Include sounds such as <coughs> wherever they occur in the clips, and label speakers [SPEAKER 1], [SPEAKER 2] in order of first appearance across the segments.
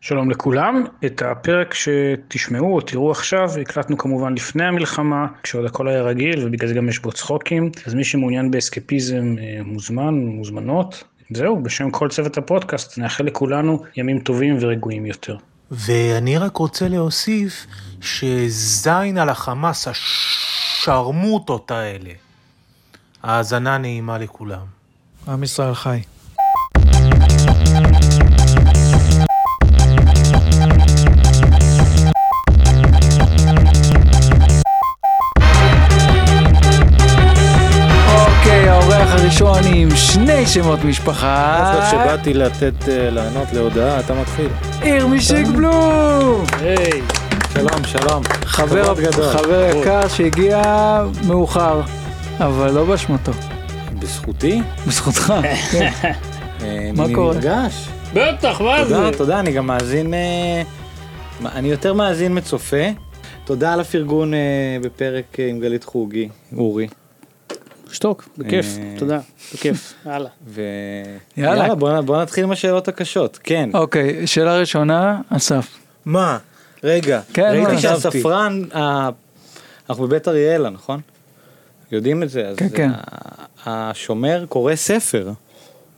[SPEAKER 1] שלום לכולם, את הפרק שתשמעו או תראו עכשיו הקלטנו כמובן לפני המלחמה כשעוד הכל היה רגיל ובגלל זה גם יש בו צחוקים אז מי שמעוניין באסקפיזם אה, מוזמן, מוזמנות. זהו, בשם כל צוות הפודקאסט נאחל לכולנו ימים טובים ורגועים יותר.
[SPEAKER 2] ואני רק רוצה להוסיף שזין על החמאס, השרמוטות האלה. האזנה נעימה לכולם.
[SPEAKER 3] עם ישראל חי.
[SPEAKER 4] אוקיי, האורח הראשון עם שני שמות משפחה,
[SPEAKER 5] עכשיו שבאתי לתת, אה, לענות להודעה, אתה מתחיל.
[SPEAKER 4] עיר משיק בלום!
[SPEAKER 1] היי,
[SPEAKER 5] שלום, שלום.
[SPEAKER 4] חבר,
[SPEAKER 5] כבוד גדול.
[SPEAKER 4] חבר יקר שהגיע מאוחר, אבל לא באשמתו,
[SPEAKER 5] בזכותי?
[SPEAKER 4] בזכותך. כן.
[SPEAKER 5] אה,
[SPEAKER 4] מה
[SPEAKER 5] אני
[SPEAKER 4] קורה?
[SPEAKER 5] נרגש.
[SPEAKER 1] בטח, מה זה?
[SPEAKER 5] תודה, תודה, אני גם מאזין, אה, מה- אני יותר מאזין מצופה. תודה על הפרגון אה, בפרק אה, עם גלית חוגי, אורי.
[SPEAKER 1] שתוק, בכיף,
[SPEAKER 5] אה.
[SPEAKER 1] תודה, בכיף, הלאה.
[SPEAKER 5] ו...
[SPEAKER 4] יאללה.
[SPEAKER 5] יאללה, בוא, נ- בוא נתחיל עם השאלות הקשות, כן.
[SPEAKER 4] אוקיי, שאלה ראשונה, אסף.
[SPEAKER 5] מה? רגע,
[SPEAKER 4] כן, מה?
[SPEAKER 5] ראיתי שהספרן, ה- אנחנו בבית אריאלה, נכון? יודעים את זה, אז
[SPEAKER 4] כן, כן.
[SPEAKER 5] ה- השומר קורא ספר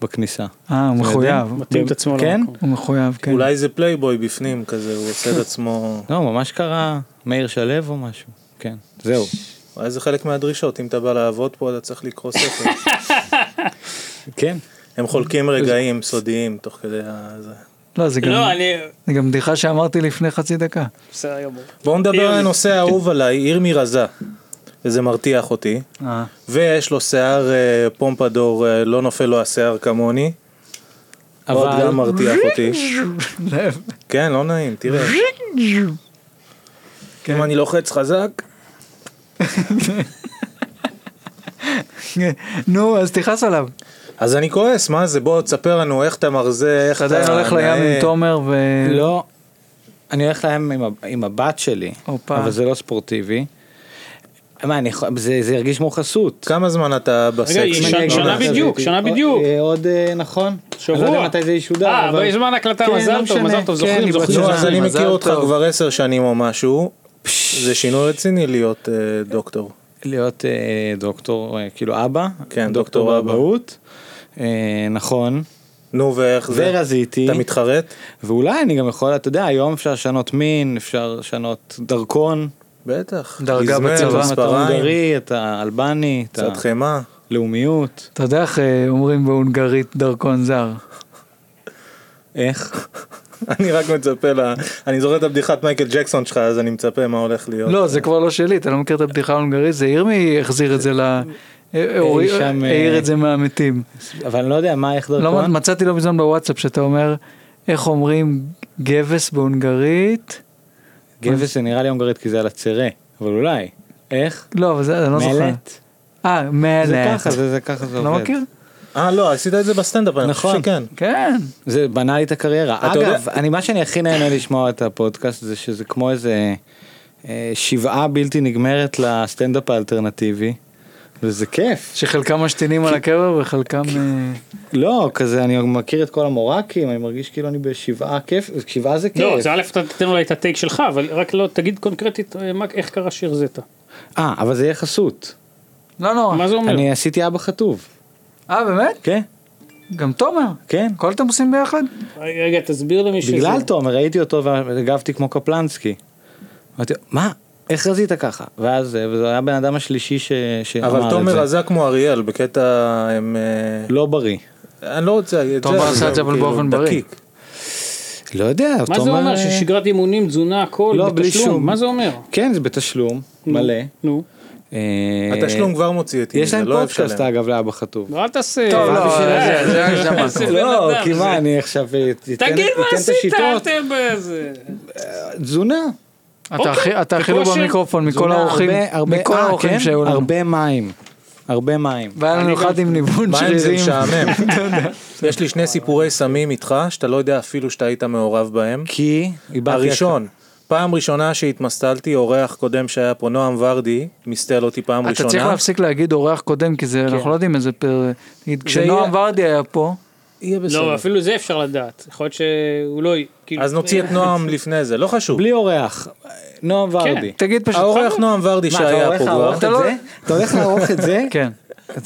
[SPEAKER 5] בכניסה.
[SPEAKER 4] אה, הוא
[SPEAKER 5] אתם
[SPEAKER 4] מחויב,
[SPEAKER 5] יודעים?
[SPEAKER 1] מתאים את עצמו
[SPEAKER 5] כן?
[SPEAKER 1] למקום.
[SPEAKER 4] הוא מחויב, כן.
[SPEAKER 6] אולי זה פלייבוי בפנים כזה, הוא עושה את עצמו...
[SPEAKER 5] לא, ממש קרה מאיר שלו או משהו. כן, זהו.
[SPEAKER 6] אולי זה חלק מהדרישות, אם אתה בא לעבוד פה אתה צריך לקרוא ספר.
[SPEAKER 5] כן.
[SPEAKER 6] הם חולקים רגעים סודיים תוך כדי ה... זה.
[SPEAKER 4] לא, זה גם-
[SPEAKER 7] לא, אני...
[SPEAKER 4] זה גם בדיחה שאמרתי לפני חצי דקה.
[SPEAKER 7] בסדר גמור.
[SPEAKER 6] בואו נדבר
[SPEAKER 7] עיר-
[SPEAKER 6] על הנושא האהוב עליי, עיר מרזה. וזה מרתיח אותי.
[SPEAKER 4] אה.
[SPEAKER 6] ויש לו שיער אה, פומפדור, אה, לא נופל לו השיער כמוני. עוד
[SPEAKER 5] אבל-
[SPEAKER 6] גם מרתיח אותי. כן, לא נעים, תראה. אם אני לוחץ חזק,
[SPEAKER 4] נו, אז תכעס עליו.
[SPEAKER 6] אז אני כועס, מה זה? בוא תספר לנו איך אתה מרזה, איך
[SPEAKER 4] אתה
[SPEAKER 6] אתה...
[SPEAKER 4] עדיין הולך לים
[SPEAKER 6] נאה.
[SPEAKER 4] עם תומר ו...
[SPEAKER 5] לא, אני הולך לים עם ה- עם הבת שלי,
[SPEAKER 4] הופה.
[SPEAKER 5] אבל זה לא ספורטיבי. מה, אני יכול- זה זה ירגיש כמו חסות.
[SPEAKER 6] כמה זמן אתה בסקס? לא,
[SPEAKER 7] רגע, היא
[SPEAKER 5] אם
[SPEAKER 7] שנה-
[SPEAKER 5] אני
[SPEAKER 6] שלך?
[SPEAKER 5] אגיד
[SPEAKER 7] שנה
[SPEAKER 5] לך, זה
[SPEAKER 7] בדיוק,
[SPEAKER 5] הייתי-
[SPEAKER 7] שנה
[SPEAKER 5] עוד-
[SPEAKER 7] בדיוק.
[SPEAKER 5] אה, עוד, אה, נכון.
[SPEAKER 7] שבוע.
[SPEAKER 5] אני לא יודע מתי זה ישודר,
[SPEAKER 7] אה,
[SPEAKER 5] אבל...
[SPEAKER 7] בזמן הקלטה,
[SPEAKER 5] כן,
[SPEAKER 7] מזל
[SPEAKER 5] לא
[SPEAKER 7] טוב,
[SPEAKER 5] משנה.
[SPEAKER 7] מזל טוב,
[SPEAKER 5] כן,
[SPEAKER 7] זוכרים,
[SPEAKER 5] היא בת
[SPEAKER 7] זוכרים.
[SPEAKER 6] לא,
[SPEAKER 5] שנה.
[SPEAKER 6] אז אני
[SPEAKER 5] מזל
[SPEAKER 6] מכיר אותך
[SPEAKER 5] טוב.
[SPEAKER 6] כבר עשר שנים או משהו, זה שינוי רציני להיות אה, דוקטור.
[SPEAKER 5] להיות אה, דוקטור, אה, כאילו אבא.
[SPEAKER 6] כן,
[SPEAKER 5] דוקטור
[SPEAKER 6] דוקטור אבא.
[SPEAKER 5] באבהות. אה, נכון.
[SPEAKER 6] נו, ואיך זה?
[SPEAKER 5] ורזיתי.
[SPEAKER 6] אתה מתחרט?
[SPEAKER 5] ואולי אני גם יכול, אתה יודע, היום אפשר לשנות מין, אפשר לשנות דרכון.
[SPEAKER 6] בטח.
[SPEAKER 4] דרגה
[SPEAKER 6] גזמל,
[SPEAKER 4] בצבא.
[SPEAKER 5] אתה
[SPEAKER 6] מספריים,
[SPEAKER 5] הונגרי, אתה אלבני, אתה
[SPEAKER 6] קצת חמאה.
[SPEAKER 5] לאומיות.
[SPEAKER 4] אתה יודע איך אה, אומרים בהונגרית דרכון זר?
[SPEAKER 5] איך?
[SPEAKER 6] <laughs> אני רק מצפה ל... אני זוכר את הבדיחת מייקל ג'קסון שלך, אז אני מצפה מה הולך להיות.
[SPEAKER 4] לא, זה כבר לא שלי, אתה לא מכיר את הבדיחה ההונגרית, זה ירמי החזיר את זה ל... אה,
[SPEAKER 5] אי שם, אה,
[SPEAKER 4] העיר את זה מהמתים.
[SPEAKER 5] אבל אני לא יודע, מה, איך
[SPEAKER 4] לא,
[SPEAKER 5] דרכון?
[SPEAKER 4] מצאתי לא מזמן בוואטסאפ שאתה אומר, איך אומרים גבס בהונגרית?
[SPEAKER 5] גבס זה נראה לי הונגרית כי זה על הצרה, אבל אולי. איך?
[SPEAKER 4] לא, אבל זה, אני לא זוכר.
[SPEAKER 5] מלט?
[SPEAKER 4] אה,
[SPEAKER 5] זה
[SPEAKER 4] מלט.
[SPEAKER 5] ככה, זה זה ככה זה עובד.
[SPEAKER 4] לא מכיר?
[SPEAKER 6] אה, לא, עשית את זה בסטנדאפ, אני חושב
[SPEAKER 5] נכון.
[SPEAKER 6] שכן.
[SPEAKER 4] כן.
[SPEAKER 5] זה בנה לי את הקריירה.
[SPEAKER 6] אתה
[SPEAKER 5] אגב,
[SPEAKER 6] יודע-
[SPEAKER 5] אני מה שאני הכי נהנה לשמוע את הפודקאסט זה שזה כמו איזה אה, שבעה בלתי נגמרת לסטנדאפ האלטרנטיבי. וזה כיף.
[SPEAKER 4] שחלקם משתינים על הקבר וחלקם... אה,
[SPEAKER 5] לא, כזה אני מכיר את כל המורקים, אני מרגיש כאילו אני בשבעה כיף, שבעה זה
[SPEAKER 7] לא,
[SPEAKER 5] כיף.
[SPEAKER 7] זה א', אתה תיתן אולי את הטייק שלך, אבל רק לא, תגיד קונקרטית אה, מה- איך קרה שיר זטה.
[SPEAKER 5] אה, אבל זה יהיה חסות.
[SPEAKER 4] לא נורא.
[SPEAKER 7] מה זה אומר?
[SPEAKER 5] אני עשיתי אבא חטוב.
[SPEAKER 4] אה, באמת?
[SPEAKER 5] כן,
[SPEAKER 4] גם תומר.
[SPEAKER 5] כן.
[SPEAKER 4] כל אתם עושים ביחד?
[SPEAKER 7] רגע, רגע, תסביר למי שזה.
[SPEAKER 5] בגלל תומר ראיתי אותו והגבתי כמו קפלנסקי. אמרתי, מה? איך רזית ככה? ואז, אה, וזה היה הבן אדם השלישי ש- שאמר את זה.
[SPEAKER 6] אבל תומר רזה כמו אריאל, בקטע הם... אה,
[SPEAKER 5] לא בריא.
[SPEAKER 6] אני לא רוצה להגיד את זה.
[SPEAKER 4] תומר עשה את זה, אבל
[SPEAKER 6] כאילו,
[SPEAKER 4] באופן בריא.
[SPEAKER 6] דקיק.
[SPEAKER 5] לא יודע, תומר...
[SPEAKER 7] מה זה אומר?
[SPEAKER 5] אה,
[SPEAKER 7] ששגרת אימונים, תזונה, הכל,
[SPEAKER 5] לא, בלי
[SPEAKER 7] בתשלום?
[SPEAKER 5] שום.
[SPEAKER 7] מה זה אומר?
[SPEAKER 5] כן, זה בתשלום, מלא.
[SPEAKER 7] נו,
[SPEAKER 5] אה,
[SPEAKER 6] התשלום כבר מוציא אותי,
[SPEAKER 5] יש
[SPEAKER 6] מזה,
[SPEAKER 5] להם
[SPEAKER 6] לא אוהב
[SPEAKER 5] פודקאסט
[SPEAKER 6] לשלם.
[SPEAKER 5] אגב לאבא חטוב.
[SPEAKER 7] אל תעשה.
[SPEAKER 4] טוב, לא,
[SPEAKER 7] בשביל-
[SPEAKER 4] זה- זה הגזמה. <laughs>
[SPEAKER 7] זה בן
[SPEAKER 5] לא,
[SPEAKER 7] אדם,
[SPEAKER 5] כי
[SPEAKER 7] זה-
[SPEAKER 5] מה, אני עכשיו אתן
[SPEAKER 7] תגיד מה
[SPEAKER 5] אתן כן, את
[SPEAKER 7] עשית
[SPEAKER 5] השיטות.
[SPEAKER 7] אתם בזה.
[SPEAKER 5] תזונה.
[SPEAKER 4] אתה הכי- אתה הכי לא
[SPEAKER 7] בכושר.
[SPEAKER 4] במיקרופון מכל
[SPEAKER 5] תזונה,
[SPEAKER 4] האורחים,
[SPEAKER 5] הרבה- הרבה-
[SPEAKER 4] מכל
[SPEAKER 5] אה,
[SPEAKER 4] האורחים
[SPEAKER 5] כן,
[SPEAKER 4] שהיו לנו.
[SPEAKER 5] הרבה מים. הרבה מים.
[SPEAKER 4] והיה לנו אחד עם ניוון
[SPEAKER 6] מים זה
[SPEAKER 4] שרירים.
[SPEAKER 5] <laughs>
[SPEAKER 6] משעמם. יש לי שני סיפורי סמים איתך, שאתה לא יודע אפילו שאתה היית מעורב בהם.
[SPEAKER 5] כי איבדתי
[SPEAKER 6] הראשון, פעם ראשונה שהתמסטלתי, אורח קודם שהיה פה, נועם ורדי, מסטל אותי פעם
[SPEAKER 4] אתה צריך
[SPEAKER 6] ראשונה.
[SPEAKER 4] להפסיק להגיד אורח קודם כי זה אנחנו לא יודעים איזה פר... נגיד,
[SPEAKER 5] יהיה-
[SPEAKER 4] כשנועם ורדי היה פה
[SPEAKER 6] יהיה בסדר.
[SPEAKER 7] לא, אפילו זה אפשר לדעת. יכול להיות שהוא לא... כאילו-
[SPEAKER 6] אז נוציא את נועם לפני זה, לא חשוב.
[SPEAKER 5] בלי אורח, נועם ורדי.
[SPEAKER 4] תגיד פשוט,
[SPEAKER 6] האורח נועם ורדי
[SPEAKER 5] מה, אתה
[SPEAKER 6] שהיה
[SPEAKER 5] הולך
[SPEAKER 6] פה
[SPEAKER 5] לערוך
[SPEAKER 6] כבר.
[SPEAKER 5] את
[SPEAKER 4] אתה לא-
[SPEAKER 5] זה? אתה הולך לערוך את זה?
[SPEAKER 4] כן.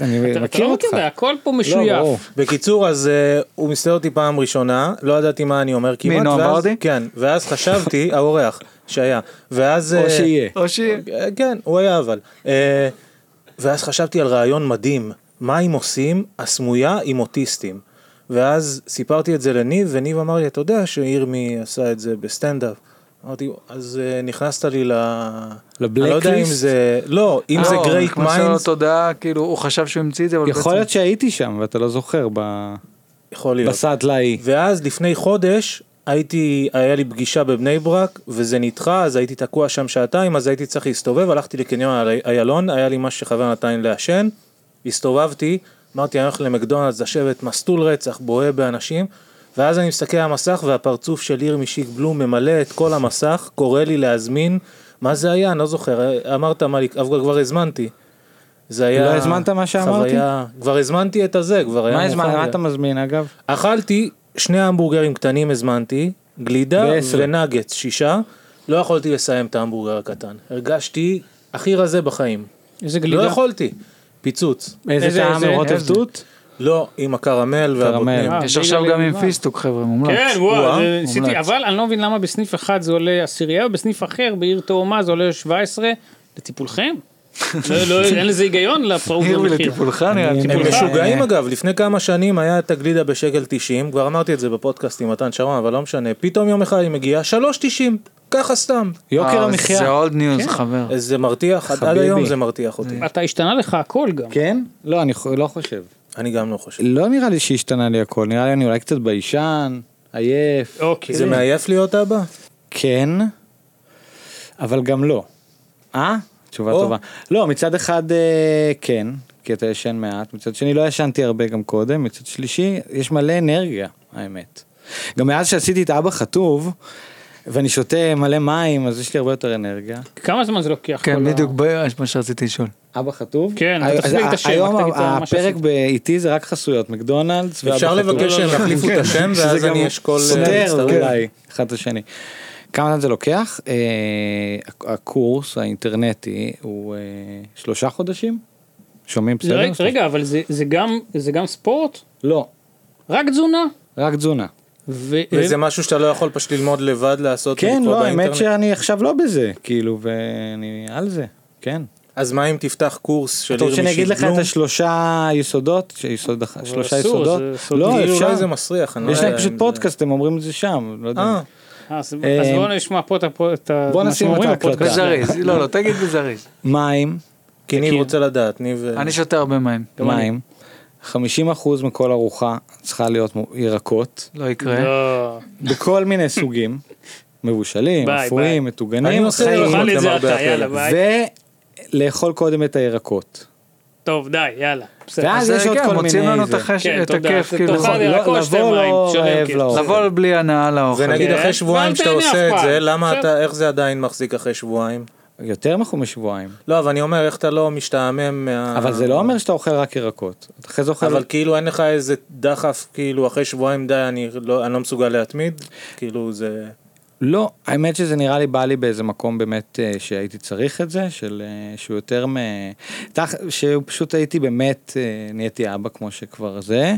[SPEAKER 5] אני
[SPEAKER 7] אתה
[SPEAKER 5] מכיר
[SPEAKER 7] לא
[SPEAKER 5] אותך.
[SPEAKER 7] יודע, הכל פה
[SPEAKER 5] לא,
[SPEAKER 7] משויף.
[SPEAKER 5] ברור.
[SPEAKER 6] בקיצור, אז אה, הוא מסתכל אותי פעם ראשונה, לא ידעתי מה אני אומר כמעט.
[SPEAKER 4] נועם
[SPEAKER 6] ואז-
[SPEAKER 4] ורדי?
[SPEAKER 6] כן, ואז חשבתי, האורח שהיה. ואז...
[SPEAKER 5] או
[SPEAKER 6] אה,
[SPEAKER 5] שיהיה.
[SPEAKER 4] או שיהיה.
[SPEAKER 6] אה, כן, הוא היה אבל. אה, ואז חשבתי על רעיון מדהים, מה אם עושים הסמויה עם אוטיסטים. ואז סיפרתי את זה לניב, וניב אמר לי, אתה יודע שירמי עשה את זה בסטנדאפ. אמרתי, אז אה, נכנסת לי ל...
[SPEAKER 5] לבלקליסט?
[SPEAKER 6] אני לא יודע אם זה... לא, אם זה
[SPEAKER 4] לא,
[SPEAKER 6] גרייט
[SPEAKER 4] אנחנו עשינו לו
[SPEAKER 6] מיינדס,
[SPEAKER 4] תודה, כאילו, הוא חשב שהוא המציא את זה, אבל בעצם...
[SPEAKER 5] יכול להיות שהייתי שם ואתה לא זוכר ב-
[SPEAKER 6] יכול להיות.
[SPEAKER 5] בסאטלה ההיא.
[SPEAKER 6] ואז לפני חודש הייתי, היה לי פגישה בבני ברק וזה נדחה אז הייתי תקוע שם שעתיים אז הייתי צריך להסתובב הלכתי לקניון על- איילון היה לי מה שחבר נתן לעשן הסתובבתי אמרתי אני הולך למקדונלדס לשבת מסטול רצח בוהה באנשים ואז אני מסתכל על המסך והפרצוף של ירמי שיק בלום ממלא את כל המסך קורא לי להזמין מה זה היה אני לא זוכר אמרת מה לי אבל כבר הזמנתי. זה היה
[SPEAKER 5] לא הזמנת מה שאמרתי?
[SPEAKER 6] חוויה- כבר הזמנתי את הזה כבר היה
[SPEAKER 5] מה
[SPEAKER 6] לא מוכן
[SPEAKER 5] הזמן-
[SPEAKER 6] לי.
[SPEAKER 5] מה אתה מזמין אגב?
[SPEAKER 6] אכלתי שני המבורגרים קטנים הזמנתי, גלידה
[SPEAKER 5] בעשר.
[SPEAKER 6] ונגץ שישה, לא יכולתי לסיים את ההמבורגר הקטן. הרגשתי הכי רזה בחיים.
[SPEAKER 7] איזה
[SPEAKER 6] לא
[SPEAKER 7] גלידה.
[SPEAKER 6] יכולתי. פיצוץ.
[SPEAKER 5] איזה
[SPEAKER 7] איזה-
[SPEAKER 5] טעם
[SPEAKER 7] איזה-
[SPEAKER 5] רוטב
[SPEAKER 7] איזה?
[SPEAKER 5] תות?
[SPEAKER 6] לא, עם הקרמל והבוטנים.
[SPEAKER 7] אה,
[SPEAKER 4] יש עכשיו
[SPEAKER 7] בלי
[SPEAKER 4] גם עם
[SPEAKER 7] גלידה.
[SPEAKER 4] פיסטוק, חבר'ה, מומלץ.
[SPEAKER 7] כן, וואו,
[SPEAKER 6] וואו,
[SPEAKER 7] זה ניסיתי,
[SPEAKER 4] אה? מומלץ.
[SPEAKER 7] אבל אני לא מבין למה בסניף אחד זה עולה עשירייה, ובסניף אחר, בעיר תאומה, זה עולה 17 לטיפולכם. לא, לא, אין לזה היגיון לפרעות
[SPEAKER 4] עיר
[SPEAKER 7] במחיר.
[SPEAKER 4] ולטיפולך נראה לי.
[SPEAKER 6] הם
[SPEAKER 5] אה,
[SPEAKER 7] טיפולך.
[SPEAKER 6] משוגעים אגב, לפני כמה שנים היה את הגלידה בשקל 90, כבר אמרתי את זה בפודקאסט עם מתן שרון, אבל לא משנה, פתאום יום אחד היא מגיעה 3.90, ככה סתם.
[SPEAKER 5] יוקר
[SPEAKER 4] אה, זה
[SPEAKER 5] המחיה.
[SPEAKER 4] אולד ניוז,
[SPEAKER 7] כן.
[SPEAKER 4] חבר.
[SPEAKER 7] אה,
[SPEAKER 6] אז זה מרתיח, עד- עד
[SPEAKER 5] חביבי. אה.
[SPEAKER 6] היום זה מרתיח אותי.
[SPEAKER 7] אתה השתנה לך הכל גם.
[SPEAKER 5] כן? לא, אני חו- לא חושב.
[SPEAKER 6] אני גם לא חושב.
[SPEAKER 5] לא נראה לי שהשתנה לי הכל, נראה לי אני אולי קצת ביישן, עייף.
[SPEAKER 7] אוקיי.
[SPEAKER 6] זה מעייף להיות אבא?
[SPEAKER 5] כן, אבל גם לא. אה? תשובה
[SPEAKER 6] או.
[SPEAKER 5] טובה. לא, מצד אחד אה, כן, כי אתה ישן מעט, מצד שני לא ישנתי הרבה גם קודם, מצד שלישי יש מלא אנרגיה, האמת. גם מאז שעשיתי את אבא חטוב, ואני שותה מלא מים, אז יש לי הרבה יותר אנרגיה.
[SPEAKER 7] כמה זמן זה לוקח? כל
[SPEAKER 4] כן,
[SPEAKER 7] ה-
[SPEAKER 4] בדיוק, ב- מה שרציתי לשאול.
[SPEAKER 5] אבא חטוב?
[SPEAKER 7] כן,
[SPEAKER 5] אז
[SPEAKER 7] תפסיק את השם, רק
[SPEAKER 5] היום
[SPEAKER 7] תגיד את מה
[SPEAKER 5] הפרק
[SPEAKER 7] שעשית.
[SPEAKER 5] באיתי זה רק חסויות, מקדונלדס ואבא
[SPEAKER 6] אפשר
[SPEAKER 5] חטוב. כן,
[SPEAKER 6] לבקש שהם יחליפו את השם
[SPEAKER 5] שזה
[SPEAKER 6] ואז
[SPEAKER 5] גם
[SPEAKER 6] אני אשקול... אה,
[SPEAKER 5] סותר
[SPEAKER 6] להצטרף.
[SPEAKER 5] אולי אחד את השני. כמה זמן זה לוקח? אה, הקורס האינטרנטי הוא אה, שלושה חודשים? שומעים
[SPEAKER 7] זה
[SPEAKER 5] בסדר?
[SPEAKER 7] רגע- רגע, אבל זה- זה גם- זה גם ספורט?
[SPEAKER 5] לא,
[SPEAKER 7] רק תזונה?
[SPEAKER 5] רק תזונה.
[SPEAKER 7] ו- אה,
[SPEAKER 6] וזה משהו שאתה לא יכול פשוט ללמוד לבד לעשות
[SPEAKER 5] כן,
[SPEAKER 6] ולקרוא
[SPEAKER 5] לא, האמת
[SPEAKER 6] אוקיי, באינטרנט?
[SPEAKER 5] שאני עכשיו לא בזה, כאילו, ואני על זה, כן.
[SPEAKER 6] אז מה אם תפתח קורס של
[SPEAKER 5] אתה רוצה שאני
[SPEAKER 6] ירמי
[SPEAKER 5] אגיד לך
[SPEAKER 6] שיבלום?
[SPEAKER 5] את השלושה יסודות? שיסוד אח- שלושה
[SPEAKER 7] אסור,
[SPEAKER 5] יסודות?
[SPEAKER 7] זה סודי.
[SPEAKER 5] לא,
[SPEAKER 6] כאילו,
[SPEAKER 5] אפשר.
[SPEAKER 6] אולי זה מסריח, אני לא
[SPEAKER 5] יש
[SPEAKER 6] יודע
[SPEAKER 5] להם פשוט
[SPEAKER 6] אם זה-
[SPEAKER 5] פודקאסט, הם אומרים את זה שם, לא יודע.
[SPEAKER 6] אה,
[SPEAKER 7] אה, אז
[SPEAKER 5] אה,
[SPEAKER 7] אז בואו נשמע פה את הפו- את ה...
[SPEAKER 5] בוא
[SPEAKER 7] מה
[SPEAKER 5] נשים
[SPEAKER 7] שאומרים
[SPEAKER 5] את ההקלטה.
[SPEAKER 7] בפודקאסט.
[SPEAKER 4] בזריז, לא, לא, תגיד בזריז.
[SPEAKER 5] מים,
[SPEAKER 6] כי ניב רוצה לדעת, ניב... אה,
[SPEAKER 4] אני שותה הרבה מים.
[SPEAKER 5] מים. 50% מכל ארוחה צריכה להיות מו- ירקות,
[SPEAKER 4] לא יקרה.
[SPEAKER 7] לא.
[SPEAKER 5] בכל מיני סוגים, מבושלים,
[SPEAKER 7] ביי, ביי.
[SPEAKER 5] אפרים,
[SPEAKER 6] אני
[SPEAKER 5] מטוגנים,
[SPEAKER 6] עושה
[SPEAKER 5] חיים,
[SPEAKER 7] תאכל את זה
[SPEAKER 6] למרבה
[SPEAKER 7] אתה,
[SPEAKER 6] הפלא.
[SPEAKER 7] יאללה, ביי.
[SPEAKER 5] ולאכול קודם את הירקות.
[SPEAKER 7] טוב, די, יאללה. בסדר.
[SPEAKER 5] ואז
[SPEAKER 4] זה
[SPEAKER 5] אה, יש עוד
[SPEAKER 4] כן,
[SPEAKER 5] כל
[SPEAKER 4] מוצאים לנו
[SPEAKER 5] מיני...
[SPEAKER 4] את
[SPEAKER 5] זה.
[SPEAKER 4] החש-
[SPEAKER 7] כן,
[SPEAKER 4] את
[SPEAKER 7] תודה.
[SPEAKER 4] הכיף,
[SPEAKER 7] זה
[SPEAKER 4] כאילו,
[SPEAKER 7] תאכל
[SPEAKER 5] לא-
[SPEAKER 7] ירקות, שתי
[SPEAKER 5] לבוא
[SPEAKER 7] מים,
[SPEAKER 5] לא
[SPEAKER 7] שונה
[SPEAKER 5] רעב
[SPEAKER 7] כיף.
[SPEAKER 5] לאוכל.
[SPEAKER 4] לבוא בלי הנאה לאוכל.
[SPEAKER 6] ונגיד
[SPEAKER 7] כן,
[SPEAKER 6] אחרי שבועיים
[SPEAKER 7] ואל
[SPEAKER 6] שאתה
[SPEAKER 7] תהנה
[SPEAKER 6] עושה
[SPEAKER 7] אף
[SPEAKER 6] את
[SPEAKER 7] פעם.
[SPEAKER 6] זה, למה
[SPEAKER 7] בסדר.
[SPEAKER 6] אתה, איך זה עדיין מחזיק אחרי שבועיים?
[SPEAKER 5] יותר אנחנו משבועיים.
[SPEAKER 6] לא, אבל אני אומר, איך אתה לא משתעמם מה...
[SPEAKER 5] אבל זה לא אומר שאתה אוכל רק ירקות. אתה אחרי זה אוכל...
[SPEAKER 6] אה. אבל כאילו אין לך איזה דחף, כאילו אחרי שבועיים די, אני לא אני לא מסוגל להתמיד? כאילו זה...
[SPEAKER 5] לא, האמת שזה נראה לי בא לי באיזה מקום באמת אה, שהייתי צריך את זה, של אה, שהוא יותר מ... תח... שפשוט הייתי באמת, אה, נהייתי אבא כמו שכבר זה,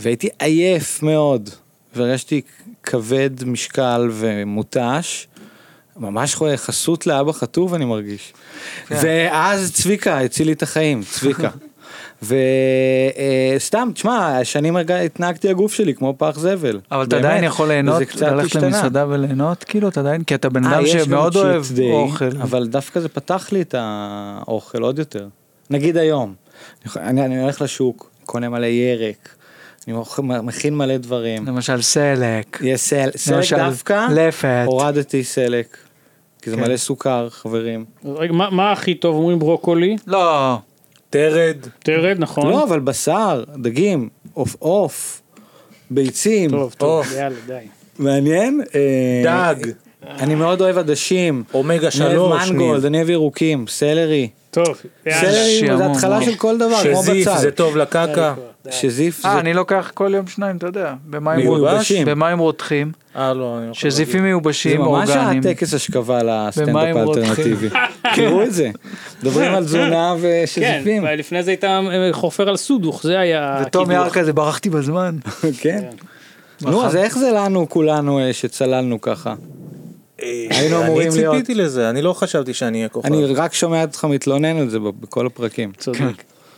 [SPEAKER 5] והייתי עייף מאוד, והרגשתי כבד משקל ומותש. ממש חו- חסות לאבא חטוב אני מרגיש.
[SPEAKER 4] כן.
[SPEAKER 5] ואז צביקה הציל לי את החיים,
[SPEAKER 4] <laughs>
[SPEAKER 5] צביקה. וסתם, תשמע, שנים הרגע- התנהגתי הגוף שלי כמו פח זבל.
[SPEAKER 4] אבל אתה
[SPEAKER 5] באמת.
[SPEAKER 4] עדיין יכול ליהנות,
[SPEAKER 5] וזה קצת
[SPEAKER 4] ללכת
[SPEAKER 5] השתנה.
[SPEAKER 4] למסעדה וליהנות, כאילו, אתה עדיין, כי אתה בן
[SPEAKER 5] אה,
[SPEAKER 4] אדם
[SPEAKER 5] יש גם
[SPEAKER 4] שמאוד
[SPEAKER 5] cheat
[SPEAKER 4] אוהב
[SPEAKER 5] day,
[SPEAKER 4] אוכל.
[SPEAKER 5] אבל דווקא זה פתח לי את האוכל עוד יותר. נגיד היום, אני, אני הולך לשוק, קונה מלא ירק, אני מוכ- מכין מלא דברים.
[SPEAKER 4] למשל סלק.
[SPEAKER 5] יש סל, סלק
[SPEAKER 4] למשל,
[SPEAKER 5] דווקא,
[SPEAKER 4] לפת.
[SPEAKER 5] הורדתי סלק, כי זה
[SPEAKER 4] כן.
[SPEAKER 5] מלא סוכר, חברים.
[SPEAKER 7] רגע, מה- מה הכי טוב? אומרים ברוקולי,
[SPEAKER 4] לא,
[SPEAKER 6] תרד,
[SPEAKER 7] תרד, נכון?
[SPEAKER 5] לא, אבל בשר, דגים, עוף עוף, ביצים,
[SPEAKER 7] טוב, טוב, יאללה, די.
[SPEAKER 5] מעניין? אה,
[SPEAKER 6] דג.
[SPEAKER 5] אני מאוד אוהב עדשים.
[SPEAKER 6] אומגה
[SPEAKER 5] אני אוהב
[SPEAKER 6] שלוש, ניב.
[SPEAKER 5] מנגולד, אני אוהב ירוקים, סלרי.
[SPEAKER 7] טוב, יאללה.
[SPEAKER 5] סלרי זה
[SPEAKER 4] שיעמום,
[SPEAKER 5] התחלה
[SPEAKER 4] לא.
[SPEAKER 5] של כל דבר, כמו
[SPEAKER 6] שזיף
[SPEAKER 5] בצל.
[SPEAKER 6] זה טוב לקקה.
[SPEAKER 5] שזיף
[SPEAKER 4] אה,
[SPEAKER 5] זה...
[SPEAKER 4] אני לוקח כל יום שניים, אתה יודע, במים
[SPEAKER 6] מיובש?
[SPEAKER 4] רותחים, במים רותחים,
[SPEAKER 6] אה לא, אני לא יכול להגיד.
[SPEAKER 4] שזיפים
[SPEAKER 5] זה
[SPEAKER 4] מיובשים,
[SPEAKER 5] ממש
[SPEAKER 4] אורגניים.
[SPEAKER 5] הטקס השכבה לסטנדאפ
[SPEAKER 4] במים רותחים.
[SPEAKER 7] <laughs>
[SPEAKER 5] האלטרנטיבי. תראו את זה. מדברים על תזונה
[SPEAKER 7] כן,
[SPEAKER 5] ושזיפים.
[SPEAKER 7] אבל לפני זה הייתה אה, חופר על סודוך, זה היה...
[SPEAKER 4] וטום
[SPEAKER 7] הקידוח.
[SPEAKER 4] יער כזה, ברחתי
[SPEAKER 5] <laughs>
[SPEAKER 4] בזמן.
[SPEAKER 5] <laughs> כן.
[SPEAKER 7] נכון.
[SPEAKER 5] נו, אז איך זה לנו כולנו אה, שצללנו ככה? היינו אמורים להיות.
[SPEAKER 6] אה, אני ציפיתי לזה, אני לא חשבתי שאני אהיה כוכב.
[SPEAKER 5] אני רק שומע אותך מתלונן על זה ב- בכל הפרקים. <laughs>
[SPEAKER 7] צודק.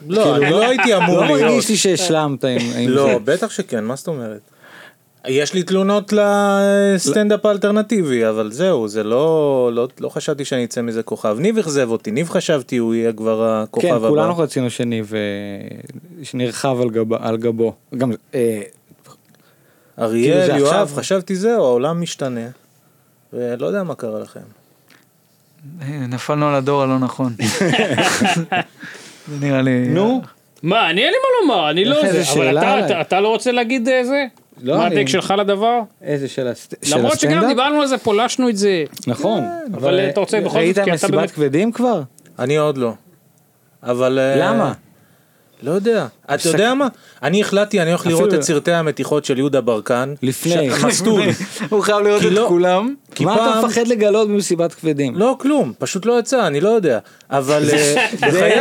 [SPEAKER 6] לא, אני לא הייתי אמור
[SPEAKER 5] כאילו, לא
[SPEAKER 6] להיות.
[SPEAKER 5] מרגיש לי שהשלמת עם עם זה.
[SPEAKER 6] לא, בטח שכן, מה זאת אומרת? יש לי תלונות לסטנדאפ האלטרנטיבי, אבל זהו, זה לא, לא, לא חשבתי שאני אצא מזה כוכב. ניב אכזב אותי, ניב חשבתי הוא יהיה כבר הכוכב
[SPEAKER 5] כן,
[SPEAKER 6] הבא.
[SPEAKER 5] כולנו רצינו שניב, אה, שנרחב על גב- על גבו. גם, אה, כאילו
[SPEAKER 6] אריאל,
[SPEAKER 5] זה
[SPEAKER 6] יואב,
[SPEAKER 5] עכשיו.
[SPEAKER 6] חשבתי זהו, העולם משתנה. ולא יודע מה קרה לכם.
[SPEAKER 4] אה, נפלנו על הדור הלא נכון.
[SPEAKER 5] <laughs>
[SPEAKER 4] זה נראה לי...
[SPEAKER 5] נו,
[SPEAKER 7] מה, אני אין לי מה לומר, אני לא
[SPEAKER 5] לך
[SPEAKER 7] זה,
[SPEAKER 5] איזה
[SPEAKER 7] אבל
[SPEAKER 5] שאלה
[SPEAKER 7] אתה-
[SPEAKER 5] עליי.
[SPEAKER 7] אתה- אתה לא רוצה להגיד אה, זה?
[SPEAKER 5] לא,
[SPEAKER 7] מה
[SPEAKER 5] אני-
[SPEAKER 7] הטק שלך לדבר?
[SPEAKER 5] איזה של הסט- של
[SPEAKER 7] למרות שגם
[SPEAKER 5] הסטנדאפ?
[SPEAKER 7] דיברנו על זה, פולשנו את זה.
[SPEAKER 5] נכון.
[SPEAKER 7] אבל, אה, אתה רוצה בכל זאת,
[SPEAKER 5] ראית
[SPEAKER 7] כי אתה
[SPEAKER 5] מסיבת
[SPEAKER 7] באמת-
[SPEAKER 5] כבדים כבר?
[SPEAKER 6] אני עוד לא. אבל... אה,
[SPEAKER 5] למה?
[SPEAKER 6] לא יודע. אתה יודע מה? אני החלטתי, אני הולך לראות את סרטי המתיחות של יהודה ברקן.
[SPEAKER 5] לפני. <laughs>
[SPEAKER 6] ש- מסטול.
[SPEAKER 4] הוא חייב לראות
[SPEAKER 6] כי לא-
[SPEAKER 4] את כולם.
[SPEAKER 6] כי
[SPEAKER 5] מה
[SPEAKER 6] פעם-
[SPEAKER 5] אתה מפחד לגלות במסיבת כבדים?
[SPEAKER 6] לא, כלום, פשוט לא יצא, אני לא יודע. אבל... אה, בחיי.
[SPEAKER 5] זה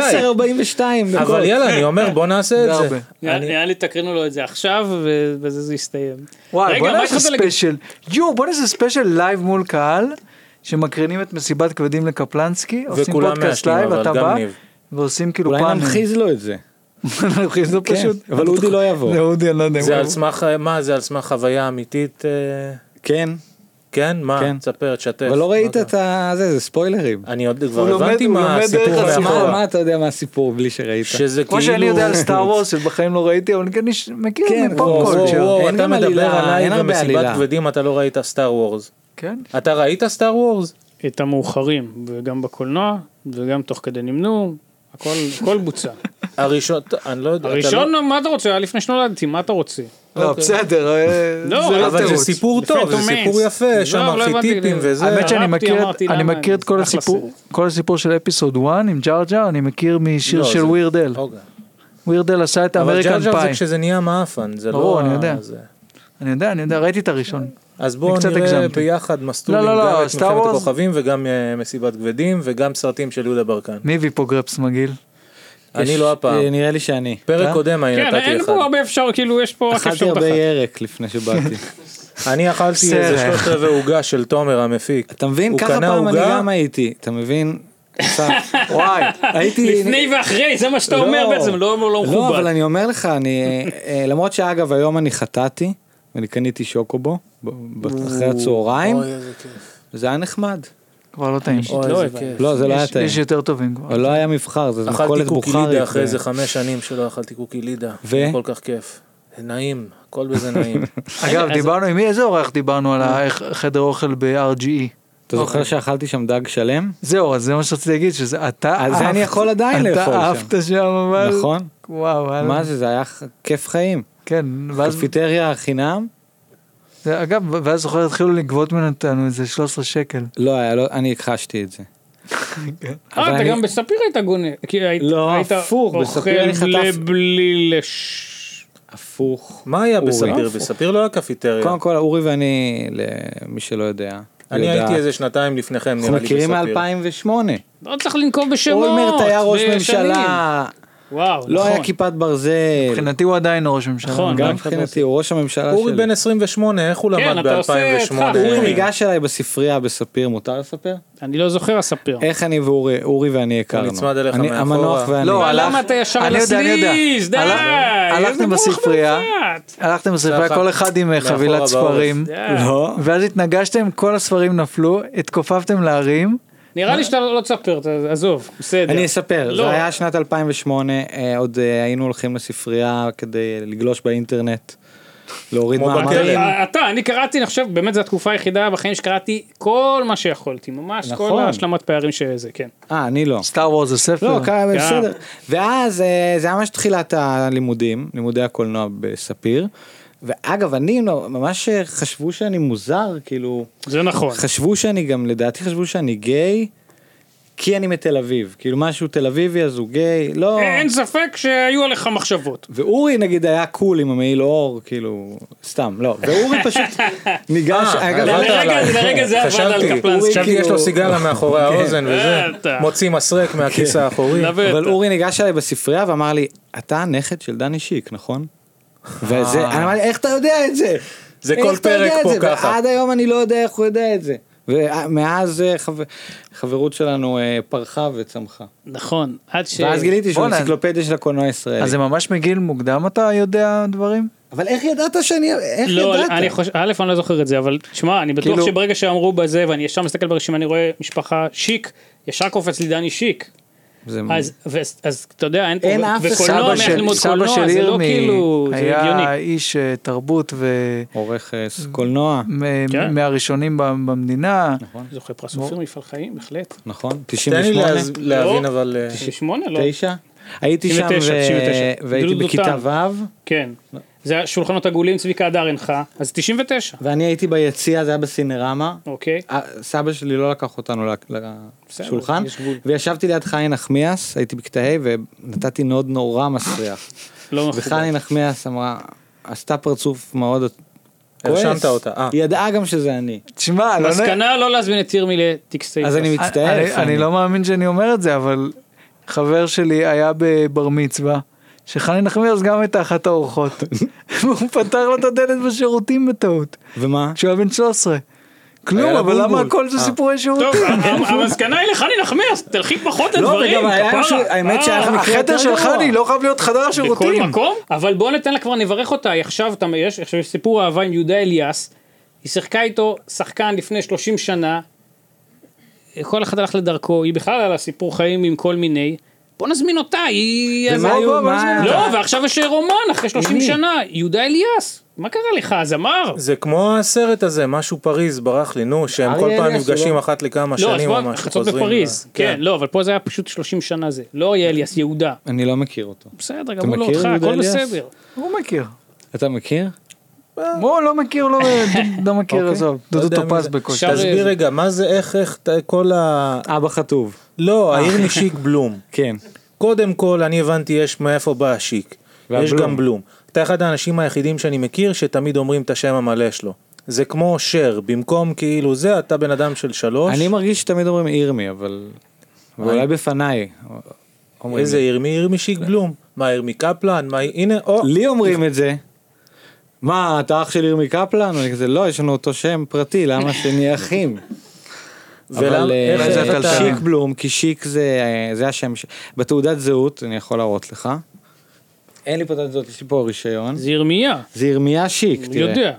[SPEAKER 5] 10:42 דקות.
[SPEAKER 6] אבל יאללה, אני אומר, בוא נעשה את זה.
[SPEAKER 4] הרבה.
[SPEAKER 7] נראה נראה לי תקרינו לו את זה עכשיו, ו- ובזה זה יסתיים.
[SPEAKER 4] וואי,
[SPEAKER 7] רגע,
[SPEAKER 4] בוא
[SPEAKER 7] מה
[SPEAKER 4] נעשה
[SPEAKER 7] התחלת להגיד?
[SPEAKER 4] ספיישל. יואו, בוא נעשה ספיישל לייב מול קהל, שמקרינים את מסיבת כבדים לקפלנסקי, עושים
[SPEAKER 6] וכולם
[SPEAKER 4] פודקאסט
[SPEAKER 6] מעשנים,
[SPEAKER 4] לייב,
[SPEAKER 6] אבל
[SPEAKER 4] אתה
[SPEAKER 6] גם
[SPEAKER 4] בא,
[SPEAKER 6] ניב.
[SPEAKER 4] ועושים כאילו
[SPEAKER 5] אולי
[SPEAKER 4] פאנל.
[SPEAKER 5] נמחיז לו את זה.
[SPEAKER 4] <laughs> נמחיז, זה
[SPEAKER 5] כן,
[SPEAKER 4] פשוט.
[SPEAKER 5] אבל אודי לא יבוא.
[SPEAKER 4] זה אודי, אני לא יודע. אם
[SPEAKER 6] זה
[SPEAKER 4] הוא-
[SPEAKER 6] על סמך, אה, מה, זה על סמך חוויה אמיתית? אה,
[SPEAKER 5] כן,
[SPEAKER 6] כן? מה?
[SPEAKER 5] כן.
[SPEAKER 6] תספר, תשתף.
[SPEAKER 5] אבל לא ראית
[SPEAKER 6] מה
[SPEAKER 5] את ה... זה, זה ספוילרים.
[SPEAKER 6] אתה- אני עוד כבר
[SPEAKER 4] הוא לומד-
[SPEAKER 6] הבנתי
[SPEAKER 4] הוא
[SPEAKER 6] מה
[SPEAKER 4] לומד
[SPEAKER 6] הסיפור
[SPEAKER 4] דרך
[SPEAKER 5] מה-
[SPEAKER 4] הסיפור.
[SPEAKER 6] מאחורה.
[SPEAKER 5] מה אתה יודע מהסיפור בלי שראית?
[SPEAKER 6] שזה
[SPEAKER 4] כמו שאני
[SPEAKER 6] כאילו-
[SPEAKER 4] יודע על סטאר
[SPEAKER 6] <laughs>
[SPEAKER 4] וורס שבחיים לא ראיתי אבל כן יש- מכיר
[SPEAKER 5] כן,
[SPEAKER 4] מפה
[SPEAKER 5] וואו,
[SPEAKER 4] קולצ'ר.
[SPEAKER 5] וואו.
[SPEAKER 6] וואו,
[SPEAKER 5] אין
[SPEAKER 6] אתה
[SPEAKER 5] גם
[SPEAKER 6] מדבר
[SPEAKER 5] עלילה,
[SPEAKER 6] עליי
[SPEAKER 5] אין הרבה
[SPEAKER 6] במסיבת
[SPEAKER 5] עלילה.
[SPEAKER 6] כבדים אתה לא ראית סטאר וורז.
[SPEAKER 4] כן.
[SPEAKER 6] אתה ראית סטאר וורז?
[SPEAKER 7] את המאוחרים, וגם בקולנוע, וגם תוך כדי נמנו, הכל הכל
[SPEAKER 5] <laughs>
[SPEAKER 7] בוצע.
[SPEAKER 6] הראשון, ט- אני לא יודע. אתה לא-
[SPEAKER 7] הראשון, מה אתה רוצה? היה לפני שנולדתי, מה אתה רוצה?
[SPEAKER 4] לא בסדר. אה,
[SPEAKER 7] לא,
[SPEAKER 4] זה לא
[SPEAKER 6] אבל זה
[SPEAKER 4] תירוץ.
[SPEAKER 6] סיפור
[SPEAKER 7] לפני
[SPEAKER 6] טוב, זה
[SPEAKER 7] תומץ.
[SPEAKER 6] סיפור יפה, יש שם
[SPEAKER 7] לא, לא הבנתי,
[SPEAKER 6] ארכיטיפים
[SPEAKER 7] זה-
[SPEAKER 6] וזה.
[SPEAKER 4] האמת שאני
[SPEAKER 7] אהבתי,
[SPEAKER 4] מכיר, את-
[SPEAKER 7] אמרתי,
[SPEAKER 4] אני
[SPEAKER 7] למה,
[SPEAKER 4] מכיר את כל
[SPEAKER 7] אחלה
[SPEAKER 4] הסיפור,
[SPEAKER 7] סרט.
[SPEAKER 4] כל הסיפור של אפיסוד 1 עם ג'אר ג'אר, אני מכיר משיר
[SPEAKER 6] לא,
[SPEAKER 4] של
[SPEAKER 6] זה-
[SPEAKER 4] ווירדל.
[SPEAKER 6] אוקיי.
[SPEAKER 4] ווירדל עשה את
[SPEAKER 6] אבל
[SPEAKER 4] אמריקן
[SPEAKER 6] ג'אג'ר זה
[SPEAKER 4] פאי.
[SPEAKER 6] כשזה נהיה מעפן, זה לא...
[SPEAKER 4] ברור, אני יודע.
[SPEAKER 6] זה.
[SPEAKER 4] אני יודע, אני יודע, ראיתי את הראשון.
[SPEAKER 6] אז בואו
[SPEAKER 4] אני קצת
[SPEAKER 6] נראה
[SPEAKER 4] הגזמתי.
[SPEAKER 6] ביחד מסטולים,
[SPEAKER 4] לא, לא,
[SPEAKER 6] גם את
[SPEAKER 4] Star
[SPEAKER 6] מלחמת
[SPEAKER 4] Wars-
[SPEAKER 6] הכוכבים וגם אה, מסיבת כבדים וגם סרטים של יהודה ברקן.
[SPEAKER 4] מי הביא פה גרפס מגעיל?
[SPEAKER 6] אני
[SPEAKER 5] יש-
[SPEAKER 6] לא הפעם.
[SPEAKER 5] אה, נראה לי שאני.
[SPEAKER 6] פרק
[SPEAKER 5] אתה?
[SPEAKER 4] אה?
[SPEAKER 6] קודם אני
[SPEAKER 7] כן,
[SPEAKER 6] נתתי
[SPEAKER 7] אין
[SPEAKER 6] לך.
[SPEAKER 7] פה הרבה אפשר, כאילו, יש פה רק
[SPEAKER 5] אכלתי
[SPEAKER 7] אפשרות
[SPEAKER 5] הרבה
[SPEAKER 7] אחת.
[SPEAKER 5] ירק
[SPEAKER 6] <laughs>
[SPEAKER 5] לפני שבאתי.
[SPEAKER 6] אני אכלתי איזה
[SPEAKER 4] בסדר.
[SPEAKER 6] שלושת רבעי עוגה של תומר המפיק.
[SPEAKER 5] אתה מבין?
[SPEAKER 6] הוא
[SPEAKER 5] ככה
[SPEAKER 6] קנה
[SPEAKER 5] פעם אני
[SPEAKER 6] עוגה?
[SPEAKER 5] גם הייתי. אתה
[SPEAKER 6] <laughs>
[SPEAKER 5] מבין? אסף,
[SPEAKER 4] וואי.
[SPEAKER 5] הייתי...
[SPEAKER 7] לפני ואחרי, זה מה שאתה אומר בעצם, לא לא
[SPEAKER 5] לא, אבל
[SPEAKER 7] מכובד.
[SPEAKER 5] אני אומר לך, אני... אה, למרות שאגב, היום אני חטאתי, ואני קניתי שוקובו, ב- ב- אחרי הצהריים,
[SPEAKER 6] אוי איזה כיף.
[SPEAKER 5] זה היה נחמד.
[SPEAKER 4] כבר לא טעים.
[SPEAKER 6] אוי
[SPEAKER 7] לא,
[SPEAKER 6] איזה כיף.
[SPEAKER 5] לא, זה לא היה
[SPEAKER 4] יש-
[SPEAKER 5] טעים.
[SPEAKER 4] יש יותר טובים כבר.
[SPEAKER 5] אבל לא היה מבחר, זה
[SPEAKER 6] אכלתי
[SPEAKER 5] מכולת
[SPEAKER 6] קוקי
[SPEAKER 5] בוכרית.
[SPEAKER 6] לידה אחרי
[SPEAKER 5] ו-
[SPEAKER 6] איזה חמש שנים שלא אכלתי קוקי לידה.
[SPEAKER 5] ו?
[SPEAKER 6] זה כל כך כיף. זה נעים, הכל בזה נעים.
[SPEAKER 5] <laughs>
[SPEAKER 4] אגב, דיברנו עם מי, איזה אורח דיברנו על החדר אוכל ב-RGE?
[SPEAKER 5] אתה זוכר
[SPEAKER 6] אוקיי.
[SPEAKER 5] שאכלתי שם דג שלם?
[SPEAKER 4] זהו, אז זה מה שרציתי להגיד, שזה אתה...
[SPEAKER 5] על זה
[SPEAKER 4] עפת-
[SPEAKER 5] אני יכול עדיין לאכול
[SPEAKER 4] אתה
[SPEAKER 5] שם.
[SPEAKER 4] עפת שם, אבל...
[SPEAKER 5] נכון.
[SPEAKER 4] וואו, וואלה.
[SPEAKER 5] מה זה, זה היה ח- כיף חיים.
[SPEAKER 4] כן, ואז...
[SPEAKER 5] קפיטריה חינם?
[SPEAKER 4] זה- אגב, ואז זוכר התחילו לגבות מאיתנו איזה 13 שקל.
[SPEAKER 5] לא, היה, לא, אני הכחשתי את זה.
[SPEAKER 7] אה,
[SPEAKER 5] אבל
[SPEAKER 7] אתה
[SPEAKER 5] אני-
[SPEAKER 7] גם בספיר היית גונה. כי היית-
[SPEAKER 5] לא,
[SPEAKER 7] היית
[SPEAKER 5] הפוך, בספיר אני
[SPEAKER 7] אוכל
[SPEAKER 5] חטף-
[SPEAKER 7] בלי לש...
[SPEAKER 5] הפוך.
[SPEAKER 6] מה היה
[SPEAKER 5] אורי.
[SPEAKER 6] בספיר? בספיר לא היה קפיטריה.
[SPEAKER 5] קודם כל, אורי ואני, למי שלא יודע,
[SPEAKER 6] אני
[SPEAKER 5] יודעת,
[SPEAKER 6] הייתי איזה שנתיים לפניכם, נראה לי
[SPEAKER 5] אנחנו
[SPEAKER 6] בספיר.
[SPEAKER 5] מכירים מ-2008.
[SPEAKER 7] לא צריך לנקוב בשמות.
[SPEAKER 5] אולמרט היה ראש
[SPEAKER 7] בשנים.
[SPEAKER 5] ממשלה,
[SPEAKER 7] וואו,
[SPEAKER 5] לא היה
[SPEAKER 7] נכון.
[SPEAKER 5] כיפת ברזל.
[SPEAKER 4] מבחינתי הוא עדיין ראש ממשלה.
[SPEAKER 7] נכון,
[SPEAKER 5] גם
[SPEAKER 7] גם
[SPEAKER 5] מבחינתי, הוא ראש הממשלה שלי.
[SPEAKER 6] אורי בן 28, איך הוא
[SPEAKER 7] כן,
[SPEAKER 6] למד
[SPEAKER 7] אתה עושה
[SPEAKER 6] ב-2008?
[SPEAKER 7] את חף.
[SPEAKER 5] אורי ניגש אליי בספריה בספיר, מותר לספר?
[SPEAKER 7] אני לא זוכר הספיר.
[SPEAKER 5] איך אני ואורי, אורי ואני הכרנו.
[SPEAKER 6] נצמד אליך
[SPEAKER 5] אני-
[SPEAKER 6] מאחורה.
[SPEAKER 5] המנוח ואני.
[SPEAKER 4] לא, הלך...
[SPEAKER 7] למה אתה ישר
[SPEAKER 4] אני
[SPEAKER 7] על
[SPEAKER 4] יודע, אני יודע.
[SPEAKER 7] הסליז? די!
[SPEAKER 4] הלך- הלכתם
[SPEAKER 7] איזה רוח
[SPEAKER 4] בספרייה,
[SPEAKER 7] מרצעת.
[SPEAKER 4] הלכתם בספרייה,
[SPEAKER 6] ככה,
[SPEAKER 4] כל אחד עם אה,
[SPEAKER 6] מאחורה
[SPEAKER 4] חבילת
[SPEAKER 6] בעורף.
[SPEAKER 4] ספרים,
[SPEAKER 7] די.
[SPEAKER 5] לא.
[SPEAKER 4] ואז התנגשתם, כל הספרים נפלו, התכופפתם להרים,
[SPEAKER 7] נראה לי שאתה לא לא תספר, אתה- עזוב, בסדר.
[SPEAKER 5] אני אספר,
[SPEAKER 7] לא.
[SPEAKER 5] זה היה שנת 2008, אה, עוד אה, היינו הולכים לספרייה כדי לגלוש באינטרנט, להוריד
[SPEAKER 6] כמו
[SPEAKER 5] מאמרים.
[SPEAKER 6] בכלא.
[SPEAKER 7] אתה, אני קראתי, אני חושב, באמת זו התקופה היחידה בחיים שקראתי כל מה שיכולתי, ממש כל
[SPEAKER 5] נכון.
[SPEAKER 7] ההשלמת פערים שזה, כן.
[SPEAKER 5] אה, אני לא.
[SPEAKER 4] סטאר וורז זה ספר,
[SPEAKER 5] לא, קרה,
[SPEAKER 7] גם.
[SPEAKER 5] בסדר. ואז אה, זה היה ממש תחילת הלימודים, לימודי הקולנוע בספיר, ואגב, אני לא- ממש אה, חשבו שאני מוזר, כאילו,
[SPEAKER 7] זה נכון.
[SPEAKER 5] חשבו שאני גם, לדעתי חשבו שאני גיי, כי אני מתל אביב, כאילו משהו תל אביבי אז הוא גיי, לא.
[SPEAKER 7] אה, אין ספק שהיו עליך מחשבות.
[SPEAKER 5] ואורי נגיד היה קול עם המעיל אור, כאילו, סתם, לא, ואורי
[SPEAKER 6] <laughs>
[SPEAKER 5] פשוט ניגש,
[SPEAKER 6] אה,
[SPEAKER 5] אגב,
[SPEAKER 6] הבנת
[SPEAKER 7] לרגע-
[SPEAKER 6] עליי.
[SPEAKER 7] לרגע זה עבד
[SPEAKER 6] חשבתי,
[SPEAKER 7] על קפלנסקי.
[SPEAKER 6] חשבתי
[SPEAKER 5] כאילו-
[SPEAKER 6] יש לו סיגריה מאחורי האוזן וזה,
[SPEAKER 7] בטח.
[SPEAKER 6] מוציא מסרק מהכיס האחורי.
[SPEAKER 7] נווה,
[SPEAKER 5] אבל
[SPEAKER 7] אתה-
[SPEAKER 5] אורי ניגש אליי בספרייה ואמר לי, אתה הנכד של דני שיק, נכון? וזה, אני אמרתי, איך אתה יודע את זה?
[SPEAKER 6] אה. זה
[SPEAKER 5] איך
[SPEAKER 6] כל
[SPEAKER 5] אתה יודע
[SPEAKER 6] פרק
[SPEAKER 5] את
[SPEAKER 6] פה
[SPEAKER 5] זה?"
[SPEAKER 6] ככה.
[SPEAKER 5] ועד היום אני לא יודע איך הוא יודע את זה. ומאז אה, חבר- חברות שלנו אה, פרחה וצמחה.
[SPEAKER 7] נכון, עד ש...
[SPEAKER 5] ואז גיליתי שהוא
[SPEAKER 4] בואנה.
[SPEAKER 5] אנציקלופדיה של הקולנוע הישראלי.
[SPEAKER 4] אז זה ממש מגיל מוקדם אתה יודע דברים?
[SPEAKER 5] אבל איך ידעת שאני, איך
[SPEAKER 7] לא,
[SPEAKER 5] ידעת?
[SPEAKER 7] אני חושב, א', אני לא זוכר את זה, אבל תשמע, אני בטוח
[SPEAKER 4] כאילו-
[SPEAKER 7] שברגע שאמרו בזה, ואני ישר מסתכל ברשימה, אני רואה משפחה שיק, ישר קופץ לי דני שיק.
[SPEAKER 5] זה-
[SPEAKER 7] אז, ו- אז אתה יודע, אין פה,
[SPEAKER 5] אין אף אחד.
[SPEAKER 7] וקולנוע,
[SPEAKER 5] סבא
[SPEAKER 7] איך לא ללמוד
[SPEAKER 4] סבא
[SPEAKER 7] קולנוע,
[SPEAKER 4] של
[SPEAKER 7] זה לא
[SPEAKER 4] ירמי
[SPEAKER 7] כאילו, זה
[SPEAKER 4] היה
[SPEAKER 7] הגיוני.
[SPEAKER 4] איש אה, תרבות ו-
[SPEAKER 5] עורך אה, ס- קולנוע,
[SPEAKER 4] מ-
[SPEAKER 7] כן. נכון.
[SPEAKER 4] מהראשונים ב- במדינה.
[SPEAKER 7] זוכה פרס אופיר מפעל חיים, בהחלט.
[SPEAKER 5] נכון?
[SPEAKER 6] תן לי
[SPEAKER 5] 98?
[SPEAKER 6] להז- להבין
[SPEAKER 7] לא.
[SPEAKER 6] אבל... אה,
[SPEAKER 7] 98? לא.
[SPEAKER 5] 9? הייתי שם
[SPEAKER 7] 99,
[SPEAKER 5] ו-
[SPEAKER 7] 99.
[SPEAKER 5] והייתי
[SPEAKER 7] דודו
[SPEAKER 5] בכיתה
[SPEAKER 7] טל.
[SPEAKER 5] ו'.
[SPEAKER 7] כן. זה היה שולחנות עגולים, צביקה הדר הנחה, אז 99.
[SPEAKER 5] ואני הייתי ביציע, זה היה בסינרמה.
[SPEAKER 7] אוקיי.
[SPEAKER 5] אה, סבא שלי לא לקח אותנו ל-
[SPEAKER 7] בסדר,
[SPEAKER 5] לשולחן,
[SPEAKER 7] יש גבול.
[SPEAKER 5] וישבתי ליד חיים נחמיאס, הייתי בכיתה ה' ונתתי נוד נורא מסריח.
[SPEAKER 7] לא מכובד.
[SPEAKER 5] וחני נחמיאס אמרה, עשתה פרצוף מאוד כועס.
[SPEAKER 6] הרשמת אותה, אה.
[SPEAKER 5] היא ידעה גם שזה אני.
[SPEAKER 4] תשמע, לא נעים.
[SPEAKER 7] מסקנה לא להזמין את ירמי לטקסטי.
[SPEAKER 5] אז אני מצטער.
[SPEAKER 4] אני-
[SPEAKER 5] חני.
[SPEAKER 4] אני לא מאמין שאני אומר את זה, אבל חבר שלי היה בבר מצווה, שחני נחמיאס גם הייתה אחת האורחות. והוא פתח לו את הדלת בשירותים בטעות,
[SPEAKER 5] ומה?
[SPEAKER 4] כשהוא היה בן 13.
[SPEAKER 6] היה
[SPEAKER 4] כלום,
[SPEAKER 6] לה
[SPEAKER 4] אבל למה
[SPEAKER 6] בולבול.
[SPEAKER 4] הכל זה
[SPEAKER 6] אה.
[SPEAKER 4] סיפורי
[SPEAKER 7] טוב,
[SPEAKER 4] שירותים?
[SPEAKER 7] המ- המסקנה היא לחני נחמיאס, תלכי פחות
[SPEAKER 5] לא,
[SPEAKER 7] לדברים,
[SPEAKER 5] וגם היה משהו-
[SPEAKER 7] כפרה.
[SPEAKER 5] האמת
[SPEAKER 7] אה,
[SPEAKER 5] שהיה לך מקרה
[SPEAKER 4] החדר
[SPEAKER 5] יותר
[SPEAKER 4] של
[SPEAKER 5] גרוע.
[SPEAKER 4] חני לא חייב להיות חדר
[SPEAKER 7] בכל
[SPEAKER 4] השירותים.
[SPEAKER 7] מקום, אבל בוא ניתן לה כבר נברך אותה, היא עכשיו, אתה- יש עכשיו יש סיפור אהבה עם יהודה אליאס, היא שיחקה איתו שחקן לפני 30 שנה, כל אחד הלך לדרכו, היא בכלל על הסיפור חיים עם כל מיני, בוא נזמין אותה, היא...
[SPEAKER 5] ומה
[SPEAKER 7] אז-
[SPEAKER 5] היו-
[SPEAKER 4] בוא, בוא,
[SPEAKER 5] מה-
[SPEAKER 4] בוא,
[SPEAKER 7] לא, ועכשיו יש רומן אחרי 30
[SPEAKER 5] מי?
[SPEAKER 7] שנה, יהודה אליאס, מה קרה לך, זמר?
[SPEAKER 6] זה כמו הסרט הזה, משהו פריז ברח לי, נו, שהם
[SPEAKER 5] אריה
[SPEAKER 6] כל פעם
[SPEAKER 5] אליאס,
[SPEAKER 6] נפגשים
[SPEAKER 5] לא?
[SPEAKER 6] אחת לכמה
[SPEAKER 7] לא, אז
[SPEAKER 6] שנים
[SPEAKER 7] בוא,
[SPEAKER 6] או משהו,
[SPEAKER 7] חצות
[SPEAKER 6] חוזרים. אה,
[SPEAKER 7] בפריז,
[SPEAKER 6] ל-
[SPEAKER 5] אה,
[SPEAKER 7] כן, לא, אבל פה זה היה פשוט 30 שנה זה, לא היה אליאס, יהודה,
[SPEAKER 5] אני לא מכיר אותו.
[SPEAKER 7] בסדר, גמרו לו
[SPEAKER 5] מכיר
[SPEAKER 7] אותך,
[SPEAKER 5] יהודה
[SPEAKER 7] הכל
[SPEAKER 5] אליאס?
[SPEAKER 7] בסדר.
[SPEAKER 4] הוא מכיר.
[SPEAKER 5] אתה מכיר?
[SPEAKER 4] הוא לא מכיר, לא- לא מכיר, עזוב.
[SPEAKER 6] לא
[SPEAKER 4] דודו
[SPEAKER 6] יודע מי
[SPEAKER 4] טופז
[SPEAKER 6] זה.
[SPEAKER 4] בקושי.
[SPEAKER 7] שר-
[SPEAKER 6] תסביר רגע, מה זה, איך, איך, ת- כל ה...
[SPEAKER 5] אבא חטוב.
[SPEAKER 7] אה.
[SPEAKER 6] לא, העיר משיק בלום.
[SPEAKER 5] כן.
[SPEAKER 6] קודם כל, אני הבנתי יש מאיפה בא השיק. יש
[SPEAKER 5] והבלום.
[SPEAKER 6] גם בלום. אתה אחד האנשים היחידים שאני מכיר שתמיד אומרים את השם המלא שלו. זה כמו שר, במקום כאילו זה, אתה בן אדם של שלוש.
[SPEAKER 5] אני מרגיש שתמיד אומרים ירמי, אבל... ואולי בפניי. אומרים
[SPEAKER 6] איזה עיר? מי עיר משיק בלום? מה עיר מקפלן? מה הנה, או.
[SPEAKER 5] לי אומרים את זה. מה אתה אח של ירמי קפלן? אני כזה לא יש לנו אותו שם פרטי למה שנהיה אחים. אבל
[SPEAKER 6] ולמה-
[SPEAKER 5] אה,
[SPEAKER 6] איך
[SPEAKER 4] זה
[SPEAKER 6] איך
[SPEAKER 4] אתה-
[SPEAKER 5] שיק בלום כי שיק זה אה, זה השם ש... בתעודת זהות אני יכול להראות לך. אין לי פה תעודת זהות יש לי פה רישיון.
[SPEAKER 7] זה ירמיה,
[SPEAKER 5] זה ירמיה שיק
[SPEAKER 7] הוא
[SPEAKER 5] תראה.
[SPEAKER 7] יודע.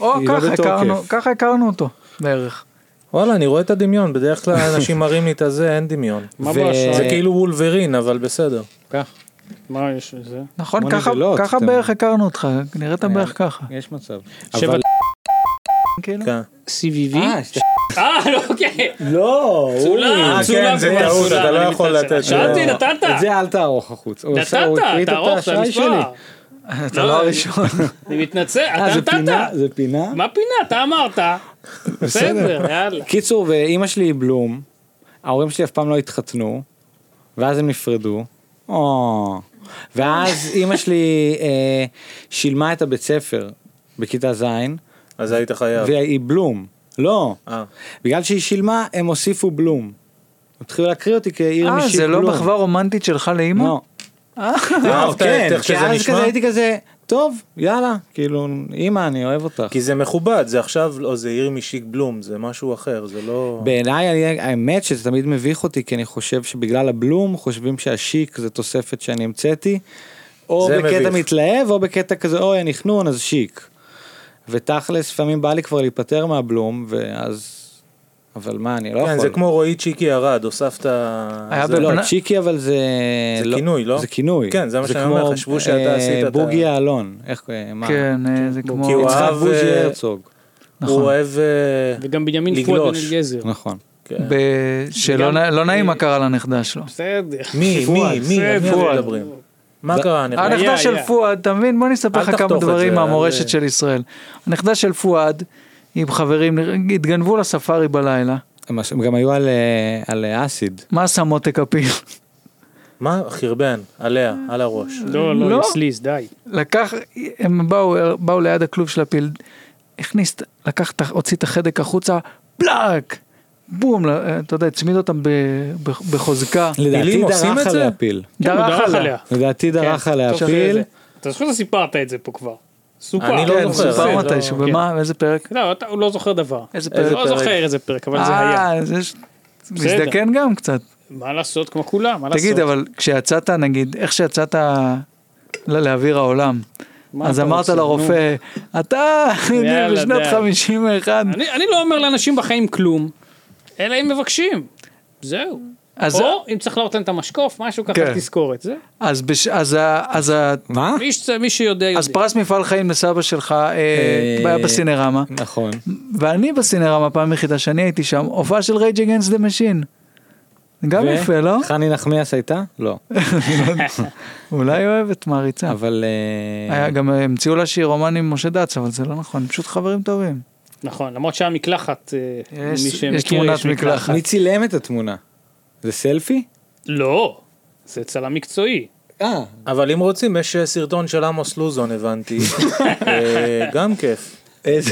[SPEAKER 4] או,
[SPEAKER 5] היא לא
[SPEAKER 4] ככה
[SPEAKER 5] בתוקף.
[SPEAKER 4] הכרנו- ככה הכרנו אותו בערך.
[SPEAKER 6] וואלה, אני רואה את הדמיון, בדרך כלל
[SPEAKER 5] <laughs>
[SPEAKER 6] אנשים מראים לי את הזה, אין דמיון.
[SPEAKER 7] מה
[SPEAKER 5] ו-
[SPEAKER 7] באשראי?
[SPEAKER 6] זה כאילו וולברין, אבל בסדר.
[SPEAKER 5] כך,
[SPEAKER 7] מה יש לזה?
[SPEAKER 4] נכון,
[SPEAKER 5] מוני
[SPEAKER 4] ככה-
[SPEAKER 5] ולוט,
[SPEAKER 4] ככה
[SPEAKER 5] אתם-
[SPEAKER 4] בערך הכרנו אותך, נראית בערך ככה.
[SPEAKER 5] יש מצב.
[SPEAKER 7] שבע-
[SPEAKER 5] אבל-
[SPEAKER 4] כאילו.
[SPEAKER 6] כן.
[SPEAKER 7] CVV?
[SPEAKER 5] אה, שת-
[SPEAKER 7] אה, לא, אוקיי.
[SPEAKER 6] לא,
[SPEAKER 7] צולם,
[SPEAKER 6] אה,
[SPEAKER 7] צולם.
[SPEAKER 6] כן, זה
[SPEAKER 7] כבר,
[SPEAKER 6] טעות,
[SPEAKER 7] צולם,
[SPEAKER 6] אתה לא
[SPEAKER 7] אני
[SPEAKER 6] יכול
[SPEAKER 7] מתנצל.
[SPEAKER 6] לתת.
[SPEAKER 7] שאלתי, נתת.
[SPEAKER 5] אה, את זה אל תערוך החוץ. הוא עשה- הוא
[SPEAKER 7] נתת,
[SPEAKER 5] הקליט את
[SPEAKER 7] תערוך את
[SPEAKER 5] האשראי שלי.
[SPEAKER 7] המספר.
[SPEAKER 4] אתה לא הראשון.
[SPEAKER 7] אני מתנצל,
[SPEAKER 5] אה,
[SPEAKER 7] אתה
[SPEAKER 5] זה פינה?
[SPEAKER 7] נתת.
[SPEAKER 5] זה פינה?
[SPEAKER 7] מה פינה? אתה אמרת. בסדר, יאללה.
[SPEAKER 5] קיצור, ואימא שלי היא בלום, ההורים שלי אף פעם לא התחתנו, ואז הם נפרדו. או. ואז אימא שלי אה, שילמה את הבית ספר בכיתה ז',
[SPEAKER 6] אז היית חייב.
[SPEAKER 5] והיא בלום. לא. <laughs>
[SPEAKER 6] אה.
[SPEAKER 5] בגלל שהיא שילמה, הם הוסיפו בלום. התחילו להקריא אותי כעיר
[SPEAKER 4] אה,
[SPEAKER 5] משיק
[SPEAKER 4] זה
[SPEAKER 5] בלום.
[SPEAKER 4] לא מחווה רומנטית שלך לאימא?
[SPEAKER 5] לא.
[SPEAKER 6] אהבת
[SPEAKER 5] כן,
[SPEAKER 6] את איך
[SPEAKER 5] כי
[SPEAKER 6] אה, אוקיי, שזה
[SPEAKER 5] אז כזה
[SPEAKER 6] נשמע?
[SPEAKER 5] הייתי כזה, טוב, יאללה, כאילו, אימא, אני אוהב אותך.
[SPEAKER 6] כי זה מכובד, זה עכשיו, לא, זה עיר משיק בלום, זה משהו אחר, זה לא...
[SPEAKER 5] בעיניי אני- האמת שזה תמיד מביך אותי כי אני חושב שבגלל הבלום חושבים שהשיק זה תוספת שאני המצאתי. או
[SPEAKER 6] זה
[SPEAKER 5] בקטע
[SPEAKER 6] מביך.
[SPEAKER 5] מתלהב או בקטע כזה אוי אני חנון אז שיק. ותכלס לפעמים בא לי כבר להיפטר מהבלום ואז. אבל מה אני לא
[SPEAKER 6] כן,
[SPEAKER 5] יכול.
[SPEAKER 6] זה כמו רועי צ'יקי ארד, הוספת...
[SPEAKER 4] היה
[SPEAKER 6] זה-
[SPEAKER 5] לא
[SPEAKER 4] בלונה-
[SPEAKER 5] צ'יקי אבל זה.
[SPEAKER 6] זה כינוי, לא?
[SPEAKER 5] זה כינוי.
[SPEAKER 6] כן, זה מה שאני אומר,
[SPEAKER 5] כמו,
[SPEAKER 6] חשבו שאתה
[SPEAKER 5] אה,
[SPEAKER 6] עשית את
[SPEAKER 5] בוגי
[SPEAKER 6] ה-
[SPEAKER 5] יעלון. איך אה, מה?
[SPEAKER 4] כן, אה, זה כמו...
[SPEAKER 6] כי הוא
[SPEAKER 5] יצחק
[SPEAKER 6] אהב,
[SPEAKER 5] בוז'י
[SPEAKER 6] אה,
[SPEAKER 5] הרצוג.
[SPEAKER 6] הוא
[SPEAKER 4] נכון.
[SPEAKER 6] אוהב... אה,
[SPEAKER 7] וגם בנימין
[SPEAKER 6] לגלוש.
[SPEAKER 7] פואד בן אליעזר.
[SPEAKER 5] נכון.
[SPEAKER 6] כן.
[SPEAKER 4] ב- שלא
[SPEAKER 7] גם-
[SPEAKER 6] אה,
[SPEAKER 4] נע- לא נעים מה קרה לנכדה שלו.
[SPEAKER 7] בסדר.
[SPEAKER 6] <laughs> מי, מי, מי, על מי
[SPEAKER 7] פואד.
[SPEAKER 6] מדברים? מה קרה? אני רואה-
[SPEAKER 7] היה,
[SPEAKER 4] הנכדה של
[SPEAKER 7] היה.
[SPEAKER 4] פואד, אתה מבין? בוא אני אספר
[SPEAKER 6] אה, אל
[SPEAKER 4] לך כמה
[SPEAKER 6] תחטוף את
[SPEAKER 4] דברים
[SPEAKER 6] זה,
[SPEAKER 4] מהמורשת
[SPEAKER 6] אל-
[SPEAKER 4] של ישראל. הנכדה של פואד, עם חברים, התגנבו לספארי בלילה.
[SPEAKER 5] הם אש- הם גם היו על, אה, על אה, אסיד.
[SPEAKER 4] מה עשה מותק אפיל?
[SPEAKER 6] מה? חרבן, עליה, על הראש.
[SPEAKER 7] לא,
[SPEAKER 4] לא.
[SPEAKER 7] לא, סליז, די.
[SPEAKER 4] <laughs> לקח, הם באו, באו ליד הכלוב של הפיל, הכניס, לקח, את ה- הוציא את החדק החוצה, פלאק! בום, ל- אה, אתה יודע, הצמיד אותם ב, ב, בחוזקה.
[SPEAKER 5] לדעתי
[SPEAKER 6] פילים עושים
[SPEAKER 5] דרך
[SPEAKER 6] את זה?
[SPEAKER 5] עליה פיל.
[SPEAKER 7] כן, הוא דרך עליה.
[SPEAKER 5] לדעתי
[SPEAKER 4] כן,
[SPEAKER 5] דרך עליה
[SPEAKER 7] טוב,
[SPEAKER 5] פיל.
[SPEAKER 7] זה- אתה זוכר שסיפרת את זה פה כבר. סופר.
[SPEAKER 6] אני לא
[SPEAKER 4] כן,
[SPEAKER 6] זוכר.
[SPEAKER 4] סופר
[SPEAKER 6] זה
[SPEAKER 4] מתישהו, במה, באיזה פרק?
[SPEAKER 7] לא, אתה הוא לא זוכר דבר.
[SPEAKER 4] איזה
[SPEAKER 7] אני
[SPEAKER 4] פרק?
[SPEAKER 7] לא זוכר איזה פרק, אבל זה היה.
[SPEAKER 4] אה, זה ש- מזדקן גם קצת.
[SPEAKER 7] מה לעשות, כמו כולם, מה לעשות?
[SPEAKER 4] תגיד, אבל כשיצאת, נגיד, איך שיצאת לא- לאוויר העולם,
[SPEAKER 7] מה
[SPEAKER 4] אז
[SPEAKER 7] אתה
[SPEAKER 4] אמרת
[SPEAKER 7] רוצה?
[SPEAKER 4] לרופא, אתה,
[SPEAKER 7] יאללה,
[SPEAKER 4] בשנות
[SPEAKER 7] די.
[SPEAKER 4] 51,
[SPEAKER 7] אני אני לא אומר לאנשים בחיים כלום, אלא אם מבקשים. זהו.
[SPEAKER 4] אז-
[SPEAKER 7] או אם צריך להראות להם את המשקוף, משהו
[SPEAKER 4] כן.
[SPEAKER 7] ככה תזכורת. זה.
[SPEAKER 4] אז בש- אז ה- אז ה-
[SPEAKER 5] מה?
[SPEAKER 7] מי שצ- מי שיודע
[SPEAKER 4] אז
[SPEAKER 7] יודע.
[SPEAKER 4] פרס מפעל חיים לסבא שלך אה,
[SPEAKER 5] אה,
[SPEAKER 4] היה בסינרמה,
[SPEAKER 5] נכון.
[SPEAKER 4] ואני בסינרמה, פעם יחידה שאני הייתי שם, הופעה של רייג' אגנסט דה משין. גם
[SPEAKER 5] ו-
[SPEAKER 4] יפה, לא?
[SPEAKER 5] חני נחמיאס הייתה? לא.
[SPEAKER 4] אולי אוהבת מעריצה.
[SPEAKER 5] אבל... אה,
[SPEAKER 4] היה- גם אה, המציאו לה שהיא רומן עם משה דץ, אבל זה לא נכון, פשוט חברים טובים.
[SPEAKER 7] נכון, למרות שהיה מקלחת, אה,
[SPEAKER 4] יש-
[SPEAKER 7] מי
[SPEAKER 4] יש
[SPEAKER 7] שמכיר,
[SPEAKER 4] תמונת מקלחת.
[SPEAKER 5] מי צילם את התמונה? זה סלפי?
[SPEAKER 7] לא, זה צלם מקצועי.
[SPEAKER 5] אה.
[SPEAKER 6] אבל אם רוצים, יש אה, סרטון של עמוס לוזון,
[SPEAKER 5] <laughs>
[SPEAKER 6] הבנתי. אה, גם כיף.
[SPEAKER 5] איזה...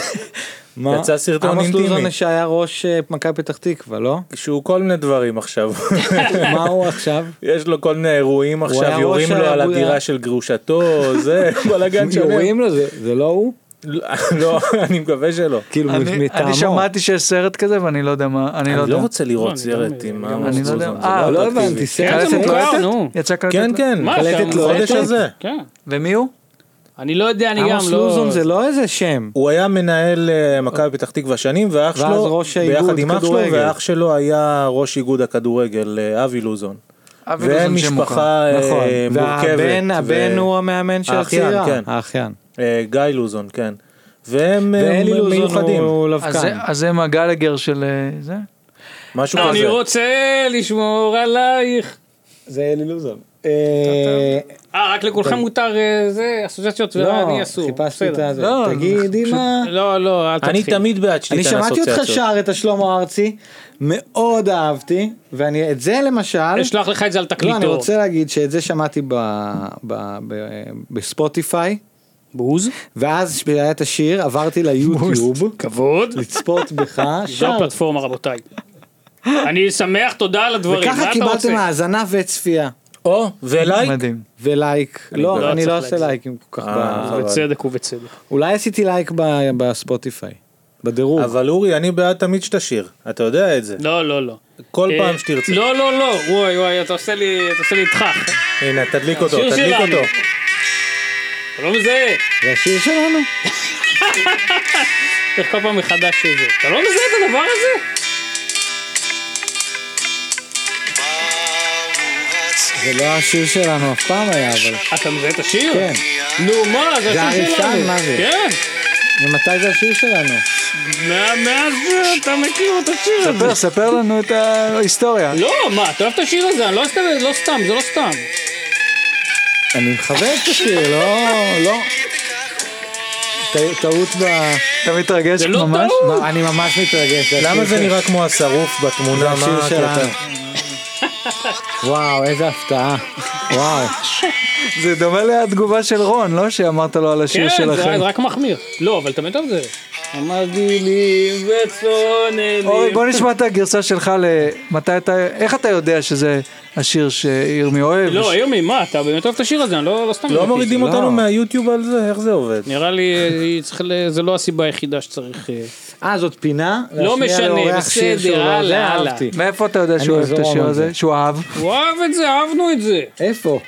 [SPEAKER 5] מה?
[SPEAKER 6] יצא סרטון
[SPEAKER 5] עמוס
[SPEAKER 6] אינטימי.
[SPEAKER 5] לוזון שהיה ראש אה, מכבי פתח תקווה, לא?
[SPEAKER 6] שהוא כל מיני דברים עכשיו.
[SPEAKER 5] <laughs> מה הוא עכשיו?
[SPEAKER 6] יש לו כל מיני אירועים
[SPEAKER 5] היה
[SPEAKER 6] עכשיו,
[SPEAKER 5] ראש
[SPEAKER 6] יורים לו על
[SPEAKER 5] האגודה.
[SPEAKER 6] הדירה של גרושתו, זה
[SPEAKER 5] <laughs>
[SPEAKER 6] בלאגן שלם.
[SPEAKER 5] יורים לו, זה- זה לא הוא?
[SPEAKER 6] לא, <laughs> אני מקווה שלא.
[SPEAKER 5] כאילו
[SPEAKER 4] אני-
[SPEAKER 5] מטעמו.
[SPEAKER 4] אני שמעתי שיש סרט כזה ואני לא יודע מה, אני לא
[SPEAKER 6] אני
[SPEAKER 4] יודע.
[SPEAKER 6] לא רוצה
[SPEAKER 7] לא, אני
[SPEAKER 6] לראות סרט
[SPEAKER 7] גם-
[SPEAKER 6] עם
[SPEAKER 7] אני
[SPEAKER 6] עמוס
[SPEAKER 4] לא
[SPEAKER 6] לוזון.
[SPEAKER 4] יודע.
[SPEAKER 6] זה
[SPEAKER 4] אה,
[SPEAKER 6] לא
[SPEAKER 5] לא
[SPEAKER 6] אטרקטיבי.
[SPEAKER 5] הבנתי,
[SPEAKER 7] כן,
[SPEAKER 5] סרט
[SPEAKER 7] זה
[SPEAKER 5] לא
[SPEAKER 7] מוכר,
[SPEAKER 5] יצא?
[SPEAKER 7] נו.
[SPEAKER 4] יצא קלטת?
[SPEAKER 6] כן, כן,
[SPEAKER 7] מה,
[SPEAKER 6] קלטת
[SPEAKER 7] שם
[SPEAKER 6] לו
[SPEAKER 7] זה
[SPEAKER 6] חודש
[SPEAKER 7] טק?
[SPEAKER 6] הזה.
[SPEAKER 7] כן.
[SPEAKER 4] ומי הוא?
[SPEAKER 7] אני לא יודע, אני גם לא...
[SPEAKER 5] עמוס לוזון זה לא איזה שם.
[SPEAKER 6] הוא היה מנהל אה, מכבי פתח תקווה שנים, ואח
[SPEAKER 5] ואז
[SPEAKER 6] שלו,
[SPEAKER 5] ראש האיגוד
[SPEAKER 6] ביחד עם אח שלו,
[SPEAKER 5] כדורגל.
[SPEAKER 6] ואח שלו היה ראש איגוד הכדורגל, אה, אבי לוזון.
[SPEAKER 4] אבי
[SPEAKER 6] והם
[SPEAKER 4] לוזון שם מוכר.
[SPEAKER 6] משפחה אה,
[SPEAKER 5] נכון.
[SPEAKER 6] מורכבת.
[SPEAKER 5] והבן,
[SPEAKER 6] ו-
[SPEAKER 5] הבן הוא המאמן של
[SPEAKER 6] האחיין,
[SPEAKER 5] הצעירה.
[SPEAKER 6] כן.
[SPEAKER 5] האחיין.
[SPEAKER 6] אה, גיא לוזון, כן. והם אה,
[SPEAKER 5] ואלי לוזון
[SPEAKER 6] מיוחדים,
[SPEAKER 5] הוא
[SPEAKER 4] אז
[SPEAKER 5] לבקן.
[SPEAKER 4] זה- אז זה מהגלגר של אה, זה?
[SPEAKER 6] משהו
[SPEAKER 7] לא, אני
[SPEAKER 6] כזה.
[SPEAKER 7] רוצה לשמור עלייך.
[SPEAKER 5] זה אלי לוזון.
[SPEAKER 7] אה, רק לכולכם מותר אה, זה, אסוציאציות, ואני אסור.
[SPEAKER 5] לא, חיפשתי את
[SPEAKER 7] בסדר.
[SPEAKER 5] זה.
[SPEAKER 4] לא,
[SPEAKER 5] תגידי מה...
[SPEAKER 7] לא, לא, אל
[SPEAKER 6] אני
[SPEAKER 7] תתחיל.
[SPEAKER 6] תמיד בעד
[SPEAKER 5] אני
[SPEAKER 6] שתיתן
[SPEAKER 5] שמעתי
[SPEAKER 6] אסוציאציות.
[SPEAKER 5] אותך שר את השלמה ארצי, מאוד אהבתי, ואני את זה למשל,
[SPEAKER 7] אשלח לך את זה על
[SPEAKER 5] לא, אני
[SPEAKER 7] תקליטור.
[SPEAKER 5] רוצה להגיד שאת זה שמעתי ב- ב- ב- בספוטיפיי,
[SPEAKER 7] בוז.
[SPEAKER 5] ואז כשהיה את השיר עברתי ליוטיוב,
[SPEAKER 7] כבוד.
[SPEAKER 5] לצפות בך,
[SPEAKER 7] זו
[SPEAKER 5] שר,
[SPEAKER 7] הפלטפורמה, רבותיי. אני שמח, תודה על הדברים.
[SPEAKER 5] וככה
[SPEAKER 7] מה אתה רוצה?
[SPEAKER 5] קיבלתם האזנה וצפייה,
[SPEAKER 6] או, ולייק.
[SPEAKER 4] מדהים.
[SPEAKER 5] ולייק,
[SPEAKER 7] לא
[SPEAKER 5] לא, אני לא
[SPEAKER 7] צריך לא.
[SPEAKER 5] עושה
[SPEAKER 7] לייק.
[SPEAKER 5] לייקים כל כך,
[SPEAKER 6] אה,
[SPEAKER 5] ב-
[SPEAKER 6] חבל.
[SPEAKER 7] בצדק ובצדק.
[SPEAKER 5] אולי עשיתי לייק ב- בספוטיפיי, בדירוג,
[SPEAKER 6] אבל אורי, אני בעד תמיד שתשיר. אתה יודע את זה.
[SPEAKER 7] לא, לא, לא.
[SPEAKER 6] כל
[SPEAKER 7] אה,
[SPEAKER 6] פעם שתרצה.
[SPEAKER 7] לא, לא, לא. וואי, וואי, אתה עושה לי, אתה עושה לי איתך.
[SPEAKER 6] הנה, תדליק אותו,
[SPEAKER 7] השיר
[SPEAKER 6] תדליק
[SPEAKER 7] שלנו.
[SPEAKER 6] אותו.
[SPEAKER 7] אתה לא מזהה.
[SPEAKER 5] זה השיר שלנו,
[SPEAKER 7] צריך כל פעם מחדש את זה. אתה לא מזהה את הדבר הזה?
[SPEAKER 5] זה לא השיר שלנו אף פעם היה, אבל
[SPEAKER 7] אתה מזהה את השיר?
[SPEAKER 5] כן,
[SPEAKER 7] נו, מה, זה
[SPEAKER 5] זה
[SPEAKER 7] השיר
[SPEAKER 5] הראשון,
[SPEAKER 7] שלנו.
[SPEAKER 5] מה זה?
[SPEAKER 7] כן.
[SPEAKER 5] ומתי זה השיר שלנו?
[SPEAKER 7] מה- מאז אתה מכיר את השיר הזה.
[SPEAKER 4] ספר, ספר לנו את ההיסטוריה.
[SPEAKER 7] לא, מה, אתה אוהב את השיר הזה, אני לא סתם, לא סתם, זה לא סתם.
[SPEAKER 5] אני מכבד את השיר, לא, לא. ט- טעות ב...
[SPEAKER 4] אתה מתרגש
[SPEAKER 7] זה לא
[SPEAKER 4] ממש?
[SPEAKER 7] טעות.
[SPEAKER 5] לא, אני ממש מתרגש.
[SPEAKER 6] למה
[SPEAKER 5] השיר
[SPEAKER 6] זה
[SPEAKER 5] של-
[SPEAKER 6] נראה כמו השרוף בתמונה?
[SPEAKER 5] זה השיר
[SPEAKER 6] מה
[SPEAKER 5] שלנו.
[SPEAKER 6] הקטע?
[SPEAKER 5] וואו, איזה הפתעה. וואו.
[SPEAKER 4] זה דומה לתגובה של רון, לא? שאמרת לו על השיר
[SPEAKER 7] כן,
[SPEAKER 4] שלכם.
[SPEAKER 7] זה רק מחמיר. לא, אבל אתה מת על זה. אמרתי לי וצוננים.
[SPEAKER 4] אורי, בוא נשמע את הגרסה שלך למתי אתה... איך אתה יודע שזה השיר שירמי אוהב?
[SPEAKER 7] לא, יומי, מה, אתה באמת אוהב את השיר הזה, אני לא לא סתם...
[SPEAKER 6] לא
[SPEAKER 7] אמרתי.
[SPEAKER 6] מורידים אותנו מהיוטיוב על זה? איך זה עובד?
[SPEAKER 7] נראה לי אה, צריך ל- זה לא הסיבה היחידה שצריך... אה,
[SPEAKER 5] אה, זאת פינה?
[SPEAKER 7] לא
[SPEAKER 5] להשמיע
[SPEAKER 7] משנה,
[SPEAKER 5] לאורח שיר
[SPEAKER 7] בסדר,
[SPEAKER 5] שהוא לא-
[SPEAKER 7] הלאה,
[SPEAKER 5] זה
[SPEAKER 7] הלאה.
[SPEAKER 5] אהבתי.
[SPEAKER 4] מאיפה אתה יודע שהוא
[SPEAKER 5] אני
[SPEAKER 4] אוהב את
[SPEAKER 5] אזרום
[SPEAKER 4] השיר
[SPEAKER 5] על
[SPEAKER 4] הזה?
[SPEAKER 5] זה.
[SPEAKER 4] שהוא אהב?
[SPEAKER 7] הוא אהב את זה, אהבנו את זה.
[SPEAKER 5] איפה?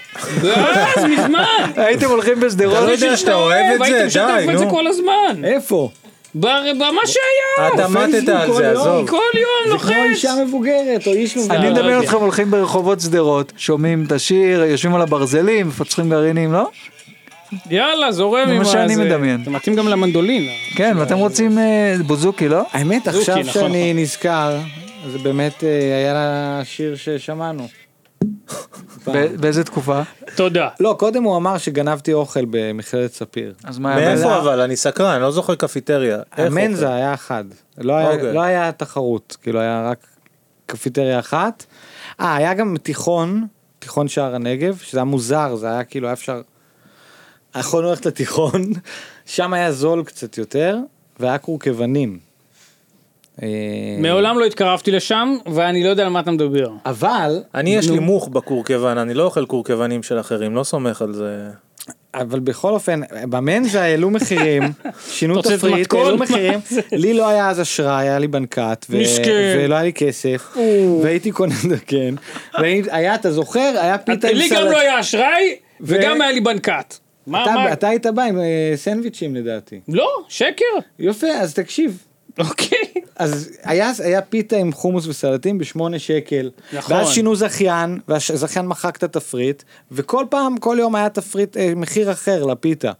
[SPEAKER 7] ואז, מזמן.
[SPEAKER 4] הייתם הולכים
[SPEAKER 6] אתה
[SPEAKER 4] בשדרות?
[SPEAKER 6] לא יודע שאתה אוהב את
[SPEAKER 7] והייתי
[SPEAKER 6] זה?
[SPEAKER 7] משתף
[SPEAKER 6] די,
[SPEAKER 7] את זה
[SPEAKER 6] נו.
[SPEAKER 7] כל הזמן.
[SPEAKER 5] איפה?
[SPEAKER 7] בר- במה שהיה.
[SPEAKER 6] אתה מתת על זה, עזוב.
[SPEAKER 7] כל יום
[SPEAKER 5] זה כמו
[SPEAKER 7] לוחץ.
[SPEAKER 5] לא, אישה מבוגרת או איש מבוגר.
[SPEAKER 4] אני מדמיין
[SPEAKER 7] יודע.
[SPEAKER 4] אתכם הולכים ברחובות שדרות, שומעים את השיר, יושבים על הברזלים, מפצחים גרעינים, לא?
[SPEAKER 7] יאללה, זורם
[SPEAKER 4] זה
[SPEAKER 7] עם
[SPEAKER 4] מה שאני
[SPEAKER 7] הזה.
[SPEAKER 4] מדמיין.
[SPEAKER 7] זה מתאים גם למנדולין.
[SPEAKER 4] כן, ואתם רוצים אה, בוזוקי, לא?
[SPEAKER 5] האמת,
[SPEAKER 7] זוקי,
[SPEAKER 5] עכשיו
[SPEAKER 7] נכון,
[SPEAKER 5] שאני נזכר, זה באמת אה, היה לה שיר ששמענו.
[SPEAKER 4] ב- באיזה תקופה?
[SPEAKER 7] תודה.
[SPEAKER 6] אה.
[SPEAKER 5] לא, קודם הוא אמר שגנבתי אוכל במכללת ספיר.
[SPEAKER 4] אז מה היה?
[SPEAKER 6] מאיפה אבל? אני סקרן, לא זוכר קפיטריה. איך
[SPEAKER 5] המנזה
[SPEAKER 6] אוכל?
[SPEAKER 5] היה אחד. לא היה-
[SPEAKER 6] אוקיי.
[SPEAKER 5] לא היה תחרות, כאילו היה רק קפיטריה אחת. אה, היה גם תיכון, תיכון שער הנגב, שזה היה מוזר, זה היה כאילו היה אפשר... יכולנו ללכת לתיכון, <laughs> שם היה זול קצת יותר, והיה קורקוונים. אה,
[SPEAKER 7] מעולם לא התקרבתי לשם, ואני לא יודע על מה אתה מדבר.
[SPEAKER 5] אבל,
[SPEAKER 6] אני יש לי מוך בקורקוון, אני לא אוכל קורקוונים של אחרים, לא סומך על זה.
[SPEAKER 5] אבל בכל אופן, במנזה העלו
[SPEAKER 7] <laughs>
[SPEAKER 5] מחירים, שינו
[SPEAKER 7] אתה רוצה
[SPEAKER 5] תפריט,
[SPEAKER 7] מתכון?
[SPEAKER 5] העלו
[SPEAKER 7] מה
[SPEAKER 5] מחירים,
[SPEAKER 7] זה?
[SPEAKER 5] לי לא היה אז אשראי, היה לי בנקט, ו-
[SPEAKER 7] מסכן.
[SPEAKER 5] ולא היה לי כסף, והייתי קונה, <laughs> כן, והיה, אתה זוכר, היה פיתה עם
[SPEAKER 7] לי
[SPEAKER 5] סלט,
[SPEAKER 7] גם לא היה אשראי, וגם היה לי בנקט. מה,
[SPEAKER 5] אתה-
[SPEAKER 7] מה?
[SPEAKER 5] אתה היית בא עם אה, סנדוויצ'ים לדעתי,
[SPEAKER 7] לא, שקר.
[SPEAKER 5] יופי, אז תקשיב.
[SPEAKER 7] <laughs> אוקיי.
[SPEAKER 5] אז היה, היה פיתה עם חומוס וסלטים בשמונה שקל.
[SPEAKER 7] נכון.
[SPEAKER 5] ואז שינו זכיין, והזכיין מחק את התפריט, וכל פעם, כל יום היה תפריט, אה, מחיר אחר לפיתה.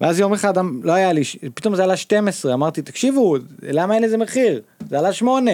[SPEAKER 5] ואז יום אחד אמ- לא היה לי, ש- פתאום זה עלה 12, אמרתי, תקשיבו, למה אין לזה מחיר? זה עלה 8.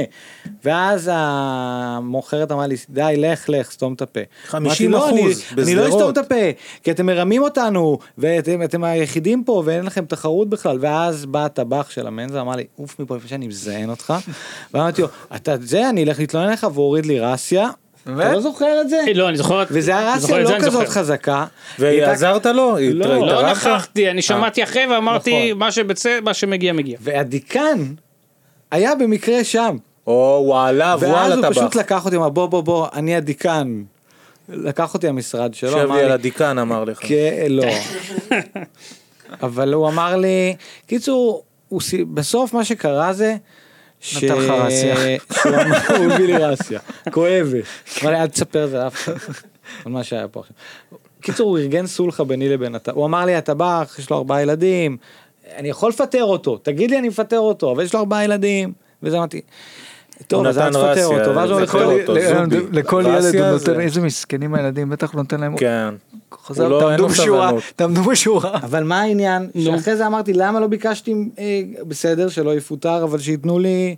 [SPEAKER 5] ואז המוכרת אמרה לי, די, לך, לך, סתום את הפה.
[SPEAKER 6] 50%
[SPEAKER 5] אמרתי, "לא, אני- אני לא
[SPEAKER 6] בשדרות."
[SPEAKER 5] אסתום את הפה, כי אתם מרמים אותנו, ואתם אתם היחידים פה, ואין לכם תחרות בכלל. ואז בא הטבח של המנזה, אמר לי, עוף מפה לפני שאני מזיין אותך. <laughs> ואמרתי לו, אתה זה, אני אלך להתלונן לך, והוא הוריד לי רסיה. אתה לא זוכר את זה?
[SPEAKER 7] אה, <laughs> לא, אני זוכר.
[SPEAKER 5] וזה היה
[SPEAKER 7] אני זוכר
[SPEAKER 5] רסיה
[SPEAKER 7] את
[SPEAKER 5] לא
[SPEAKER 7] זה, אני
[SPEAKER 5] כזאת
[SPEAKER 7] זוכר.
[SPEAKER 5] חזקה. היא הייתה-
[SPEAKER 6] ועזרת לו? התר-
[SPEAKER 7] לא
[SPEAKER 6] התערבת?
[SPEAKER 7] נכחתי,
[SPEAKER 6] אה.
[SPEAKER 7] אני שמעתי אחרי ואמרתי,
[SPEAKER 6] נכון.
[SPEAKER 7] מה שבצד, מה שמגיע מגיע.
[SPEAKER 5] והדיקן היה במקרה שם.
[SPEAKER 6] או וואלה,
[SPEAKER 5] ואז
[SPEAKER 6] וואלה
[SPEAKER 5] הוא פשוט
[SPEAKER 6] טבח.
[SPEAKER 5] לקח אותי, אמר, בוא, בוא, בוא, אני הדיקן. לקח אותי המשרד
[SPEAKER 7] לא
[SPEAKER 5] שלו,
[SPEAKER 6] יושב
[SPEAKER 5] אמר
[SPEAKER 6] לי על
[SPEAKER 5] לי,
[SPEAKER 6] הדיקן אמר לך.
[SPEAKER 5] כן, לא. אבל הוא אמר לי, קיצור, הוא סי- בסוף מה שקרה זה, ש...
[SPEAKER 4] נתן לך רסיה.
[SPEAKER 5] שהוא אמר- הוא הביא לי רסיה, כואבת. אמר לי, אל תספר את זה לאף אחד, על מה שהיה פה עכשיו. קיצור, הוא ארגן סולחה ביני לבין הטבח, הוא אמר לי, הטבח, יש לו ארבעה ילדים, אני יכול לפטר אותו, תגיד לי אני מפטר אותו, אבל יש לו ארבעה ילדים, וזה אמרתי, טוב,
[SPEAKER 6] הוא
[SPEAKER 5] אז אל
[SPEAKER 6] נתן
[SPEAKER 5] תפטר
[SPEAKER 6] רסיה,
[SPEAKER 5] אותו, ואז הוא
[SPEAKER 6] זה
[SPEAKER 5] הולך
[SPEAKER 6] כל-
[SPEAKER 5] אותו.
[SPEAKER 6] אותו, זובי.
[SPEAKER 4] לכל ילד
[SPEAKER 6] רסיה
[SPEAKER 4] הוא
[SPEAKER 6] זה-
[SPEAKER 4] נותן, איזה מסכנים הילדים, בטח הוא נותן להם,
[SPEAKER 6] כן.
[SPEAKER 4] חוזר,
[SPEAKER 6] הוא לא- אין
[SPEAKER 4] תעמדו
[SPEAKER 6] לו
[SPEAKER 4] בשורה,
[SPEAKER 6] סבלנות.
[SPEAKER 4] תעמדו בשורה.
[SPEAKER 5] אבל מה העניין? שאחרי זה אמרתי, למה לא ביקשתי, אה, בסדר, שלא יפוטר, אבל שייתנו לי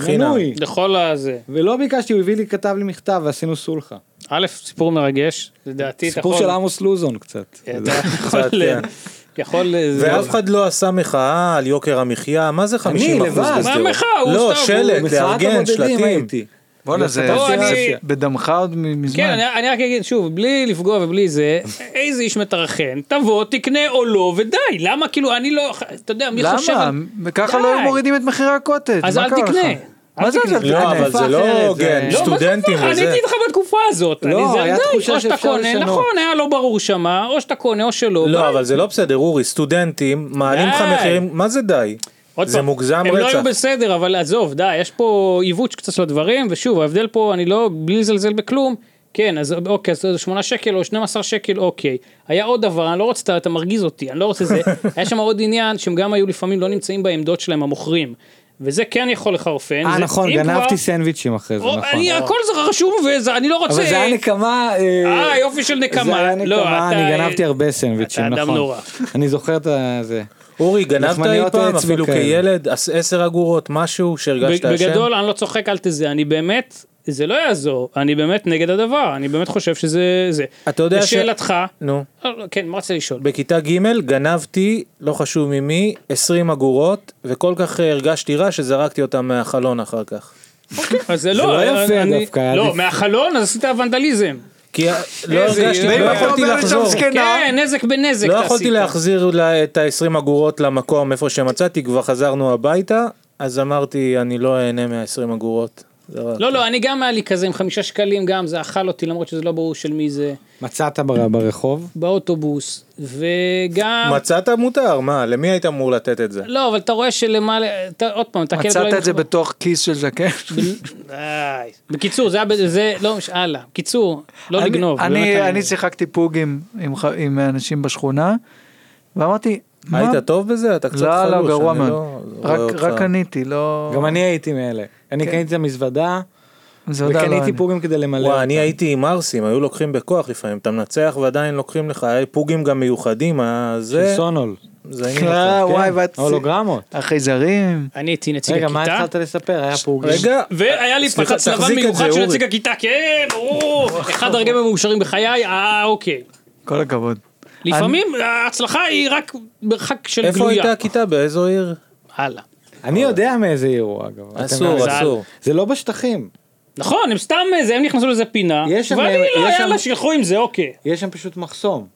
[SPEAKER 6] חינם.
[SPEAKER 5] מנוי.
[SPEAKER 7] לכל הזה.
[SPEAKER 5] ולא ביקשתי, הוא הביא לי, כתב לי מכתב ועשינו סולחה.
[SPEAKER 7] א', סיפור מרגש, לדעתי אתה
[SPEAKER 5] סיפור
[SPEAKER 7] יכול...
[SPEAKER 5] של עמוס לוזון קצת.
[SPEAKER 7] אתה יכול...
[SPEAKER 6] <laughs> קצת, כן.
[SPEAKER 7] יכול...
[SPEAKER 6] ואף אחד לא עשה מחאה על יוקר המחיה, מה זה 50 אחוז
[SPEAKER 5] לבד.
[SPEAKER 6] בסדר?
[SPEAKER 7] מה המחאה? הוא
[SPEAKER 6] לא,
[SPEAKER 7] סתם,
[SPEAKER 6] שלט,
[SPEAKER 7] הוא-
[SPEAKER 5] מחאת
[SPEAKER 6] לארגן,
[SPEAKER 5] הבודדים
[SPEAKER 6] שלטים.
[SPEAKER 5] הייתי.
[SPEAKER 4] בואנה, זה
[SPEAKER 7] לא,
[SPEAKER 4] זה
[SPEAKER 7] אני-
[SPEAKER 4] בדמך עוד מ-
[SPEAKER 7] כן,
[SPEAKER 4] מזמן.
[SPEAKER 7] אני, אני רק אגיד שוב, בלי לפגוע ובלי זה, איזה איש מטרחן, תבוא, תקנה או לא, ודי, למה כאילו, אני לא, אתה יודע, מי חושב...
[SPEAKER 4] למה?
[SPEAKER 7] על-
[SPEAKER 4] ככה
[SPEAKER 7] די.
[SPEAKER 4] לא מורידים את מחירי הקוטג',
[SPEAKER 7] אז
[SPEAKER 4] מה
[SPEAKER 7] אל
[SPEAKER 4] קרה לך?
[SPEAKER 7] תקנה.
[SPEAKER 4] מה זה אל
[SPEAKER 6] לא,
[SPEAKER 4] תקנה?
[SPEAKER 6] אבל זה לא הוגן,
[SPEAKER 7] לא, מה זה
[SPEAKER 6] סטודנטים
[SPEAKER 7] הפוך? אני
[SPEAKER 6] וזה.
[SPEAKER 7] הייתי איתך בתקופה הזאת,
[SPEAKER 5] לא,
[SPEAKER 7] אני זה,
[SPEAKER 5] היה
[SPEAKER 7] די,
[SPEAKER 5] תחושה
[SPEAKER 7] או שאתה
[SPEAKER 5] שאפשר
[SPEAKER 7] קונה,
[SPEAKER 5] לשנות.
[SPEAKER 7] נכון, היה לא ברור שמה, או שאתה קונה או שלא,
[SPEAKER 6] לא,
[SPEAKER 7] ביי.
[SPEAKER 6] אבל זה לא בסדר, אורי, סטודנטים, מעלים לך
[SPEAKER 7] די.
[SPEAKER 6] מחירים, מה זה די?
[SPEAKER 7] עוד
[SPEAKER 6] זה
[SPEAKER 7] פעם,
[SPEAKER 6] מוגזם
[SPEAKER 7] הם לא
[SPEAKER 6] רצח.
[SPEAKER 7] היו בסדר, אבל עזוב, די, יש פה עיוות קצת של הדברים, ושוב, ההבדל פה, אני לא, בלי לזלזל בכלום, כן, אז אוקיי, אז זה 8 שקל או 12 שקל, אוקיי. היה עוד דבר, אני לא רוצה, אתה- אתה מרגיז אותי, אני לא
[SPEAKER 5] <laughs>
[SPEAKER 7] רוצה זה. היה שם עוד עניין, שהם גם היו לפעמים לא נמצאים בעמדות שלהם, המוכרים. וזה כן יכול לחרפן.
[SPEAKER 5] אה,
[SPEAKER 7] זה-
[SPEAKER 5] נכון,
[SPEAKER 7] אם
[SPEAKER 5] גנבתי
[SPEAKER 7] כבר-
[SPEAKER 5] סנדוויצ'ים אחרי זה,
[SPEAKER 7] או,
[SPEAKER 5] נכון.
[SPEAKER 7] אני, הכל זה רשום, ואני לא רוצה...
[SPEAKER 5] אבל זה היה נקמה...
[SPEAKER 7] אה, יופי של נקמה.
[SPEAKER 5] זה היה
[SPEAKER 7] לא,
[SPEAKER 5] נקמה,
[SPEAKER 7] אתה-
[SPEAKER 5] אני גנבתי הרבה סנדוויצ'ים,
[SPEAKER 7] אתה
[SPEAKER 5] נכון.
[SPEAKER 7] אדם נורא.
[SPEAKER 5] <laughs> אני זוכר את זה.
[SPEAKER 6] אורי, גנבת אי
[SPEAKER 5] לחמניות
[SPEAKER 6] פעם,
[SPEAKER 5] עץ
[SPEAKER 6] אפילו
[SPEAKER 5] וכאלה.
[SPEAKER 6] כילד, עש- עשר אגורות, משהו שהרגשת אשם?
[SPEAKER 7] כן. בגדול, אני לא צוחק, אל תזה, אני באמת, זה לא יעזור, אני באמת נגד הדבר, אני באמת חושב שזה... זה.
[SPEAKER 6] אתה יודע ש-
[SPEAKER 7] לשאלתך,
[SPEAKER 6] נו.
[SPEAKER 7] לא, לא, כן, מה רצית לשאול?
[SPEAKER 6] בכיתה ג' גנבתי, לא חשוב ממי, 20 אגורות, וכל כך אה, הרגשתי רע שזרקתי אותם מהחלון אחר כך.
[SPEAKER 7] אז זה
[SPEAKER 5] לא
[SPEAKER 7] לא
[SPEAKER 5] יפה
[SPEAKER 7] אני-
[SPEAKER 5] דווקא, היה
[SPEAKER 7] לא,
[SPEAKER 5] עדיף.
[SPEAKER 7] מהחלון אז עשית ונדליזם.
[SPEAKER 6] כי אה, לא הרגשתי,
[SPEAKER 7] ואם
[SPEAKER 6] לא
[SPEAKER 7] היית
[SPEAKER 6] יכולתי
[SPEAKER 4] אומרת שם
[SPEAKER 6] לחזור.
[SPEAKER 4] זקן,
[SPEAKER 7] כן, נזק בנזק.
[SPEAKER 6] לא
[SPEAKER 7] אתה
[SPEAKER 6] יכולתי
[SPEAKER 7] עשית.
[SPEAKER 6] להחזיר לה- את ה-20 אגורות למקום איפה שמצאתי, כבר חזרנו הביתה, אז אמרתי, אני לא אהנה מה-20 אגורות. זרקתי.
[SPEAKER 7] לא, לא, אני גם היה לי כזה עם חמישה שקלים, גם זה אכל אותי, למרות שזה לא ברור של מי זה,
[SPEAKER 5] מצאת בר- ברחוב?
[SPEAKER 7] באוטובוס,
[SPEAKER 4] לא.
[SPEAKER 7] וגם...
[SPEAKER 6] מצאת מותר, מה? למי היית אמור לתת את זה?
[SPEAKER 7] לא, אבל אתה רואה שלמעלה, אתה- עוד פעם, אתה כאילו
[SPEAKER 4] מצאת
[SPEAKER 7] לא
[SPEAKER 4] את זה
[SPEAKER 7] יכול-
[SPEAKER 4] בתוך כיס של ז'קט?
[SPEAKER 7] די. בקיצור, זה היה, ב- זה, לא, מש- הלאה. בקיצור, לא
[SPEAKER 4] אני-
[SPEAKER 7] לגנוב.
[SPEAKER 4] אני-
[SPEAKER 7] באמת,
[SPEAKER 4] אני שיחקתי פוג עם- עם ח- עם אנשים בשכונה, ואמרתי, מה?
[SPEAKER 6] היית טוב בזה? אתה קצת
[SPEAKER 4] לא, לא,
[SPEAKER 6] חלוש,
[SPEAKER 4] גרוע
[SPEAKER 6] אני
[SPEAKER 4] מאוד.
[SPEAKER 6] לא רואה
[SPEAKER 4] רק-
[SPEAKER 6] אותך.
[SPEAKER 4] רק קניתי, לא...
[SPEAKER 5] גם אני הייתי מאלה. אני
[SPEAKER 4] כן.
[SPEAKER 5] קניתי את המזוודה,
[SPEAKER 4] זה עוד לא
[SPEAKER 5] וקניתי
[SPEAKER 4] אני.
[SPEAKER 5] פורים כדי למלא.
[SPEAKER 6] וואי,
[SPEAKER 5] אותה.
[SPEAKER 6] אני הייתי עם ערסים, היו לוקחים בכוח לפעמים, אתה מנצח ועדיין לוקחים לך, היה פוגים גם מיוחדים, היה זה,
[SPEAKER 5] של סונול.
[SPEAKER 6] זה העניין
[SPEAKER 4] אה,
[SPEAKER 6] אותך, כן?
[SPEAKER 4] וואי, ואת...
[SPEAKER 5] הולוגרמות.
[SPEAKER 4] החייזרים.
[SPEAKER 7] אני הייתי נציג
[SPEAKER 5] רגע, מה
[SPEAKER 7] הכיתה,
[SPEAKER 5] התחלת לספר? היה פה עוגים.
[SPEAKER 6] רגע,
[SPEAKER 7] והיה לי
[SPEAKER 6] סליחה,
[SPEAKER 7] פחד לבן
[SPEAKER 6] תחזיק את
[SPEAKER 7] מיוחד
[SPEAKER 6] זה,
[SPEAKER 7] של
[SPEAKER 6] אורי.
[SPEAKER 7] נציג הכיתה, כן, או, אחד הרגעים המאושרים בחיי, אה, אוקיי.
[SPEAKER 4] כל הכבוד.
[SPEAKER 7] לפעמים ההצלחה היא רק מרחק של
[SPEAKER 6] איפה
[SPEAKER 7] גלויה.
[SPEAKER 6] הייתה הכיתה? באיזו עיר?
[SPEAKER 7] הלאה.
[SPEAKER 5] אני יודע מאיזה עיר הוא אגב. אתם
[SPEAKER 6] אסור,
[SPEAKER 5] יודעים.
[SPEAKER 6] אסור.
[SPEAKER 5] זה לא בשטחים.
[SPEAKER 7] נכון, הם סתם איזה, הם נכנסו לאיזה פינה,
[SPEAKER 5] יש שם-
[SPEAKER 7] ואני לא,
[SPEAKER 5] יש שם-
[SPEAKER 7] יאללה, שילכו עם זה, אוקיי.
[SPEAKER 5] יש שם פשוט מחסום.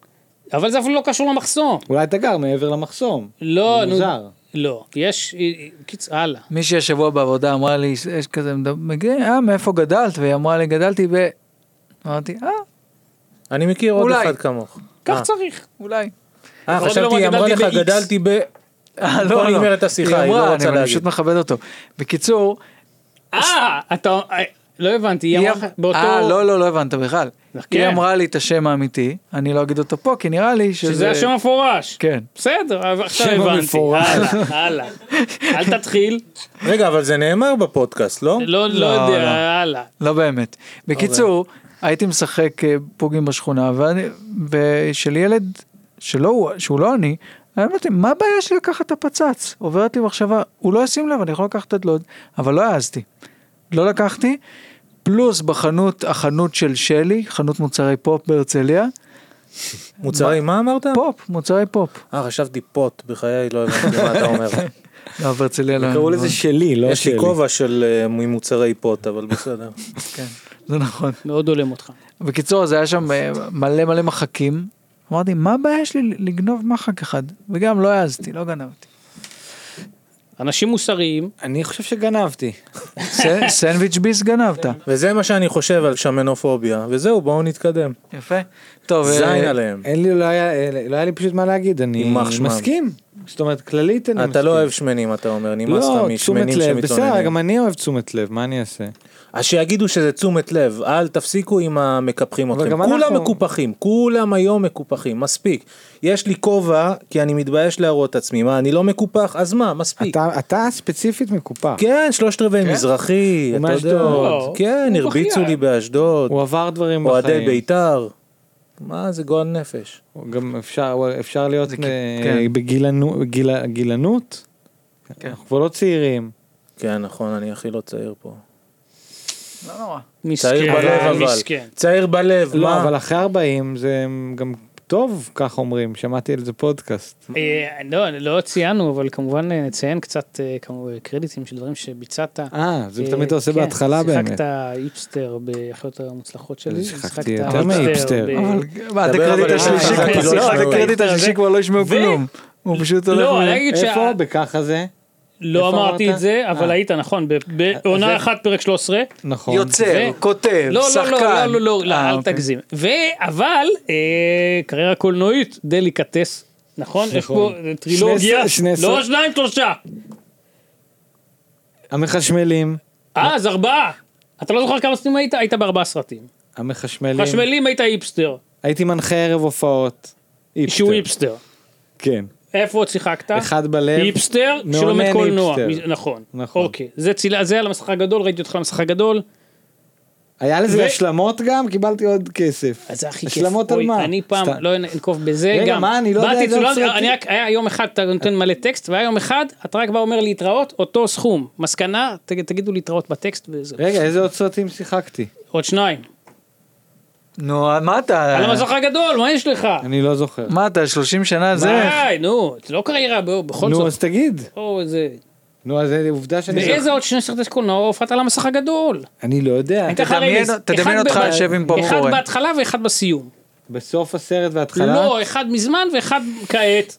[SPEAKER 7] אבל זה אפילו לא קשור למחסום.
[SPEAKER 5] אולי אתה גר מעבר למחסום.
[SPEAKER 7] לא,
[SPEAKER 5] זה
[SPEAKER 7] נו,
[SPEAKER 5] מוזר.
[SPEAKER 7] לא, יש, קיצ... הלאה.
[SPEAKER 4] מישהי השבוע בעבודה אמרה לי, יש כזה, מגיע, אה, מאיפה גדלת? והיא אמרה לי, גדלתי ב... אמרתי, אה,
[SPEAKER 6] אני מכיר עוד
[SPEAKER 4] אולי.
[SPEAKER 6] אחד כמוך.
[SPEAKER 7] כך
[SPEAKER 6] אה.
[SPEAKER 7] צריך.
[SPEAKER 4] אולי.
[SPEAKER 6] אה,
[SPEAKER 7] עוד
[SPEAKER 6] חשבתי,
[SPEAKER 7] לא
[SPEAKER 6] היא אמרה לך,
[SPEAKER 7] גדלתי ב-X.
[SPEAKER 6] גדלתי ב...
[SPEAKER 4] <laughs> אה,
[SPEAKER 6] פה נגמרת השיחה, היא לא
[SPEAKER 4] אמרה,
[SPEAKER 6] רוצה
[SPEAKER 4] אני- אני
[SPEAKER 6] להגיד.
[SPEAKER 4] פשוט מכבד אותו. בקיצור,
[SPEAKER 7] אה, אתה, אה, לא הבנתי, היא
[SPEAKER 4] היא
[SPEAKER 7] אמרה
[SPEAKER 4] אמ-
[SPEAKER 7] לך באותו...
[SPEAKER 4] אה, לא, לא, לא הבנת בכלל.
[SPEAKER 7] כן.
[SPEAKER 4] היא אמרה לי את השם האמיתי, אני לא אגיד אותו פה, כי נראה לי שזה...
[SPEAKER 7] שזה השם המפורש.
[SPEAKER 4] כן.
[SPEAKER 7] בסדר, אבל עכשיו
[SPEAKER 4] שם
[SPEAKER 7] הבנתי.
[SPEAKER 4] המפורש.
[SPEAKER 7] הלאה, הלאה. אל תתחיל.
[SPEAKER 6] רגע, אבל זה נאמר בפודקאסט, לא?
[SPEAKER 7] לא, לא
[SPEAKER 4] לא, לא.
[SPEAKER 7] יודע, הלאה.
[SPEAKER 4] לא באמת. בקיצור, הייתי משחק אה, פוגים בשכונה, ואני, ושל ילד שלא, הוא- שהוא לא אני, אני אמרתי, מה הבעיה שלי לקחת את הפצץ? עוברת לי מחשבה, הוא לא ישים לב, אני יכול לקחת את לוד, אבל לא העזתי. לא לקחתי, פלוס בחנות, החנות של שלי, חנות מוצרי פופ בהרצליה,
[SPEAKER 6] מוצרי, מה אמרת?
[SPEAKER 4] פופ, מוצרי פופ.
[SPEAKER 6] אה, חשבתי פוט, בחיי לא הבנתי מה אתה אומר.
[SPEAKER 4] לא, בהרצליה לא...
[SPEAKER 5] קראו
[SPEAKER 4] לא-
[SPEAKER 5] לזה שלי, לא
[SPEAKER 6] יש לי
[SPEAKER 5] שלי.
[SPEAKER 6] כובע של אה, ממוצרי פוט, אבל בסדר.
[SPEAKER 4] כן, זה נכון.
[SPEAKER 7] מאוד הולם אותך.
[SPEAKER 4] בקיצור, אז היה שם אה, מלא מלא מחקים. אמרתי, מה הבעיה שלי לגנוב מחק אחד? וגם לא העזתי, לא גנבתי.
[SPEAKER 7] אנשים מוסריים,
[SPEAKER 5] אני חושב שגנבתי.
[SPEAKER 4] ס- סנדוויץ' ביס גנבת.
[SPEAKER 6] וזה מה שאני חושב על שמנופוביה, וזהו, בואו נתקדם.
[SPEAKER 4] יפה. טוב, אה,
[SPEAKER 6] זין עליהם.
[SPEAKER 5] אין לי, לא היה, לא היה לי פשוט מה להגיד, אני
[SPEAKER 6] יימח שמם.
[SPEAKER 5] מסכים. זאת אומרת, כללית אני מסכים.
[SPEAKER 6] אתה לא אוהב שמנים, אתה אומר, נמאס לך
[SPEAKER 5] לא,
[SPEAKER 6] משמנים
[SPEAKER 5] תשומת לב, בסדר,
[SPEAKER 6] שמתלוננים.
[SPEAKER 5] גם אני אוהב תשומת לב, מה אני אעשה?
[SPEAKER 6] אז שיגידו שזה תשומת לב, אל תפסיקו עם המקפחים
[SPEAKER 5] אבל
[SPEAKER 6] אתכם.
[SPEAKER 5] גם
[SPEAKER 6] כולם
[SPEAKER 5] אנחנו-
[SPEAKER 6] מקופחים, כולם היום מקופחים, מספיק. יש לי כובע, כי אני מתבייש להראות את עצמי, מה, אני לא מקופח? אז מה, מספיק.
[SPEAKER 5] אתה, אתה ספציפית מקופח.
[SPEAKER 6] כן, שלושת רבעי מזרחי,
[SPEAKER 5] הוא
[SPEAKER 6] אתה יודע.
[SPEAKER 5] מאשדוד.
[SPEAKER 6] כן,
[SPEAKER 7] לא, הוא
[SPEAKER 6] הרביצו
[SPEAKER 7] בכיין.
[SPEAKER 6] לי באשדוד,
[SPEAKER 5] הוא עבר דברים
[SPEAKER 6] אוהדי
[SPEAKER 5] בחיים.
[SPEAKER 6] בית"ר. מה, זה גועל נפש.
[SPEAKER 5] הוא גם אפשר, הוא- אפשר להיות
[SPEAKER 4] זה כ-
[SPEAKER 5] אה,
[SPEAKER 4] כן.
[SPEAKER 5] בגילנו- גיל- גילנות.
[SPEAKER 4] כן.
[SPEAKER 5] אנחנו כבר לא צעירים.
[SPEAKER 6] כן, נכון, אני הכי לא צעיר פה.
[SPEAKER 4] לא נורא.
[SPEAKER 6] צעיר
[SPEAKER 7] מסכן, אה,
[SPEAKER 6] בלב אבל.
[SPEAKER 7] מסכן.
[SPEAKER 6] צעיר בלב,
[SPEAKER 5] לא, אבל
[SPEAKER 6] מה?
[SPEAKER 5] אחרי 40 זה גם טוב, כך אומרים, שמעתי על זה פודקאסט.
[SPEAKER 7] אה, לא, לא ציינו, אבל כמובן אה, נציין קצת אה, כמו- קרדיטים של דברים שביצעת.
[SPEAKER 5] אה, זה
[SPEAKER 7] אה,
[SPEAKER 5] תמיד אתה עושה
[SPEAKER 7] כן,
[SPEAKER 5] בהתחלה באמת.
[SPEAKER 7] שיחקת איפסטר באחיות המוצלחות שלי.
[SPEAKER 5] שיחקתי
[SPEAKER 7] שיחקת
[SPEAKER 5] יותר מאיפסטר.
[SPEAKER 7] ב-
[SPEAKER 4] אבל אה, מה, עד
[SPEAKER 6] דבר
[SPEAKER 4] הקרדיט
[SPEAKER 6] אבל
[SPEAKER 4] השלישי
[SPEAKER 7] חזק,
[SPEAKER 4] כבר-
[SPEAKER 7] כי לא
[SPEAKER 4] לא, עד
[SPEAKER 7] ישמעו.
[SPEAKER 4] הקרדיט השלישי כבר לא ישמעו
[SPEAKER 7] ו-
[SPEAKER 4] כלום. הוא פשוט הולך...
[SPEAKER 7] לא,
[SPEAKER 4] ו-
[SPEAKER 7] אני אגיד
[SPEAKER 5] איפה?
[SPEAKER 7] שלא
[SPEAKER 5] בככה זה?
[SPEAKER 7] אמרתי
[SPEAKER 5] אמרת?
[SPEAKER 7] את זה, אבל
[SPEAKER 5] אה.
[SPEAKER 7] היית נכון, ב- בעונה
[SPEAKER 5] זה-
[SPEAKER 7] אחת פרק 13.
[SPEAKER 5] נכון.
[SPEAKER 4] יוצר,
[SPEAKER 7] ו-
[SPEAKER 4] כותב,
[SPEAKER 7] לא, לא,
[SPEAKER 4] שחקן.
[SPEAKER 7] לא, לא, לא, לא,
[SPEAKER 4] אה,
[SPEAKER 7] אל
[SPEAKER 4] אוקיי.
[SPEAKER 7] תגזים. ו- אבל אה, קריירה קולנועית, דליקטס, נכון? יש פה
[SPEAKER 5] נכון.
[SPEAKER 7] אה, טרילוגיה,
[SPEAKER 5] שני ס- שני ס-
[SPEAKER 7] לא שניים, שלושה.
[SPEAKER 5] המחשמלים,
[SPEAKER 7] אה, אז ארבעה. אתה לא זוכר כמה סרטים היית? היית בארבעה סרטים.
[SPEAKER 5] המחשמלים.
[SPEAKER 7] חשמלים היית איפסטר,
[SPEAKER 5] הייתי מנחה ערב הופעות. איפסטר.
[SPEAKER 7] שהוא איפסטר.
[SPEAKER 5] כן.
[SPEAKER 7] איפה עוד שיחקת?
[SPEAKER 5] אחד בלב.
[SPEAKER 7] איפסטר
[SPEAKER 5] מאונן
[SPEAKER 7] שלומד קולנוע,
[SPEAKER 5] איפסטר.
[SPEAKER 7] נכון,
[SPEAKER 5] נכון.
[SPEAKER 7] אוקיי, זה צילה, זה על המסך הגדול, ראיתי אותך על המסך הגדול,
[SPEAKER 5] היה לזה
[SPEAKER 7] ו-
[SPEAKER 5] השלמות גם? קיבלתי עוד כסף.
[SPEAKER 7] אז זה הכי כיף,
[SPEAKER 5] השלמות על
[SPEAKER 7] אוי,
[SPEAKER 5] מה?
[SPEAKER 7] אני פעם
[SPEAKER 5] סתם.
[SPEAKER 7] לא אנקוב בזה,
[SPEAKER 5] רגע,
[SPEAKER 7] גם,
[SPEAKER 5] מה, אני לא יודע
[SPEAKER 7] באתי,
[SPEAKER 5] איזה
[SPEAKER 7] צולם-
[SPEAKER 5] סרטים.
[SPEAKER 7] אני רק, היה יום אחד אתה נותן מלא טקסט, והיה יום אחד אתה רק בא אומר להתראות, אותו סכום, מסקנה, ת- תגידו להתראות בטקסט וזהו,
[SPEAKER 5] רגע, איזה עוד סרטים שיחקתי?
[SPEAKER 7] עוד שניים,
[SPEAKER 4] נו, אה, מה אתה...
[SPEAKER 7] על המסך הגדול, מה יש לך?
[SPEAKER 5] אה. אני לא זוכר.
[SPEAKER 4] מה אתה, 30 שנה זה?
[SPEAKER 7] די, נו, זה לא קריירה, בוא, בכל
[SPEAKER 5] נו,
[SPEAKER 7] זאת,
[SPEAKER 5] אז לא תגיד.
[SPEAKER 7] או, זה-
[SPEAKER 5] נו, אז זה עובדה שאני...
[SPEAKER 7] באיזה עוד שני סרטי קולנוע הופעת על המסך הגדול?
[SPEAKER 5] אני לא יודע.
[SPEAKER 7] אני אתן לך
[SPEAKER 4] תדמיין-
[SPEAKER 7] רמז.
[SPEAKER 4] תדמיין
[SPEAKER 7] אחד
[SPEAKER 4] אותך
[SPEAKER 7] ב-
[SPEAKER 4] יושב עם
[SPEAKER 7] אחד
[SPEAKER 4] פופקורן.
[SPEAKER 7] בהתחלה ואחד בסיום.
[SPEAKER 5] בסוף הסרט וההתחלה?
[SPEAKER 7] לא, אחד מזמן ואחד כעת.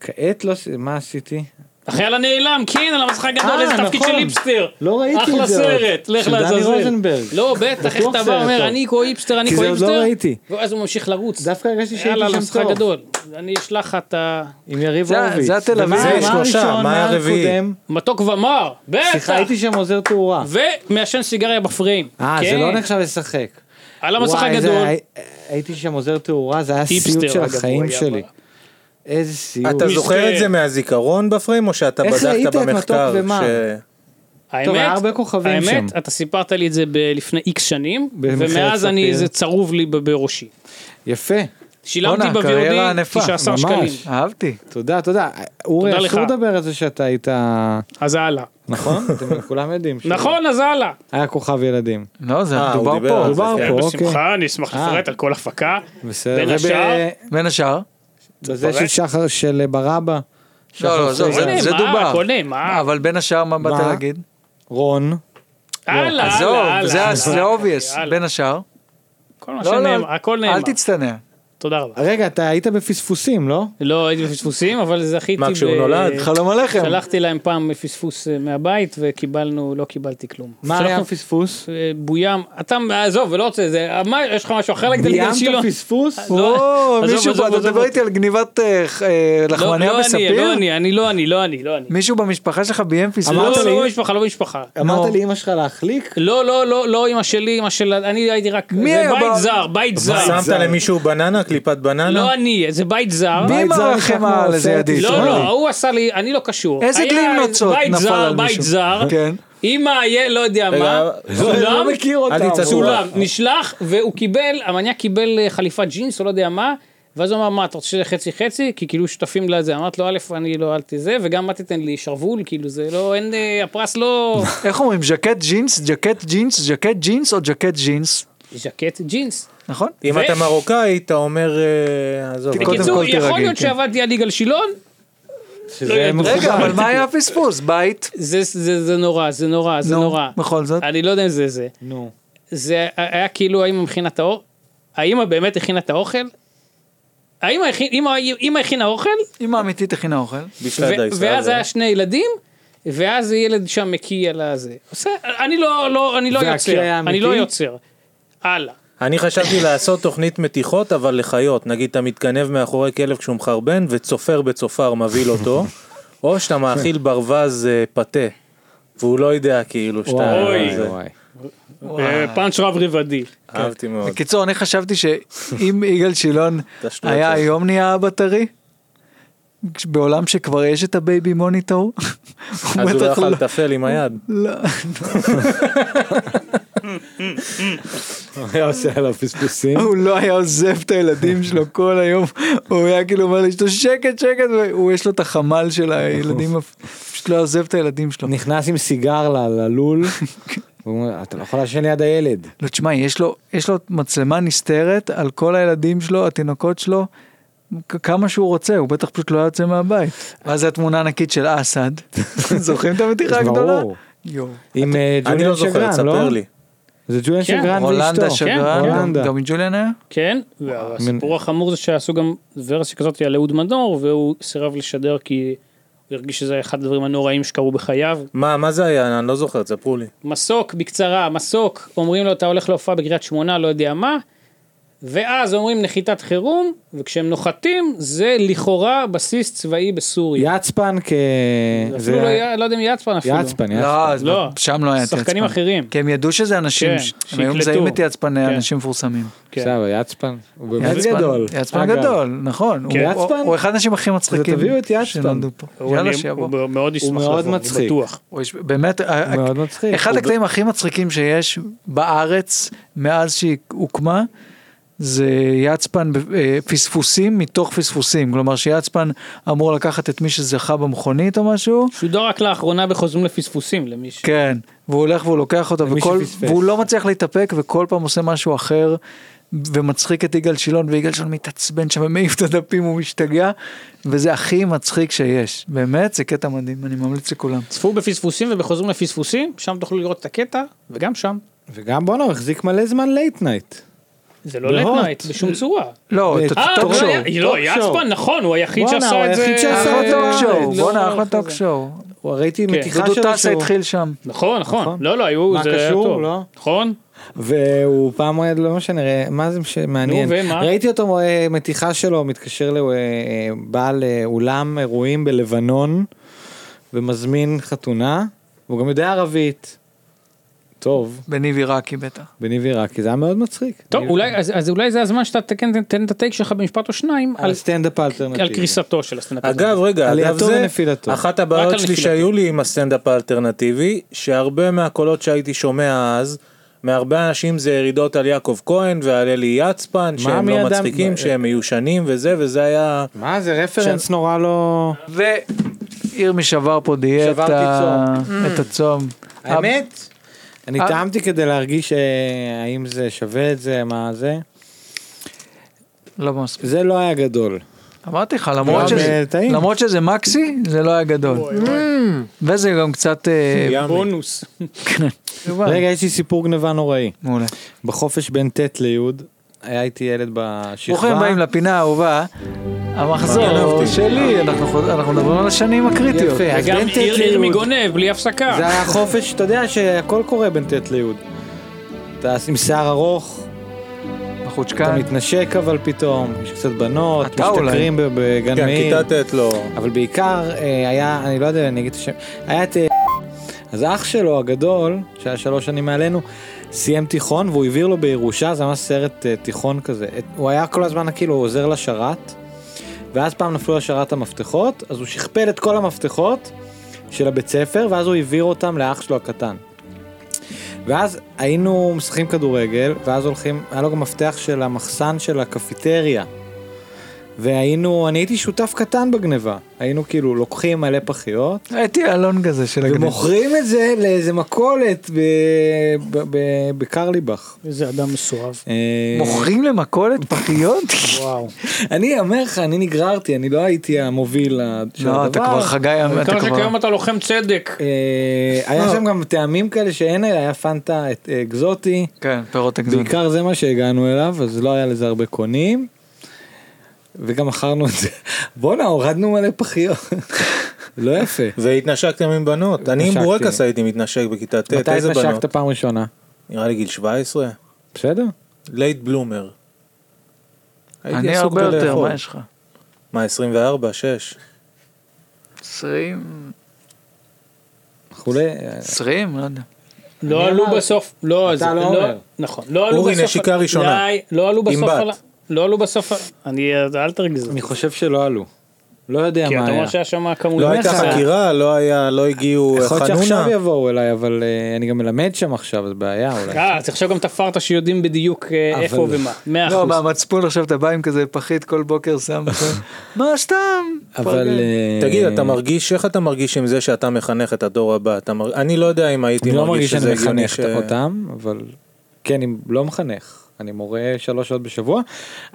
[SPEAKER 5] כעת לא... ש- מה עשיתי?
[SPEAKER 7] החייל הנעלם, כן, על המסך הגדול,
[SPEAKER 5] אה,
[SPEAKER 7] איזה תפקיד
[SPEAKER 5] נכון.
[SPEAKER 7] של היפסטר.
[SPEAKER 5] לא ראיתי את זה
[SPEAKER 7] אחלה
[SPEAKER 5] עוד.
[SPEAKER 7] סרט, לך
[SPEAKER 5] של דני
[SPEAKER 7] לעזאזל.
[SPEAKER 5] רוזנברג.
[SPEAKER 7] לא, בטח, איך
[SPEAKER 5] בטוח
[SPEAKER 7] אתה
[SPEAKER 5] סרט
[SPEAKER 7] בא
[SPEAKER 5] טוב.
[SPEAKER 7] אומר, אני כה היפסטר, אני
[SPEAKER 5] כי
[SPEAKER 7] כה
[SPEAKER 5] זה
[SPEAKER 7] היפסטר.
[SPEAKER 5] עוד לא ראיתי.
[SPEAKER 7] ואז הוא ממשיך לרוץ.
[SPEAKER 5] דווקא הרגשתי
[SPEAKER 7] יאללה, על
[SPEAKER 5] שהייתי
[SPEAKER 7] המסך
[SPEAKER 5] שם טוב.
[SPEAKER 7] הגדול. אני אשלח לך את
[SPEAKER 5] עם יריב
[SPEAKER 4] זה-
[SPEAKER 5] הורוביץ.
[SPEAKER 4] זה התל
[SPEAKER 5] ומה-
[SPEAKER 4] אביב.
[SPEAKER 6] זה
[SPEAKER 5] מה
[SPEAKER 6] שלושה,
[SPEAKER 5] הראשון,
[SPEAKER 6] מה
[SPEAKER 5] מה
[SPEAKER 6] הרביעי?
[SPEAKER 5] הקודם?
[SPEAKER 7] המתוק ומר, בטח.
[SPEAKER 5] הייתי שם עוזר תאורה.
[SPEAKER 7] ומעשן סיגריה בפריים.
[SPEAKER 5] אה, זה
[SPEAKER 7] כן.
[SPEAKER 5] לא נחשב לשחק.
[SPEAKER 7] על המסך
[SPEAKER 5] וואי, זה
[SPEAKER 7] הגדול.
[SPEAKER 5] היה- הייתי שם עוזר תאורה, זה היה
[SPEAKER 7] טיפסטר,
[SPEAKER 5] סיוט של
[SPEAKER 7] אגב, הוא
[SPEAKER 5] החיים
[SPEAKER 7] היה
[SPEAKER 5] שלי.
[SPEAKER 7] בה.
[SPEAKER 5] איזה סיוט.
[SPEAKER 6] אתה
[SPEAKER 7] מיסטר.
[SPEAKER 6] זוכר את זה מהזיכרון בפריים, או שאתה
[SPEAKER 5] איך ראית
[SPEAKER 6] בדקת
[SPEAKER 5] את
[SPEAKER 6] במחקר?
[SPEAKER 5] מתוק ומר?
[SPEAKER 6] ש- אה,
[SPEAKER 5] טוב, היה
[SPEAKER 7] האמת,
[SPEAKER 5] הרבה כוכבים
[SPEAKER 7] האמת,
[SPEAKER 5] שם.
[SPEAKER 7] אתה סיפרת לי את זה ב- לפני איקס שנים,
[SPEAKER 5] במכללת
[SPEAKER 7] ומאז אני,
[SPEAKER 5] ספיר.
[SPEAKER 7] זה צרוב לי ב- בראשי.
[SPEAKER 5] יפה.
[SPEAKER 7] שילמתי
[SPEAKER 4] בואנה, קריירה
[SPEAKER 7] ב-VOD
[SPEAKER 4] ענפה,
[SPEAKER 7] 19 שקלים.
[SPEAKER 5] ממש.
[SPEAKER 4] אהבתי.
[SPEAKER 5] תודה, תודה. אורי,
[SPEAKER 7] תודה
[SPEAKER 5] אסור
[SPEAKER 7] לך.
[SPEAKER 5] לדבר על זה שאתה היית...
[SPEAKER 7] אז הלאה.
[SPEAKER 5] נכון? אתם כולם יודעים. שהוא
[SPEAKER 7] נכון, אז הלאה.
[SPEAKER 5] היה כוכב ילדים.
[SPEAKER 4] לא, זה
[SPEAKER 6] אה, הוא
[SPEAKER 4] דובר
[SPEAKER 6] דיבר
[SPEAKER 4] פה.
[SPEAKER 6] על זה.
[SPEAKER 5] דובר
[SPEAKER 6] כן,
[SPEAKER 5] פה, אוקיי.
[SPEAKER 7] בשמחה, אני אשמח
[SPEAKER 4] אה.
[SPEAKER 7] לפרט על כל הפקה.
[SPEAKER 5] בסדר.
[SPEAKER 7] בין
[SPEAKER 5] וב-
[SPEAKER 7] השאר-
[SPEAKER 4] בין השאר.
[SPEAKER 5] בזה
[SPEAKER 7] תפרט.
[SPEAKER 5] של שחר של ברבא.
[SPEAKER 4] לא, לא,
[SPEAKER 5] עושה
[SPEAKER 4] עזוב,
[SPEAKER 5] את
[SPEAKER 4] זה
[SPEAKER 7] זה.
[SPEAKER 4] זה
[SPEAKER 7] הכל
[SPEAKER 4] דובר.
[SPEAKER 7] נאמר, הכל נאמר.
[SPEAKER 4] אה, אבל בין השאר, מה באת
[SPEAKER 5] מה?
[SPEAKER 4] להגיד?
[SPEAKER 5] רון.
[SPEAKER 7] הלאה,
[SPEAKER 4] עזוב,
[SPEAKER 7] הלאה,
[SPEAKER 4] זה
[SPEAKER 7] הלאה.
[SPEAKER 4] זה obvious.
[SPEAKER 7] הלאה.
[SPEAKER 4] בין השאר.
[SPEAKER 7] כל מה
[SPEAKER 4] לא,
[SPEAKER 7] שנאמר,
[SPEAKER 4] לא,
[SPEAKER 7] הכל נאמר.
[SPEAKER 4] אל תצטנע.
[SPEAKER 7] תודה רבה.
[SPEAKER 5] רגע, אתה היית בפספוסים, לא?
[SPEAKER 7] לא הייתי בפספוסים, אבל זכיתי
[SPEAKER 6] מה,
[SPEAKER 7] ב-
[SPEAKER 6] כשהוא נולד?
[SPEAKER 4] חלום עליכם.
[SPEAKER 7] אה, שלחתי להם פעם פספוס אה, מהבית וקיבלנו, לא קיבלתי כלום.
[SPEAKER 5] מה
[SPEAKER 7] שלחנו
[SPEAKER 5] היה הפספוס?
[SPEAKER 7] אה, בוים, אתה עזוב, ולא רוצה, זה, אה, מה, יש לך משהו אחר להגיד על גן שילון?
[SPEAKER 5] ביימת פספוס?
[SPEAKER 7] לא,
[SPEAKER 4] או,
[SPEAKER 7] עזוב,
[SPEAKER 4] מישהו, אתה
[SPEAKER 7] עזוב, עזוב,
[SPEAKER 4] מדבר
[SPEAKER 7] עזוב.
[SPEAKER 4] איתי על גניבת אה, ח- אה,
[SPEAKER 7] לא,
[SPEAKER 4] לחמניה
[SPEAKER 7] לא אני, לא
[SPEAKER 4] בספיר?
[SPEAKER 7] אני, אני לא אני, לא אני, לא אני.
[SPEAKER 4] מישהו במשפחה שלך ביים
[SPEAKER 7] לא,
[SPEAKER 4] פספוס?
[SPEAKER 5] אמרת לי-
[SPEAKER 7] לא במשפחה, לא במשפחה.
[SPEAKER 5] אמרת לאמא שלך להחליק?
[SPEAKER 7] לא, לא, לא, לא אמא שלי, אמא של... אני הייתי רק...
[SPEAKER 4] מי
[SPEAKER 7] זה
[SPEAKER 4] היה
[SPEAKER 7] בית
[SPEAKER 4] ב-
[SPEAKER 7] זר, בית זר.
[SPEAKER 6] שמת למישהו בננה, קליפת בננה?
[SPEAKER 7] לא אני, זה בית זר.
[SPEAKER 4] מי
[SPEAKER 5] בית זר
[SPEAKER 4] מרחם
[SPEAKER 5] לקח
[SPEAKER 4] על איזה
[SPEAKER 5] מעופרת
[SPEAKER 4] ידית?
[SPEAKER 7] לא, לא, ההוא עשה לי, אני לא קשור.
[SPEAKER 4] איזה
[SPEAKER 7] היה
[SPEAKER 4] דלים נוצות
[SPEAKER 7] בית
[SPEAKER 4] נפל
[SPEAKER 7] זר,
[SPEAKER 4] על מישהו?
[SPEAKER 7] בית זר,
[SPEAKER 4] כן.
[SPEAKER 7] אמא, יהיה, לא יודע
[SPEAKER 6] רגע,
[SPEAKER 4] <laughs>
[SPEAKER 7] מה.
[SPEAKER 6] לא,
[SPEAKER 5] אני
[SPEAKER 7] צולם,
[SPEAKER 5] לא מכיר אותם.
[SPEAKER 6] אל תצעקו.
[SPEAKER 7] צולם, נשלח, והוא קיבל, המניאק קיבל אה, חליפת ג'ינס או לא יודע מה, ואז הוא אמר, מה, אתה רוצה שזה חצי חצי? כי כאילו שותפים לזה. אמרתי לו, א', אני לא, אל תזה, וגם אל תיתן לי שרוול, כאילו זה לא, אין, אה,
[SPEAKER 4] <laughs>
[SPEAKER 7] הפרס לא...
[SPEAKER 4] איך אומרים? ז'קט ג'ינס, ז'קט ג'ינס, ז'קט ג'ינס או ז'קט ג'ינס?
[SPEAKER 7] ז'קט ג'ינס.
[SPEAKER 4] נכון?
[SPEAKER 6] אם
[SPEAKER 7] ו-
[SPEAKER 6] אתה מרוקאי, אתה אומר, אה, עזוב.
[SPEAKER 4] קודם
[SPEAKER 7] בקיצור,
[SPEAKER 4] כל תירגעי,
[SPEAKER 7] יכול להיות
[SPEAKER 4] כן.
[SPEAKER 7] שעבדתי על יגאל שילון, לא
[SPEAKER 5] שזה
[SPEAKER 7] ידעו.
[SPEAKER 4] רגע, אבל מה היה הפספוס? בית?
[SPEAKER 7] זה- זה זה נורא, זה נורא, זה
[SPEAKER 4] נו,
[SPEAKER 7] נורא.
[SPEAKER 4] בכל זאת.
[SPEAKER 7] אני לא יודע אם זה זה.
[SPEAKER 5] נו.
[SPEAKER 7] זה היה כאילו האמא הכינה את האור, האמא באמת הכינה את האוכל? האמא הכי- אמא- אמא הכינה אוכל,
[SPEAKER 4] אמא אמיתית הכינה אוכל.
[SPEAKER 6] בשלב
[SPEAKER 7] ו-
[SPEAKER 6] דייסה,
[SPEAKER 7] ואז
[SPEAKER 6] זה-
[SPEAKER 7] היה שני ילדים, ואז ילד שם מקיא על הזה. עושה- אני לא, לא, אני לא
[SPEAKER 5] והקיא היה
[SPEAKER 7] יוצר, אני לא
[SPEAKER 5] אמיתי?
[SPEAKER 7] יוצר. הלאה.
[SPEAKER 6] אני חשבתי לעשות תוכנית מתיחות, אבל לחיות. נגיד, אתה מתגנב מאחורי כלב כשהוא מחרבן, וצופר בצופר מבהיל אותו, או שאתה מאכיל ברווז אה, פתה, והוא לא יודע כאילו שאתה...
[SPEAKER 7] אוי.
[SPEAKER 6] זה-
[SPEAKER 5] וואי.
[SPEAKER 7] אה, פאנץ' רב רבדי.
[SPEAKER 6] אהבתי
[SPEAKER 5] <laughs>
[SPEAKER 6] מאוד.
[SPEAKER 4] בקיצור, אני חשבתי שאם יגאל שילון
[SPEAKER 6] השטויות
[SPEAKER 4] היה
[SPEAKER 6] שלך.
[SPEAKER 4] היום נהיה אבא טרי, בעולם שכבר יש את הבייבי מוניטור, הוא
[SPEAKER 6] אז הוא לא
[SPEAKER 4] בטח
[SPEAKER 6] יכול לטפל עם היד.
[SPEAKER 5] הוא היה עושה עליו פספוסים.
[SPEAKER 4] הוא לא היה עוזב את הילדים <laughs> שלו כל היום, הוא היה כאילו אומר לאשתו שקט שקט, והוא יש לו את החמ"ל של הילדים, פשוט לא היה עוזב את הילדים שלו.
[SPEAKER 5] נכנס עם סיגר ל-
[SPEAKER 7] <laughs>
[SPEAKER 5] ללול. והוא אומר, אתה לא יכול לעשן ליד הילד.
[SPEAKER 4] לא, תשמע, יש לו, יש לו מצלמה נסתרת על כל הילדים שלו, התינוקות שלו, כ- כמה שהוא רוצה, הוא בטח פשוט לא היה יוצא מהבית. ואז זו התמונה הענקית של <laughs> אסד. זוכרים את המתיחה הגדולה?
[SPEAKER 5] ברור.
[SPEAKER 4] יואו.
[SPEAKER 5] עם אה,
[SPEAKER 6] אני לא
[SPEAKER 5] ג'וליאן
[SPEAKER 6] זוכר,
[SPEAKER 5] שגרן, לא?
[SPEAKER 6] תספר לי.
[SPEAKER 5] זה ג'וליאן
[SPEAKER 7] כן,
[SPEAKER 5] שגרן
[SPEAKER 4] הולנדה
[SPEAKER 5] ואשתו.
[SPEAKER 4] שגרן,
[SPEAKER 5] כן,
[SPEAKER 4] גם-
[SPEAKER 5] הולנדה.
[SPEAKER 4] גם עם ג'וליאן היה?
[SPEAKER 7] כן, והסיפור החמור זה שעשו גם ורסיה כזאת על אהוד מנור, והוא סירב לשדר כי הוא הרגיש שזה אחד הדברים הנוראים שקרו בחייו.
[SPEAKER 6] מה, מה זה היה? אני לא זוכר, תספרו לי.
[SPEAKER 7] מסוק, בקצרה, מסוק, אומרים לו אתה הולך להופעה בקריית שמונה, לא יודע מה, ואז אומרים נחיתת חירום, וכשהם נוחתים זה לכאורה בסיס צבאי בסוריה.
[SPEAKER 5] יצפן כ... זה
[SPEAKER 7] אפילו לא, י- לא יודע אם יצפן אפילו.
[SPEAKER 5] יצפן, יצפן.
[SPEAKER 4] לא, אז
[SPEAKER 7] לא.
[SPEAKER 4] שם לא היה את
[SPEAKER 7] שחקנים
[SPEAKER 4] יצפן.
[SPEAKER 7] אחרים.
[SPEAKER 4] כי הם ידעו שזה אנשים,
[SPEAKER 7] כן,
[SPEAKER 4] ש- הם היו
[SPEAKER 7] שיקלטו.
[SPEAKER 4] מזהים את יצפן,
[SPEAKER 7] כן.
[SPEAKER 4] אנשים מפורסמים.
[SPEAKER 7] כן.
[SPEAKER 5] בסדר, יצפן. הוא באמת
[SPEAKER 4] יצפן-
[SPEAKER 5] גדול.
[SPEAKER 4] יצפן
[SPEAKER 5] אגב.
[SPEAKER 4] גדול, נכון.
[SPEAKER 5] כן.
[SPEAKER 4] הוא-
[SPEAKER 5] יצפן?
[SPEAKER 4] הוא אחד האנשים הכי מצחיקים.
[SPEAKER 5] תביאו את יצפן.
[SPEAKER 4] שנולדו פה.
[SPEAKER 7] הוא-
[SPEAKER 4] יאללה,
[SPEAKER 7] אני-
[SPEAKER 4] שיבוא.
[SPEAKER 7] הוא מאוד ישמח
[SPEAKER 5] מאוד
[SPEAKER 7] לבוא, אני
[SPEAKER 5] מצחיק.
[SPEAKER 7] בטוח.
[SPEAKER 4] הוא יש- באמת, אה,
[SPEAKER 5] הוא מאוד מצחיק.
[SPEAKER 4] אחד
[SPEAKER 5] הוא
[SPEAKER 4] הקטעים הכי מצחיקים שיש בארץ מאז שהיא הוקמה זה יצפן אה, פספוסים מתוך פספוסים כלומר שיצפן אמור לקחת את מי שזכה במכונית או משהו
[SPEAKER 7] שודר רק לאחרונה בחוזרים לפספוסים למי ש...
[SPEAKER 4] כן והוא הולך והוא לוקח אותו
[SPEAKER 5] למי
[SPEAKER 4] וכל,
[SPEAKER 5] שפספס.
[SPEAKER 4] והוא לא מצליח להתאפק וכל פעם עושה משהו אחר ומצחיק את יגאל שילון ויגאל שילון מתעצבן שם ומעיף את הדפים הוא משתגע וזה הכי מצחיק שיש באמת זה קטע מדהים אני ממליץ לכולם.
[SPEAKER 7] צפו בפספוסים ובחוזרים לפספוסים, שם תוכלו לראות את הקטע, וגם שם.
[SPEAKER 5] וגם בואנה, הוא החזיק מלא זמן לייט נייט.
[SPEAKER 7] זה לא לט
[SPEAKER 5] בהוט.
[SPEAKER 7] נייט בשום צורה.
[SPEAKER 4] לא, את
[SPEAKER 7] אה,
[SPEAKER 4] הטוק
[SPEAKER 7] לא,
[SPEAKER 4] שואו.
[SPEAKER 7] היה- לא,
[SPEAKER 5] טוק שואו.
[SPEAKER 7] יצפן, נכון, הוא היחיד
[SPEAKER 5] בואנה, הוא
[SPEAKER 7] שעשה את זה.
[SPEAKER 5] היחיד שעשה
[SPEAKER 4] אחלה
[SPEAKER 5] אה,
[SPEAKER 4] טוק שואו,
[SPEAKER 7] לא,
[SPEAKER 4] בואנה אחלה
[SPEAKER 7] אחרי
[SPEAKER 4] טוק
[SPEAKER 7] זה.
[SPEAKER 4] שואו.
[SPEAKER 5] הוא ראיתי
[SPEAKER 7] כן.
[SPEAKER 5] מתיחה
[SPEAKER 4] דודו
[SPEAKER 5] שלו
[SPEAKER 4] טסה
[SPEAKER 5] שהוא...
[SPEAKER 4] התחיל שם.
[SPEAKER 7] נכון, נכון.
[SPEAKER 5] נכון.
[SPEAKER 7] לא, לא, היו,
[SPEAKER 5] מה,
[SPEAKER 7] זה היה
[SPEAKER 5] קשור?
[SPEAKER 7] טוב.
[SPEAKER 5] לא.
[SPEAKER 7] נכון?
[SPEAKER 5] והוא פעם, היה- לא משנה, ראה- מה זה מש- מעניין.
[SPEAKER 7] נו, ומה?
[SPEAKER 5] ראיתי אותו, אה, מתיחה שלו, מתקשר לבעל אה, אולם אירועים בלבנון, ומזמין חתונה, והוא גם יודע ערבית. טוב,
[SPEAKER 4] בניב עיראקי בטח.
[SPEAKER 5] בניב עיראקי, זה היה מאוד מצחיק.
[SPEAKER 7] טוב,
[SPEAKER 5] אני-
[SPEAKER 7] אולי, אז, אז אולי זה הזמן שאתה תתקן תתן את הטייק שלך במשפט או שניים על,
[SPEAKER 5] על סטנדאפ האלטרנטיבי.
[SPEAKER 7] על קריסתו של הסטנדאפ.
[SPEAKER 6] אגב, רגע, אגב
[SPEAKER 5] עלייתו
[SPEAKER 6] זה,
[SPEAKER 5] ונפילתו.
[SPEAKER 6] אחת
[SPEAKER 7] רק על
[SPEAKER 6] הבעיות שלי
[SPEAKER 7] נפילתו.
[SPEAKER 6] שהיו לי עם הסטנדאפ האלטרנטיבי, שהרבה מהקולות שהייתי שומע אז, מהרבה אנשים זה ירידות על יעקב כהן ועל אלי יצפן, שהם
[SPEAKER 5] מי
[SPEAKER 6] לא
[SPEAKER 5] אדם-
[SPEAKER 6] מצחיקים, שהם מיושנים וזה, וזה היה...
[SPEAKER 5] מה זה רפרנס נורא לא...
[SPEAKER 7] אה,
[SPEAKER 4] וירמי שבר פה דיאטה,
[SPEAKER 5] שברתי
[SPEAKER 4] את הצום.
[SPEAKER 5] האמת? אני
[SPEAKER 4] אה.
[SPEAKER 5] טעמתי כדי להרגיש אה, האם זה שווה את זה, מה זה.
[SPEAKER 4] לא מספיק.
[SPEAKER 5] זה לא היה גדול.
[SPEAKER 4] אמרתי לך, למרות
[SPEAKER 5] גם,
[SPEAKER 4] שזה-
[SPEAKER 5] אה, טעים.
[SPEAKER 4] למרות שזה מקסי, זה לא היה גדול. Mm. וזה גם קצת... אה,
[SPEAKER 7] בונוס.
[SPEAKER 5] רגע, יש לי סיפור גניבה נוראי.
[SPEAKER 4] מעולה.
[SPEAKER 5] בחופש בין ט' לי', היה איתי ילד בשכבה.
[SPEAKER 4] ברוכים הבאים לפינה האהובה. המחזור שלי, אנחנו חוז- אנחנו מדברים על השנים הקריטיות.
[SPEAKER 5] יפה, אז
[SPEAKER 7] גם
[SPEAKER 5] בין ט'
[SPEAKER 7] עיר עיר
[SPEAKER 5] לי'.
[SPEAKER 7] מגונב, בלי הפסקה.
[SPEAKER 5] זה היה חופש, אתה יודע שהכל קורה בין ט' לי'. אתה עם שיער ארוך, אתה
[SPEAKER 4] בחוצ'קן.
[SPEAKER 5] מתנשק אבל פתאום, יש קצת בנות,
[SPEAKER 4] כן. אתה אולי.
[SPEAKER 5] משתכרים ב- בגן
[SPEAKER 6] כן,
[SPEAKER 5] מאיר.
[SPEAKER 6] כיתה ט' לא...
[SPEAKER 5] אבל בעיקר אה, היה, אני לא יודע, אני אגיד את השם, היה את... אה, אז אח שלו הגדול, שהיה שלוש שנים מעלינו, סיים תיכון והוא העביר לו בירושה, זה ממש סרט אה, תיכון כזה. את- הוא היה כל הזמן כאילו עוזר לשרת, ואז פעם נפלו לשרת המפתחות, אז הוא שכפל את כל המפתחות של הבית ספר, ואז הוא העביר אותם לאח שלו הקטן. ואז היינו משחקים כדורגל, ואז הולכים, היה לו גם מפתח של המחסן של הקפיטריה. והיינו, אני הייתי שותף קטן בגניבה. היינו כאילו לוקחים מלא פחיות,
[SPEAKER 4] הייתי אלון כזה של הגדול.
[SPEAKER 5] ומוכרים את זה לאיזה מכולת ב- ב- ב- בקרליבך.
[SPEAKER 3] איזה אדם מסואב.
[SPEAKER 5] אה,
[SPEAKER 4] מוכרים למכולת פחיות?
[SPEAKER 3] וואו.
[SPEAKER 5] אני אומר לך, אני נגררתי, אני לא הייתי המוביל ה- <laughs> של הדבר.
[SPEAKER 4] לא, אתה כבר חגי, אתה
[SPEAKER 7] כמה
[SPEAKER 4] כבר...
[SPEAKER 7] שכיום אתה לוחם צדק.
[SPEAKER 5] אה, היה שם גם טעמים כאלה שאין, היה פנטה את- אה, אקזוטי.
[SPEAKER 4] כן, פירות הגזון.
[SPEAKER 5] בעיקר זה מה שהגענו אליו, אז לא היה לזה הרבה קונים. וגם מכרנו את זה. בואנה, הורדנו מלא פחיות. <laughs> לא יפה.
[SPEAKER 6] והתנשקתם עם בנות. אני עם
[SPEAKER 5] התנשקתי.
[SPEAKER 6] בורקס הייתי מתנשק בכיתה ט',
[SPEAKER 5] מתי
[SPEAKER 6] איזה בנות?
[SPEAKER 5] התנשקת פעם ראשונה?
[SPEAKER 6] נראה לי גיל 17?
[SPEAKER 5] בסדר.
[SPEAKER 6] לייט בלומר. הייתי
[SPEAKER 4] אני
[SPEAKER 6] עסוק
[SPEAKER 4] הרבה יותר,
[SPEAKER 6] בלאכול.
[SPEAKER 4] מה יש לך?
[SPEAKER 6] מה, 24? 6?
[SPEAKER 4] 20?
[SPEAKER 5] וכולי.
[SPEAKER 4] 20? לא יודע.
[SPEAKER 7] לא עלו
[SPEAKER 5] אמרתי.
[SPEAKER 7] בסוף, לא,
[SPEAKER 5] אתה
[SPEAKER 7] זה-
[SPEAKER 5] לא אומר.
[SPEAKER 7] נכון, לא עלו בסוף,
[SPEAKER 6] אורי, נשיקה ראשונה.
[SPEAKER 7] די, לא עלו
[SPEAKER 6] עם
[SPEAKER 7] בסוף,
[SPEAKER 6] בת.
[SPEAKER 7] על- לא עלו בסוף, על- אני, אל תרגיז,
[SPEAKER 5] אני חושב שלא עלו. לא יודע
[SPEAKER 7] כי
[SPEAKER 5] מה
[SPEAKER 7] אתה
[SPEAKER 5] היה.
[SPEAKER 7] אומר שהיה שם כמות,
[SPEAKER 6] לא הייתה חקירה, לא היה, לא הגיעו
[SPEAKER 5] יכול להיות
[SPEAKER 6] חנונה.
[SPEAKER 5] שעכשיו יבואו אליי, אבל אה, אני גם מלמד שם עכשיו, אז בעיה אולי.
[SPEAKER 7] אה, אז עכשיו גם תפרת שיודעים בדיוק אה,
[SPEAKER 5] אבל-
[SPEAKER 7] איפה ומה, מאה
[SPEAKER 4] לא,
[SPEAKER 7] אחוז,
[SPEAKER 4] מהמצפון עכשיו אתה בא עם כזה פחית כל בוקר שם, מה סתם? כן.
[SPEAKER 5] אבל... אה,
[SPEAKER 6] תגיד, אתה מרגיש, איך אתה מרגיש עם זה שאתה מחנך את הדור הבא? אתה מר- אני לא יודע אם הייתי
[SPEAKER 5] אני לא מרגיש
[SPEAKER 6] מרגיש
[SPEAKER 5] שאני
[SPEAKER 6] שזה הגיוני
[SPEAKER 5] מחנך
[SPEAKER 6] ש...
[SPEAKER 5] אותם, אבל... כן, אני לא מחנך. אני מורה שלוש שעות בשבוע,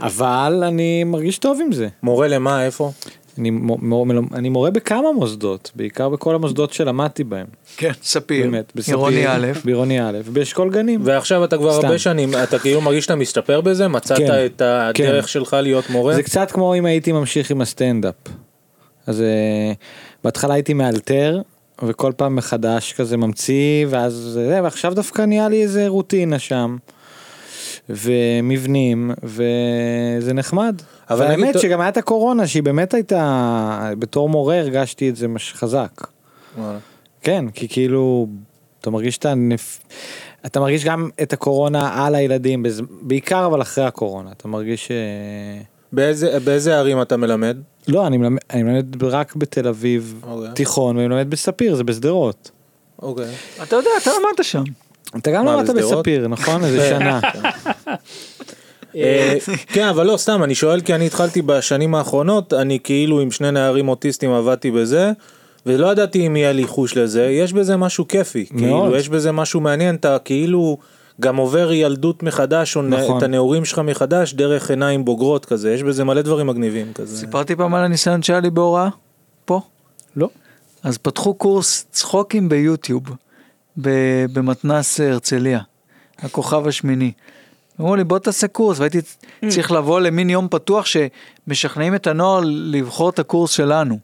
[SPEAKER 5] אבל אני מרגיש טוב עם זה.
[SPEAKER 6] מורה למה, איפה?
[SPEAKER 5] אני מ- מ- אני מורה בכמה מוסדות, בעיקר בכל המוסדות שלמדתי בהם.
[SPEAKER 4] כן, ספיר,
[SPEAKER 5] באמת, בספיר.
[SPEAKER 4] עירוני א',
[SPEAKER 5] בעירוני א', באשכול גנים.
[SPEAKER 6] ועכשיו אתה כבר
[SPEAKER 5] סתם.
[SPEAKER 6] הרבה שנים, אתה כאילו מרגיש שאתה מסתפר בזה? מצאת
[SPEAKER 5] כן,
[SPEAKER 6] את הדרך
[SPEAKER 5] כן.
[SPEAKER 6] שלך להיות מורה?
[SPEAKER 5] זה קצת כמו אם הייתי ממשיך עם הסטנדאפ. אז אה, בהתחלה הייתי מאלתר וכל פעם מחדש כזה ממציא ואז זה ועכשיו דווקא נהיה לי איזה רוטינה שם. ומבנים וזה נחמד.
[SPEAKER 6] אבל
[SPEAKER 5] אבל
[SPEAKER 6] נגיד
[SPEAKER 5] האמת
[SPEAKER 6] אתה-
[SPEAKER 5] שגם הייתה קורונה שהיא באמת הייתה בתור מורה הרגשתי את זה מש- חזק.
[SPEAKER 6] וואלה.
[SPEAKER 5] כן, כי כאילו, אתה מרגיש את הנפ... אתה מרגיש גם את הקורונה על הילדים, בז... בעיקר אבל אחרי הקורונה, אתה מרגיש... אה,
[SPEAKER 6] באיזה- באיזה ערים אתה מלמד?
[SPEAKER 5] לא, אני מלמד, אני מלמד רק בתל אביב
[SPEAKER 6] אוקיי.
[SPEAKER 5] תיכון, ואני מלמד בספיר, זה בשדרות.
[SPEAKER 6] אוקיי.
[SPEAKER 4] אתה יודע, אתה למדת שם.
[SPEAKER 5] אתה גם
[SPEAKER 6] מה,
[SPEAKER 5] למדת
[SPEAKER 6] בשדרות? כן.
[SPEAKER 5] בספיר, נכון? איזה
[SPEAKER 6] <laughs>
[SPEAKER 5] שנה.
[SPEAKER 6] אה, כן, אבל לא, סתם, אני שואל כי אני התחלתי בשנים האחרונות, אני כאילו עם שני נערים אוטיסטים עבדתי בזה, ולא ידעתי אם יהיה לי חוש לזה, יש בזה משהו כיפי, כאילו, יש בזה משהו מעניין, אתה כאילו גם עובר ילדות מחדש, או נ-
[SPEAKER 5] נכון.
[SPEAKER 6] את הנעורים שלך מחדש, דרך עיניים בוגרות כזה, יש בזה מלא דברים מגניבים כזה.
[SPEAKER 4] סיפרתי פעם על הניסיון שהיה לי בהוראה? פה?
[SPEAKER 3] לא.
[SPEAKER 4] אז פתחו קורס צחוקים ביוטיוב, ב- במתנ"ס הרצליה, הכוכב השמיני. אמרו לי בוא תעשה קורס והייתי צריך לבוא למין יום פתוח שמשכנעים את הנוער לבחור את הקורס שלנו.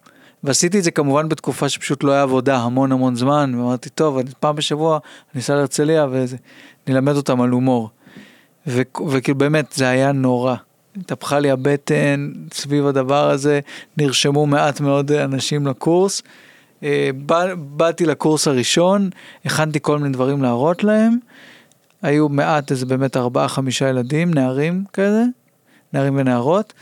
[SPEAKER 4] ועשיתי את זה כמובן בתקופה שפשוט לא היה עבודה המון המון זמן ואמרתי טוב אני פעם בשבוע אני אסע להרצליה ונלמד אותם על הומור. ו- וכאילו באמת זה היה נורא. התהפכה לי הבטן סביב הדבר הזה, נרשמו מעט מאוד אנשים לקורס. אה, בא- באתי לקורס הראשון, הכנתי כל מיני דברים להראות להם. היו מעט, איזה באמת ארבעה חמישה ילדים, נערים כזה, נערים ונערות.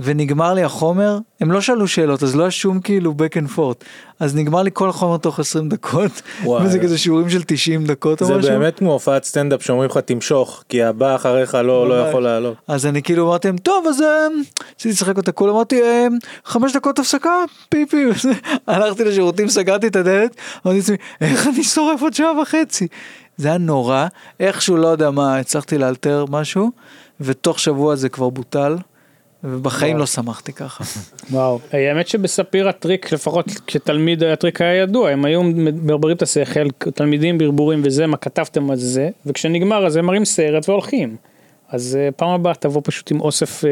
[SPEAKER 4] ונגמר לי החומר, הם לא שאלו שאלות, אז לא היה שום כאילו back and forth. אז נגמר לי כל החומר תוך 20 דקות,
[SPEAKER 6] וואי.
[SPEAKER 4] וזה כזה שיעורים של 90 דקות או
[SPEAKER 6] זה
[SPEAKER 4] משהו.
[SPEAKER 6] באמת כמו הופעת סטנדאפ שאומרים לך תמשוך, כי הבא אחריך לא לא
[SPEAKER 4] ממש.
[SPEAKER 6] יכול לעלות.
[SPEAKER 4] אז אני כאילו אמרתי להם, טוב, אז אה, רציתי לשחק אותה כולה, אמרתי, "אה, חמש דקות הפסקה, פיפי, <laughs> וזה. הלכתי לשירותים, סגרתי את הדלת, אמרתי לעצמי, איך אני שורף עוד שעה וחצי? זה היה נורא, איכשהו, לא יודע מה, הצלחתי לאלתר משהו, ותוך שבוע זה כבר בוטל, ובחיים לא שמחתי <laughs> ככה.
[SPEAKER 7] וואו. האמת שבספיר הטריק, לפחות כתלמיד הטריק היה ידוע, הם היו מברברים את השכל, תלמידים ברבורים וזה, מה כתבתם על זה, וכשנגמר אז הם מראים סרט והולכים. אז אה, פעם הבאה תבוא פשוט עם אוסף אה,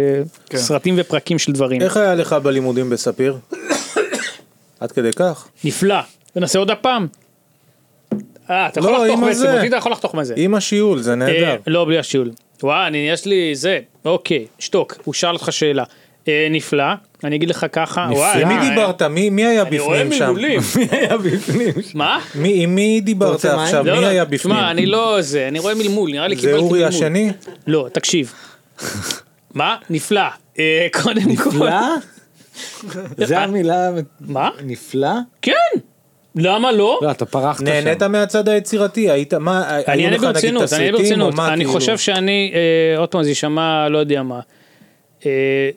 [SPEAKER 7] סרטים ופרקים של דברים.
[SPEAKER 6] כן. איך היה לך בלימודים בספיר? <coughs> עד כדי כך?
[SPEAKER 7] נפלא. ונעשה עוד הפעם. אה, אתה יכול
[SPEAKER 6] לא,
[SPEAKER 7] לחתוך
[SPEAKER 6] עם
[SPEAKER 7] מזה,
[SPEAKER 6] הזה.
[SPEAKER 7] אותי אתה יכול לחתוך מזה.
[SPEAKER 6] עם השיעול, זה
[SPEAKER 7] אה,
[SPEAKER 6] נהדר.
[SPEAKER 7] לא, בלי השיעול. וואי, אני, יש לי זה. אוקיי, שתוק, הוא שאל אותך שאלה. אה, נפלא, אני אגיד לך ככה. וואי,
[SPEAKER 6] עם מי
[SPEAKER 7] אה,
[SPEAKER 6] דיברת? מי מי היה
[SPEAKER 7] אני רואה
[SPEAKER 6] בפנים שם? <laughs>
[SPEAKER 7] מילולים. מה?
[SPEAKER 6] מי- עם מי דיברת
[SPEAKER 3] רוצה מים?
[SPEAKER 6] עכשיו?
[SPEAKER 7] לא,
[SPEAKER 6] מי
[SPEAKER 7] לא,
[SPEAKER 6] היה בפנים?
[SPEAKER 7] תשמע, אני לא זה, אני רואה מלמול, נראה לי
[SPEAKER 6] זה
[SPEAKER 7] קיבלתי מלמול.
[SPEAKER 6] אורי השני?
[SPEAKER 7] לא,
[SPEAKER 6] <laughs>
[SPEAKER 7] תקשיב. מה? נפלא. אה, קודם כל.
[SPEAKER 5] לא?
[SPEAKER 3] נפלא?
[SPEAKER 6] אה,
[SPEAKER 3] זה המילה
[SPEAKER 7] מה?
[SPEAKER 3] נפלא?
[SPEAKER 7] כן! למה לא?
[SPEAKER 5] לא, אתה פרחת
[SPEAKER 6] נהנית
[SPEAKER 5] שם.
[SPEAKER 6] מהצד היצירתי? היית, מה,
[SPEAKER 7] אני
[SPEAKER 6] היו
[SPEAKER 7] אענה
[SPEAKER 6] לך נגיד
[SPEAKER 7] ברצינות, אני אענה
[SPEAKER 6] תסריטים או
[SPEAKER 7] ברצינות.
[SPEAKER 6] מה,
[SPEAKER 7] אני
[SPEAKER 6] כאילו?
[SPEAKER 7] חושב שאני, אה, עוד פעם זה יישמע לא יודע מה. אה,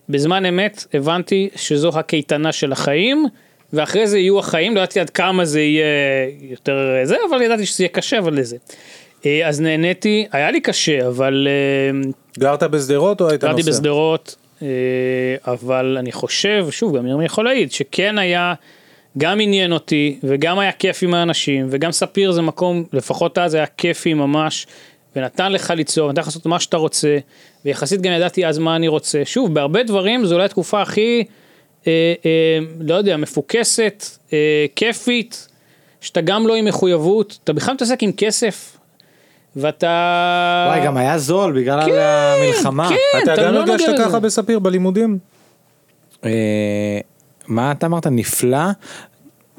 [SPEAKER 7] בזמן אמת הבנתי שזו הקייטנה של החיים, ואחרי זה יהיו החיים, לא ידעתי עד כמה זה יהיה יותר אה, זה, אבל ידעתי שזה יהיה קשה, אבל לזה. אה, אז נהניתי, היה לי קשה, אבל אה,
[SPEAKER 6] גרת בשדרות או היית נוסע?
[SPEAKER 7] גרתי בשדרות, אה, אבל אני חושב, שוב, גם ירמי יכול להעיד, שכן היה, גם עניין אותי, וגם היה כיף עם האנשים, וגם ספיר זה מקום, לפחות אז היה כיפי ממש, ונתן לך ליצור, נתן לך לעשות מה שאתה רוצה, ויחסית גם ידעתי אז מה אני רוצה. שוב, בהרבה דברים זו אולי התקופה הכי, אה, אה, לא יודע, מפוקסת, אה, כיפית, שאתה גם לא עם מחויבות, אתה בכלל מתעסק עם כסף. ואתה...
[SPEAKER 5] וואי, גם היה זול בגלל
[SPEAKER 7] כן,
[SPEAKER 5] המלחמה.
[SPEAKER 7] כן,
[SPEAKER 6] אתה גם
[SPEAKER 7] לא
[SPEAKER 6] הרגשת
[SPEAKER 7] נוגע בזה.
[SPEAKER 6] ככה בספיר בלימודים?
[SPEAKER 5] אה, מה אתה אמרת? נפלא?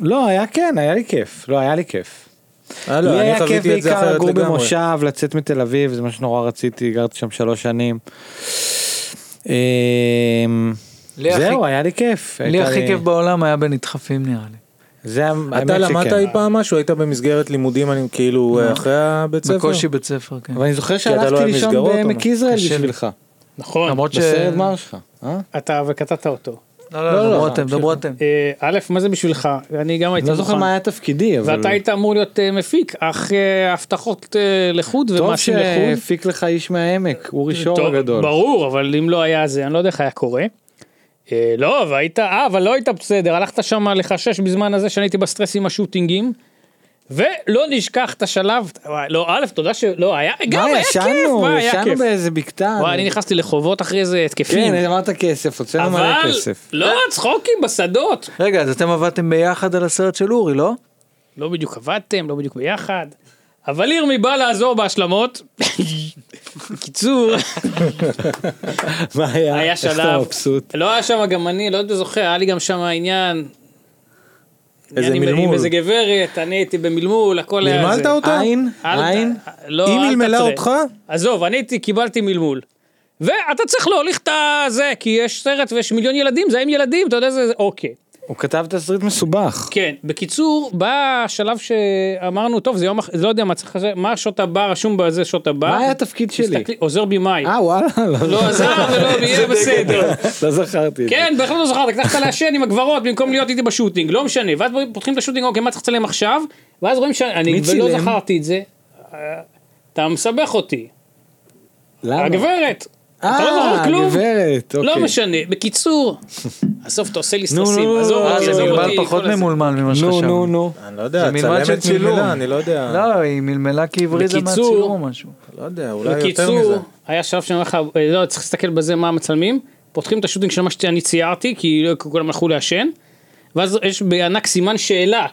[SPEAKER 5] לא, היה כן, היה לי כיף. לא, היה לי כיף.
[SPEAKER 6] אה, לא,
[SPEAKER 5] לי
[SPEAKER 6] אני
[SPEAKER 5] היה כיף
[SPEAKER 6] חוויתי את זה
[SPEAKER 5] בעיקר
[SPEAKER 6] אחרת
[SPEAKER 5] לגור
[SPEAKER 6] לגמרי.
[SPEAKER 5] במושב, לצאת מתל אביב, זה מה שנורא רציתי, גרתי שם שלוש שנים. אמ,
[SPEAKER 4] לי הכי-
[SPEAKER 5] זהו, היה לי כיף.
[SPEAKER 4] לי
[SPEAKER 5] הייתה
[SPEAKER 4] הכי כיף בעולם היה בנדחפים נראה לי.
[SPEAKER 5] זה האמת
[SPEAKER 6] אתה למדת
[SPEAKER 5] שכן.
[SPEAKER 6] אי פעם משהו? היית במסגרת לימודים אני כאילו אה, אחרי הבית ספר?
[SPEAKER 4] בקושי בית ספר, כן.
[SPEAKER 5] אבל אני זוכר
[SPEAKER 6] אתה לא
[SPEAKER 5] שהלכתי
[SPEAKER 6] אוהב
[SPEAKER 5] לישון
[SPEAKER 6] מסגרות או
[SPEAKER 5] בעמק
[SPEAKER 6] משהו?
[SPEAKER 5] יזרעאל
[SPEAKER 4] קשה לי.
[SPEAKER 5] בשבילך.
[SPEAKER 7] נכון.
[SPEAKER 4] למרות ש...
[SPEAKER 5] בסרט גמר שלך. אה?
[SPEAKER 7] אתה וקטעת אותו.
[SPEAKER 4] לא, לא, דברו אתם, דברו אתם.
[SPEAKER 7] אה, א', מה זה בשבילך? אני גם
[SPEAKER 5] אני
[SPEAKER 7] הייתי
[SPEAKER 5] לא זוכר
[SPEAKER 7] מוכן.
[SPEAKER 5] מה היה תפקידי, אבל...
[SPEAKER 7] ואתה היית אמור להיות אה, מפיק, אך אה, הבטחות אה, לחוד
[SPEAKER 5] טוב
[SPEAKER 7] ומעשים לחוד.
[SPEAKER 5] שהפיק לך איש מהעמק, אורי שור
[SPEAKER 7] טוב,
[SPEAKER 5] הגדול.
[SPEAKER 7] ברור, אבל אם לא היה זה, אני לא יודע איך היה קורה. אה, לא, והיית, אה, אבל לא היית בסדר, הלכת שם לחשש בזמן הזה שאני הייתי בסטרס עם השוטינגים. ולא נשכח את השלב, וואי, לא, א', תודה שלא, היה, גם
[SPEAKER 5] מה,
[SPEAKER 7] היה כיף,
[SPEAKER 5] ישנו,
[SPEAKER 7] וואי, היה
[SPEAKER 5] ישנו
[SPEAKER 7] כיף.
[SPEAKER 5] באיזה בקתה.
[SPEAKER 7] וואי, אני נכנסתי לחובות אחרי זה, התקפים.
[SPEAKER 5] כן, אמרת כסף, הוצאנו מלא
[SPEAKER 7] אבל,
[SPEAKER 5] כסף.
[SPEAKER 7] לא, צחוקים בשדות.
[SPEAKER 4] רגע, אז אתם עבדתם ביחד על הסרט של אורי, לא?
[SPEAKER 7] לא בדיוק עבדתם, לא בדיוק ביחד. אבל ירמי בא לעזור בהשלמות. <laughs> בקיצור,
[SPEAKER 5] מה היה?
[SPEAKER 7] היה
[SPEAKER 5] איך אתה
[SPEAKER 7] שלב,
[SPEAKER 5] מבסוט?
[SPEAKER 7] לא היה שם גם אני, לא יודע זוכר, היה לי גם שם עניין. עניין עם- עם
[SPEAKER 6] מלמול.
[SPEAKER 7] איזה גברת, אני הייתי במלמול, הכל היה...
[SPEAKER 6] מלמלת
[SPEAKER 7] זה.
[SPEAKER 6] אותה?
[SPEAKER 5] עין?
[SPEAKER 7] אל ת-
[SPEAKER 5] עין?
[SPEAKER 7] לא,
[SPEAKER 6] היא
[SPEAKER 7] אל
[SPEAKER 6] מלמלה
[SPEAKER 7] תתרה.
[SPEAKER 6] אותך?
[SPEAKER 7] עזוב, אני הייתי, קיבלתי מלמול. ואתה צריך להוליך את הזה, כי יש סרט ויש מיליון ילדים, זה עם ילדים, אתה יודע, זה... זה- אוקיי.
[SPEAKER 5] הוא כתב תסריט מסובך.
[SPEAKER 7] כן, בקיצור, בא השלב שאמרנו, טוב, זה יום אחרי, לא יודע מה צריך לזה, מה שעות הבא, רשום בזה שעות הבא.
[SPEAKER 5] מה היה התפקיד שלי?
[SPEAKER 7] מסתכלים- עוזר במאי.
[SPEAKER 5] אה, וואלה, לא-
[SPEAKER 7] לא עזר ולא יהיה בסדר.
[SPEAKER 5] <laughs> לא זכרתי את זה.
[SPEAKER 7] כן, בהחלט לא זוכר, אתה הצלחת לעשן עם הגברות במקום להיות איתי בשוטינג, לא משנה. ואז פותחים את השוטינג, אוקיי, מה צריך לצלם עכשיו? ואז רואים שאני
[SPEAKER 5] מי
[SPEAKER 7] ולא
[SPEAKER 5] צילם?
[SPEAKER 7] זכרתי את זה. אה, אתה מסבך אותי.
[SPEAKER 5] למה?
[SPEAKER 7] הגברת. אתה לא זוכר
[SPEAKER 5] אה,
[SPEAKER 7] כלום?
[SPEAKER 5] הגברת, אוקיי.
[SPEAKER 7] לא משנה, בקיצור, <laughs> בסוף אתה עושה לי
[SPEAKER 5] נו,
[SPEAKER 7] סטרסים,
[SPEAKER 5] נו,
[SPEAKER 7] עזוב
[SPEAKER 4] אה,
[SPEAKER 5] נו,
[SPEAKER 7] אותי,
[SPEAKER 5] נו,
[SPEAKER 7] עזוב
[SPEAKER 5] נו,
[SPEAKER 7] אותי,
[SPEAKER 4] ענבל
[SPEAKER 7] כל
[SPEAKER 4] פחות
[SPEAKER 7] הזה.
[SPEAKER 4] ממולמל ממה
[SPEAKER 5] נו,
[SPEAKER 4] שחשבנו.
[SPEAKER 5] נו, נו.
[SPEAKER 6] אני לא יודע,
[SPEAKER 4] זה מלמד של
[SPEAKER 6] צלמת
[SPEAKER 4] אה, צילום.
[SPEAKER 6] מלמלה, אני לא יודע.
[SPEAKER 4] לא, היא מלמלה כי הבריזה
[SPEAKER 7] בקיצור-
[SPEAKER 4] מהצילום או משהו.
[SPEAKER 6] לא יודע,
[SPEAKER 5] אה,
[SPEAKER 6] אולי יותר
[SPEAKER 7] בקיצור,
[SPEAKER 6] מזה.
[SPEAKER 7] היה שלב שאני אומר לך, אה, לא, צריך להסתכל בזה מה מצלמים, פותחים את השוטינג של מה שאני ציירתי, כי לא- כולם הלכו לעשן, ואז יש בענק סימן שאלה,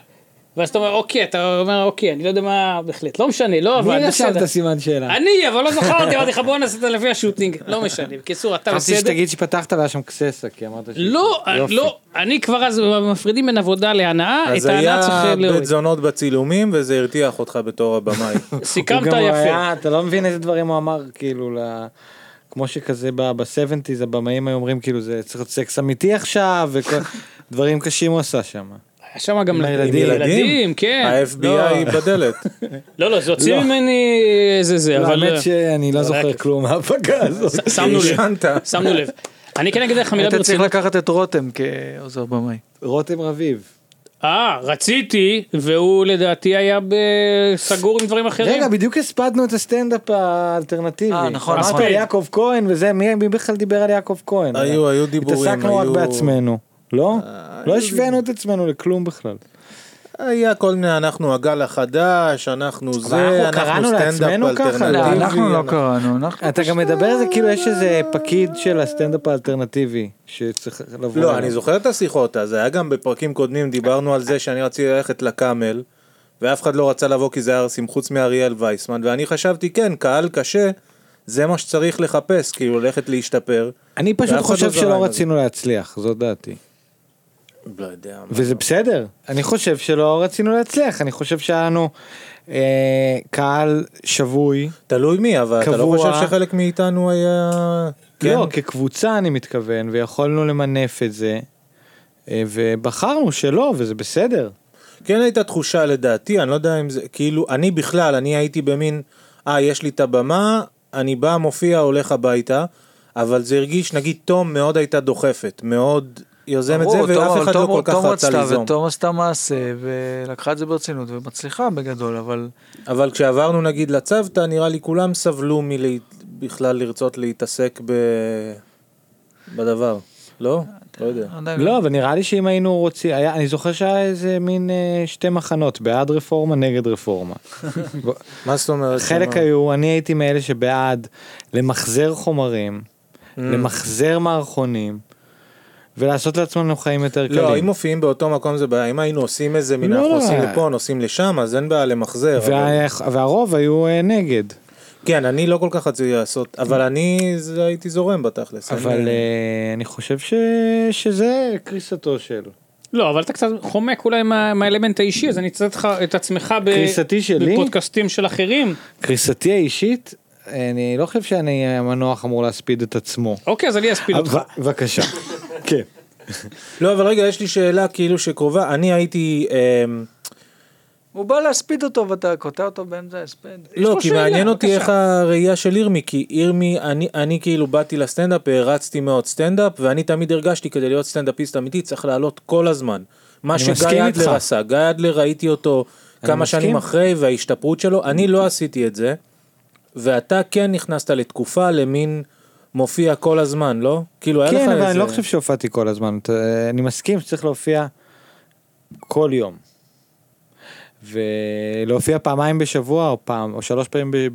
[SPEAKER 7] ואז אתה אומר, אוקיי, אתה אומר, אוקיי, אני לא יודע מה בהחלט, לא משנה, לא
[SPEAKER 5] מי
[SPEAKER 7] עבד,
[SPEAKER 5] נשאר
[SPEAKER 7] בסדר.
[SPEAKER 5] את הסימן שאלה?
[SPEAKER 7] אני, אבל לא זכרתי, אמרתי לך, בוא נעשה את זה לפי השוטינג, לא משנה, בקיצור, אתה
[SPEAKER 5] חשבתי
[SPEAKER 7] בסדר.
[SPEAKER 5] שתגיד שפתחת והיה שם קססה, כי אמרת ש...
[SPEAKER 7] לא,
[SPEAKER 5] יופי.
[SPEAKER 7] לא, אני כבר אז מפרידים בין עבודה להנאה, את
[SPEAKER 6] אז
[SPEAKER 7] ההנאה
[SPEAKER 6] היה
[SPEAKER 7] צריך להוריד.
[SPEAKER 6] בית זונות בצילומים וזה הרתיח אותך בתור הבמאי.
[SPEAKER 5] הוא
[SPEAKER 7] סיכמת
[SPEAKER 5] גם
[SPEAKER 7] יפה.
[SPEAKER 5] היה- אתה לא מבין איזה דברים הוא אמר, כאילו, ל... כמו שכזה ב-70's הבמאים היו אומרים כאילו זה צריך להיות סקס אמיתי עכשיו וכל
[SPEAKER 7] <laughs>
[SPEAKER 5] דברים קשים הוא עשה שם.
[SPEAKER 7] היה שם גם
[SPEAKER 5] ילדים?
[SPEAKER 7] ילדים, כן.
[SPEAKER 6] ה-FBI בדלת.
[SPEAKER 7] לא, לא, זה הוציא ממני איזה זה, אבל...
[SPEAKER 5] האמת שאני לא זוכר כלום מההפקה הזאת.
[SPEAKER 7] ש- שמנו
[SPEAKER 6] ישנת.
[SPEAKER 7] לב, שמנו לב. אני כן אגיד לך מילה
[SPEAKER 4] היית צריך
[SPEAKER 7] ברצינות.
[SPEAKER 4] לקחת את רותם כעוזר במאי.
[SPEAKER 5] רותם רביב.
[SPEAKER 7] אה, רציתי, והוא לדעתי היה ב- סגור עם דברים אחרים.
[SPEAKER 5] רגע בדיוק הספדנו את הסטנדאפ האלטרנטיבי.
[SPEAKER 4] אה, נכון,
[SPEAKER 5] אמרת
[SPEAKER 4] נכון.
[SPEAKER 5] על יעקב כהן וזה מי מי בכלל דיבר על יעקב כהן.
[SPEAKER 6] היו, היו דיבורים,
[SPEAKER 5] התעסקנו רק
[SPEAKER 6] היו- אה,
[SPEAKER 5] בעצמנו. לא? לא השווינו את עצמנו לכלום בכלל.
[SPEAKER 4] אה,
[SPEAKER 6] היה כל מיני, אנחנו הגל החדש, אנחנו
[SPEAKER 5] אנחנו
[SPEAKER 6] זה, אנחנו
[SPEAKER 5] קראנו
[SPEAKER 6] סטנדאפ
[SPEAKER 5] לעצמנו ככה?
[SPEAKER 6] אלטרנטיבי.
[SPEAKER 4] לא,
[SPEAKER 5] טבעי,
[SPEAKER 4] אנחנו לא קראנו, אנחנו...
[SPEAKER 5] אתה גם מדבר על זה כאילו יש איזה פקיד של הסטנדאפ האלטרנטיבי שצריך לבוא.
[SPEAKER 6] לא,
[SPEAKER 5] אליו.
[SPEAKER 6] אני זוכר את השיחות, אז היה גם בפרקים קודמים, דיברנו על זה שאני רציתי ללכת לקאמל, ואף אחד לא רצה לבוא כי זה היה ארסים, חוץ מאריאל וייסמן, ואני חשבתי, כן, קהל קשה, זה מה שצריך לחפש, כאילו, ללכת להשתפר.
[SPEAKER 5] אני פשוט
[SPEAKER 6] ואף אחד
[SPEAKER 5] חושב
[SPEAKER 6] לא זרם על
[SPEAKER 5] שלא
[SPEAKER 6] זה.
[SPEAKER 5] רצינו להצליח, זו דעתי.
[SPEAKER 6] לא יודע.
[SPEAKER 5] וזה בסדר, אני חושב שלא רצינו להצליח, אני חושב שהיה לנו אה, קהל שבוי,
[SPEAKER 6] תלוי מי, אבל אתה לא
[SPEAKER 5] קבוע.
[SPEAKER 6] חושב שחלק מאיתנו היה...
[SPEAKER 5] כן. לא, כקבוצה אני מתכוון, ויכולנו למנף את זה, אה, ובחרנו שלא, וזה בסדר.
[SPEAKER 6] כן הייתה תחושה לדעתי, אני לא יודע אם זה, כאילו, אני בכלל, אני הייתי במין, אה, יש לי את הבמה, אני בא, מופיע, הולך הביתה, אבל זה הרגיש, נגיד, תום מאוד הייתה דוחפת, מאוד יוזם את זה,
[SPEAKER 4] ברור, תום-
[SPEAKER 6] ואף
[SPEAKER 4] אבל
[SPEAKER 6] אחד לא
[SPEAKER 4] תום-
[SPEAKER 6] כל כך
[SPEAKER 4] תום
[SPEAKER 6] רצה
[SPEAKER 4] רצתה,
[SPEAKER 6] ליזום.
[SPEAKER 4] ותום עשתה מעשה ולקחה את זה ברצינות ומצליחה בגדול, אבל
[SPEAKER 6] אבל כשעברנו, נגיד, לצוותא, נראה לי כולם סבלו מבכלל לרצות להתעסק ב... בדבר, לא? לא יודע.
[SPEAKER 4] עדיין
[SPEAKER 5] לא, אבל נראה לי שאם היינו רוצים, היה, אני זוכר שהיה איזה מין אה, שתי מחנות, בעד רפורמה, נגד רפורמה.
[SPEAKER 6] מה זאת אומרת? לא-
[SPEAKER 5] חלק
[SPEAKER 6] כלומר?
[SPEAKER 5] היו, אני הייתי מאלה שבעד למחזר חומרים,
[SPEAKER 6] Mm.
[SPEAKER 5] למחזר מערכונים, ולעשות לעצמנו חיים יותר קלים.
[SPEAKER 6] לא, אם מופיעים באותו מקום זה בעיה, אם היינו עושים איזה מין,
[SPEAKER 5] לא,
[SPEAKER 6] אנחנו
[SPEAKER 5] לא.
[SPEAKER 6] עושים לפה, נוסעים לשם, אז אין בעיה למחזר. אבל-
[SPEAKER 5] וה... והרוב היו אה, נגד,
[SPEAKER 6] כן, אני לא כל כך רציתי לעשות, אבל אני זה- הייתי זורם בתכלס.
[SPEAKER 5] אבל
[SPEAKER 6] אני-
[SPEAKER 5] אה, אני חושב ש... שזה קריסתו של.
[SPEAKER 7] לא, אבל אתה קצת חומק אולי מה- מהאלמנט האישי, אז אני אצטט לך את עצמך ב-
[SPEAKER 5] קריסתי שלי?
[SPEAKER 7] בפודקאסטים של אחרים.
[SPEAKER 5] קריסתי האישית, אני לא חושב שאני המנוח אמור להספיד את עצמו.
[SPEAKER 7] אוקיי, אז אני אספיל אותך.
[SPEAKER 5] אבל-
[SPEAKER 6] <laughs>
[SPEAKER 5] בבקשה. כן.
[SPEAKER 6] לא, אבל רגע, יש לי שאלה כאילו שקרובה, אני הייתי... אמ,
[SPEAKER 4] הוא בא להספיד אותו ואתה קוטע אותו באמצע ההספד.
[SPEAKER 6] לא,
[SPEAKER 7] לו
[SPEAKER 6] כי
[SPEAKER 7] שאלה,
[SPEAKER 6] מעניין אותי
[SPEAKER 7] בבקשה.
[SPEAKER 6] איך הראייה של ירמי, כי ירמי, אני- אני כאילו באתי לסטנדאפ, הרצתי מאוד סטנדאפ, ואני תמיד הרגשתי כדי להיות סטנדאפיסט אמיתי צריך לעלות כל הזמן. מה
[SPEAKER 5] מסכים
[SPEAKER 6] שגיא
[SPEAKER 5] איתך.
[SPEAKER 6] אדלר עשה, גיא אדלר ראיתי אותו כמה
[SPEAKER 5] מסכים.
[SPEAKER 6] שנים אחרי, וההשתפרות שלו, אני לא עשיתי את זה, ואתה כן נכנסת לתקופה, למין מופיע כל הזמן, לא? כאילו היה לך
[SPEAKER 5] כן,
[SPEAKER 6] איזה...
[SPEAKER 5] אבל אני לא חושב שהופעתי כל הזמן. אתה- אני מסכים שצריך להופיע כל יום. ולהופיע פעמיים בשבוע, או פעם, או שלוש פעמים ב-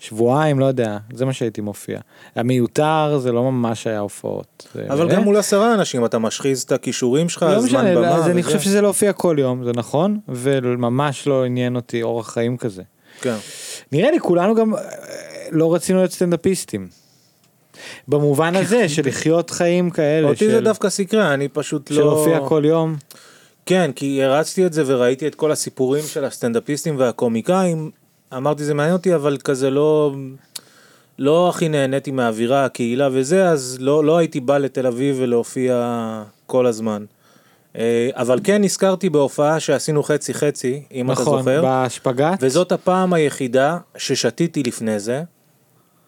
[SPEAKER 5] בשבועיים, לא יודע, זה מה שהייתי מופיע. היה מיותר, זה לא ממש היה הופעות. זה-
[SPEAKER 6] אבל
[SPEAKER 5] אה?
[SPEAKER 6] גם מול עשרה אנשים אתה משחיז את הכישורים שלך,
[SPEAKER 5] לא
[SPEAKER 6] הזמן
[SPEAKER 5] משנה,
[SPEAKER 6] במה.
[SPEAKER 5] אז אני
[SPEAKER 6] וזה.
[SPEAKER 5] חושב שזה להופיע כל יום, זה נכון, וממש לא עניין אותי אורח חיים כזה.
[SPEAKER 6] כן.
[SPEAKER 5] נראה לי כולנו גם אה, לא רצינו להיות סטנדאפיסטים. במובן הזה של לחיות חיים כאלה,
[SPEAKER 6] אותי זה
[SPEAKER 5] של-
[SPEAKER 6] דווקא סקרה, אני פשוט לא...
[SPEAKER 5] של להופיע כל יום.
[SPEAKER 6] כן, כי הרצתי את זה וראיתי את כל הסיפורים של הסטנדאפיסטים והקומיקאים. אמרתי, זה מעניין אותי, אבל כזה לא... לא הכי נהניתי מהאווירה, הקהילה וזה, אז לא, לא הייתי בא לתל אביב ולהופיע כל הזמן. אה, אבל כן נזכרתי בהופעה שעשינו חצי-חצי, אם אתה
[SPEAKER 5] נכון,
[SPEAKER 6] זוכר.
[SPEAKER 5] בשפגאט.
[SPEAKER 6] וזאת הפעם היחידה ששתיתי לפני זה,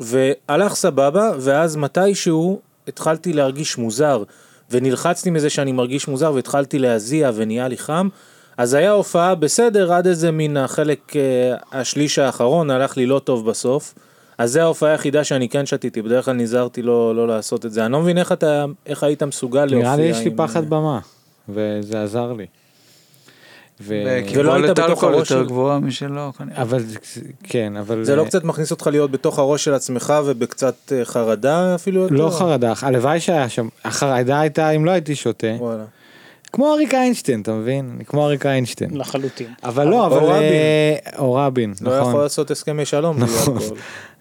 [SPEAKER 6] והלך סבבה, ואז מתישהו התחלתי להרגיש מוזר, ונלחצתי מזה שאני מרגיש מוזר, והתחלתי להזיע ונהיה לי חם, אז היה הופעה בסדר עד איזה מן החלק, אה, השליש האחרון, הלך לי לא טוב בסוף. אז זו ההופעה היחידה שאני כן שתיתי, בדרך כלל נזהרתי לא, לא לעשות את זה. אני לא מבין איך, אתה, איך היית מסוגל לא להופיע.
[SPEAKER 5] נראה לי יש לי
[SPEAKER 6] עם-
[SPEAKER 5] פחד במה, וזה עזר לי.
[SPEAKER 4] אה,
[SPEAKER 5] ו-
[SPEAKER 6] ולא היית
[SPEAKER 4] וקיבולת
[SPEAKER 6] בתוך
[SPEAKER 4] אלכוהול
[SPEAKER 6] הראש
[SPEAKER 4] יותר
[SPEAKER 6] של-
[SPEAKER 4] גבוהה משלו. כנראה.
[SPEAKER 5] אבל זה- כן, אבל...
[SPEAKER 6] זה לא
[SPEAKER 5] אה,
[SPEAKER 6] קצת מכניס אותך להיות בתוך הראש של עצמך ובקצת אה, חרדה אפילו?
[SPEAKER 5] לא
[SPEAKER 6] יותר?
[SPEAKER 5] חרדה, הלוואי שהיה שם, החרדה הייתה אם לא הייתי שותה,
[SPEAKER 6] וואלה.
[SPEAKER 5] כמו אריק איינשטיין, אתה מבין? אני כמו אריק איינשטיין.
[SPEAKER 7] לחלוטין.
[SPEAKER 5] אבל לא, אבל...
[SPEAKER 6] נכון. או רבין.
[SPEAKER 5] אה, או רבין,
[SPEAKER 6] לא יכול
[SPEAKER 5] נכון.
[SPEAKER 6] לעשות הסכמי שלום בלי
[SPEAKER 7] נכון.
[SPEAKER 6] אלכוהול.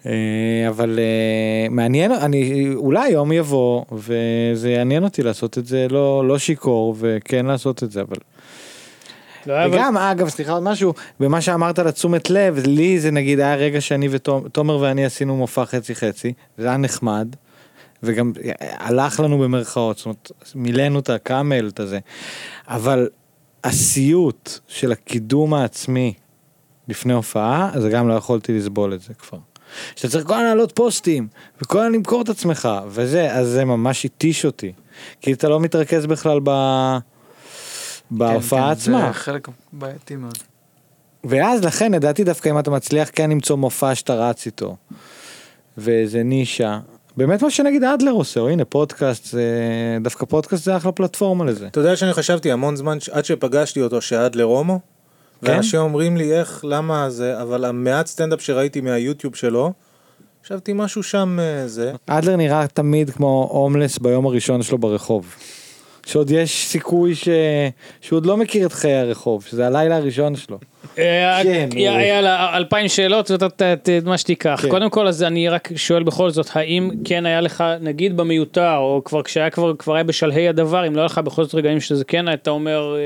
[SPEAKER 5] אה, אבל אה, מעניין, אני אולי יום יבוא, וזה יעניין אותי לעשות את זה לא לא שיכור, וכן לעשות את זה, אבל...
[SPEAKER 7] לא היה, אבל-
[SPEAKER 5] וגם אגב סליחה עוד משהו במה שאמרת על התשומת לב לי זה נגיד היה רגע שאני ותומר ואני עשינו מופע חצי חצי זה היה נחמד. וגם אה, הלך לנו במרכאות זאת אומרת מילאנו את הקאמל את הזה אבל הסיוט של הקידום העצמי לפני הופעה זה גם לא יכולתי לסבול את זה כבר. שאתה צריך כל הזמן לעלות פוסטים וכל הזמן למכור את עצמך וזה אז זה ממש התיש אותי כי אתה לא מתרכז בכלל ב...
[SPEAKER 7] כן,
[SPEAKER 5] בהופעה עצמה.
[SPEAKER 4] כן, זה חלק בעייתי מאוד.
[SPEAKER 5] ואז לכן לדעתי דווקא אם אתה מצליח כן למצוא מופע שאתה רץ איתו. ואיזה נישה. באמת מה שנגיד אדלר עושה, או הנה פודקאסט, זה- דווקא פודקאסט זה אחלה פלטפורמה לזה.
[SPEAKER 6] אתה יודע שאני חשבתי המון זמן ש- עד שפגשתי אותו שעד לרומו.
[SPEAKER 5] כן?
[SPEAKER 6] ואנשים אומרים לי איך, למה זה, אבל המעט סטנדאפ שראיתי מהיוטיוב שלו, חשבתי משהו שם אה, זה.
[SPEAKER 5] אדלר נראה תמיד כמו הומלס ביום הראשון שלו ברחוב. שעוד יש סיכוי ש... שהוא עוד לא מכיר את חיי הרחוב, שזה הלילה הראשון שלו.
[SPEAKER 7] אה,
[SPEAKER 5] כן,
[SPEAKER 7] י-
[SPEAKER 5] הוא-
[SPEAKER 7] יאללה, אלפיים שאלות ואתה ת- ת- את מה שתיקח.
[SPEAKER 5] כן.
[SPEAKER 7] קודם כל, אז אני רק שואל בכל זאת, האם כן היה לך, נגיד במיותר, או כבר כשהיה כבר, כבר היה בשלהי הדבר, אם לא היה לך בכל זאת רגעים שזה כן, אתה אומר... אה,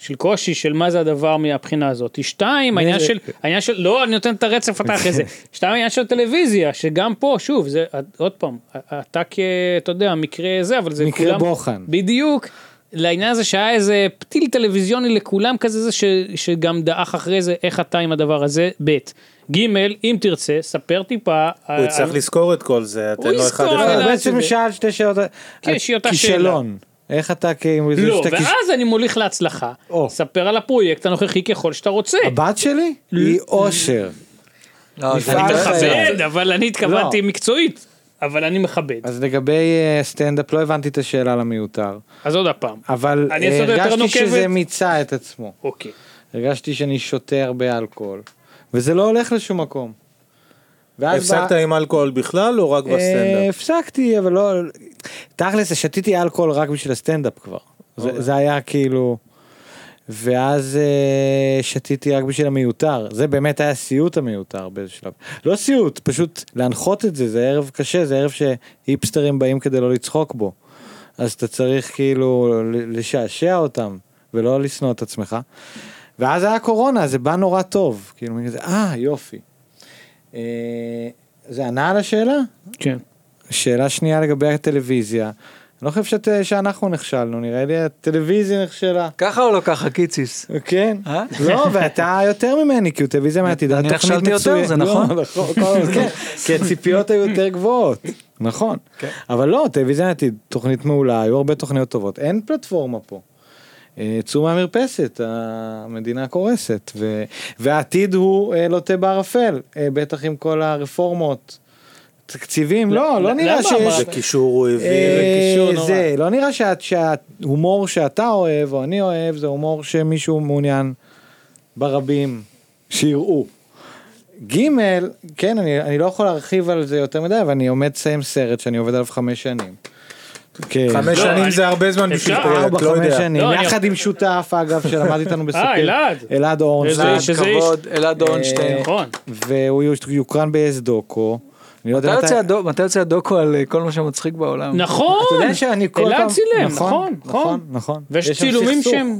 [SPEAKER 7] של קושי של מה זה הדבר מהבחינה הזאת. שתיים, העניין של, העניין של, לא, אני נותן את הרצף
[SPEAKER 5] <laughs>
[SPEAKER 7] אתה אחרי זה. שתיים, העניין של טלוויזיה, שגם פה, שוב, זה, עוד פעם, אתה כ... אתה יודע, מקרה זה, אבל זה
[SPEAKER 5] מקרה
[SPEAKER 7] כולם...
[SPEAKER 5] בוחן.
[SPEAKER 7] בדיוק. לעניין הזה שהיה איזה פתיל טלוויזיוני לכולם כזה זה ש, שגם דעך אחרי זה איך אתה עם הדבר הזה ב' ג' אם תרצה ספר טיפה
[SPEAKER 6] הוא יצטרך לזכור את כל זה, תן לו אחד
[SPEAKER 7] אה, יזכור,
[SPEAKER 6] אחד.
[SPEAKER 7] אבל- אה,
[SPEAKER 5] בעצם
[SPEAKER 7] שזה-
[SPEAKER 5] שאל שתי שאלות,
[SPEAKER 7] לא, כן, שהיא אותה שאלה.
[SPEAKER 5] כישלון, איך אתה כ...
[SPEAKER 7] לא
[SPEAKER 5] שאתה כיש-
[SPEAKER 7] ואז אני מוליך להצלחה
[SPEAKER 5] או.
[SPEAKER 7] ספר על הפרויקט הנוכחי ככל שאתה רוצה.
[SPEAKER 5] הבת שלי היא אושר.
[SPEAKER 4] לא,
[SPEAKER 5] זה
[SPEAKER 4] זה
[SPEAKER 5] אני
[SPEAKER 7] אני
[SPEAKER 5] לא יודע.
[SPEAKER 7] מכבד אבל אני התכוונתי מקצועית אבל אני מכבד
[SPEAKER 5] אז לגבי אה, סטנדאפ לא הבנתי את השאלה למיותר,
[SPEAKER 7] אז עוד הפעם
[SPEAKER 5] אבל
[SPEAKER 7] אני
[SPEAKER 5] אה,
[SPEAKER 7] אעשה אותה יותר
[SPEAKER 5] הרגשתי שזה
[SPEAKER 7] נוקבת?
[SPEAKER 5] מיצה את עצמו,
[SPEAKER 7] אוקיי.
[SPEAKER 5] הרגשתי שאני שותה הרבה אלכוהול, וזה לא הולך לשום מקום.
[SPEAKER 7] אה,
[SPEAKER 5] ואז בא-
[SPEAKER 6] הפסקת עם אלכוהול בכלל או רק
[SPEAKER 5] אה,
[SPEAKER 6] בסטנדאפ?
[SPEAKER 5] הפסקתי אבל לא, תכלס שתיתי אלכוהול רק בשביל הסטנדאפ כבר, זה-
[SPEAKER 6] אוקיי.
[SPEAKER 5] זה היה כאילו, ואז אה, שתיתי רק בשביל המיותר, זה באמת היה סיוט המיותר באיזה שלב, לא סיוט, פשוט להנחות את זה, זה ערב קשה, זה ערב שהיפסטרים באים כדי לא לצחוק בו, אז אתה צריך כאילו ל- לשעשע אותם ולא לשנוא את עצמך, ואז היה קורונה, זה בא נורא טוב, כאילו, מין כזה, אה יופי. אה, זה ענה על השאלה?
[SPEAKER 7] כן.
[SPEAKER 5] שאלה שנייה לגבי הטלוויזיה. אני לא חושב שאת, שאנחנו נכשלנו, נראה לי הטלוויזיה נכשלה.
[SPEAKER 4] ככה או לא ככה, קיציס?
[SPEAKER 5] כן.
[SPEAKER 4] אה?
[SPEAKER 5] לא, ואתה יותר ממני, כי הוא טלוויזיה מעתידה
[SPEAKER 4] אני
[SPEAKER 5] תוכנית מצוינת.
[SPEAKER 4] נכשלתי יותר, זה
[SPEAKER 5] לא,
[SPEAKER 4] נכון?
[SPEAKER 5] כל
[SPEAKER 4] <laughs>
[SPEAKER 5] הזמן, כן, כי הציפיות היו יותר גבוהות. נכון.
[SPEAKER 4] כן.
[SPEAKER 5] אבל לא, טלוויזיה מעתיד, תוכנית מעולה, היו הרבה תוכניות טובות. אין פלטפורמה פה. אה, צאו מהמרפסת, המדינה קורסת, ו... והעתיד הוא אה, לוטה בערפל, אה, בטח עם כל הרפורמות. תקציבים, לא, לא
[SPEAKER 7] למה?
[SPEAKER 5] נראה שיש...
[SPEAKER 7] אה,
[SPEAKER 6] זה קישור הוא העביר.
[SPEAKER 5] אה,
[SPEAKER 7] קישור נורא.
[SPEAKER 5] זה לא נראה שאת- שההומור שאתה אוהב או אני אוהב זה הומור שמישהו מעוניין ברבים שיראו. ג' כן אני, אני לא יכול להרחיב על זה יותר מדי אבל אני עומד לסיים סרט שאני עובד עליו חמש שנים. כן.
[SPEAKER 6] חמש
[SPEAKER 7] לא,
[SPEAKER 6] שנים
[SPEAKER 7] אני-
[SPEAKER 6] זה הרבה זמן בשביל
[SPEAKER 7] אפשר?
[SPEAKER 6] פרויקט,
[SPEAKER 5] ארבע
[SPEAKER 6] לא
[SPEAKER 5] חמש
[SPEAKER 6] יודע.
[SPEAKER 5] שנים
[SPEAKER 7] לא, אני- אה,
[SPEAKER 5] יחד עם שותף אגב שלמד
[SPEAKER 7] <laughs>
[SPEAKER 5] איתנו בספיר.
[SPEAKER 7] אלעד.
[SPEAKER 5] אלעד
[SPEAKER 7] איזה
[SPEAKER 6] אה,
[SPEAKER 5] אורנשטיין.
[SPEAKER 7] איש, איזה איש.
[SPEAKER 4] אה, כבוד, אלעד אורנשטיין.
[SPEAKER 7] נכון.
[SPEAKER 5] והוא יוקרן בסדוקו. אני לא יודע
[SPEAKER 4] מתי
[SPEAKER 5] מתי-
[SPEAKER 4] יוצא הדו- מתי יוצא הדוקו על אה, כל מה שמצחיק בעולם?
[SPEAKER 7] נכון.
[SPEAKER 5] אתה יודע שאני כל פעם.
[SPEAKER 7] אלעד צילם נכון נכון.
[SPEAKER 5] נכון נכון. יש
[SPEAKER 7] ויש
[SPEAKER 5] שם
[SPEAKER 7] צילומים
[SPEAKER 5] סכסוך.
[SPEAKER 7] שהם.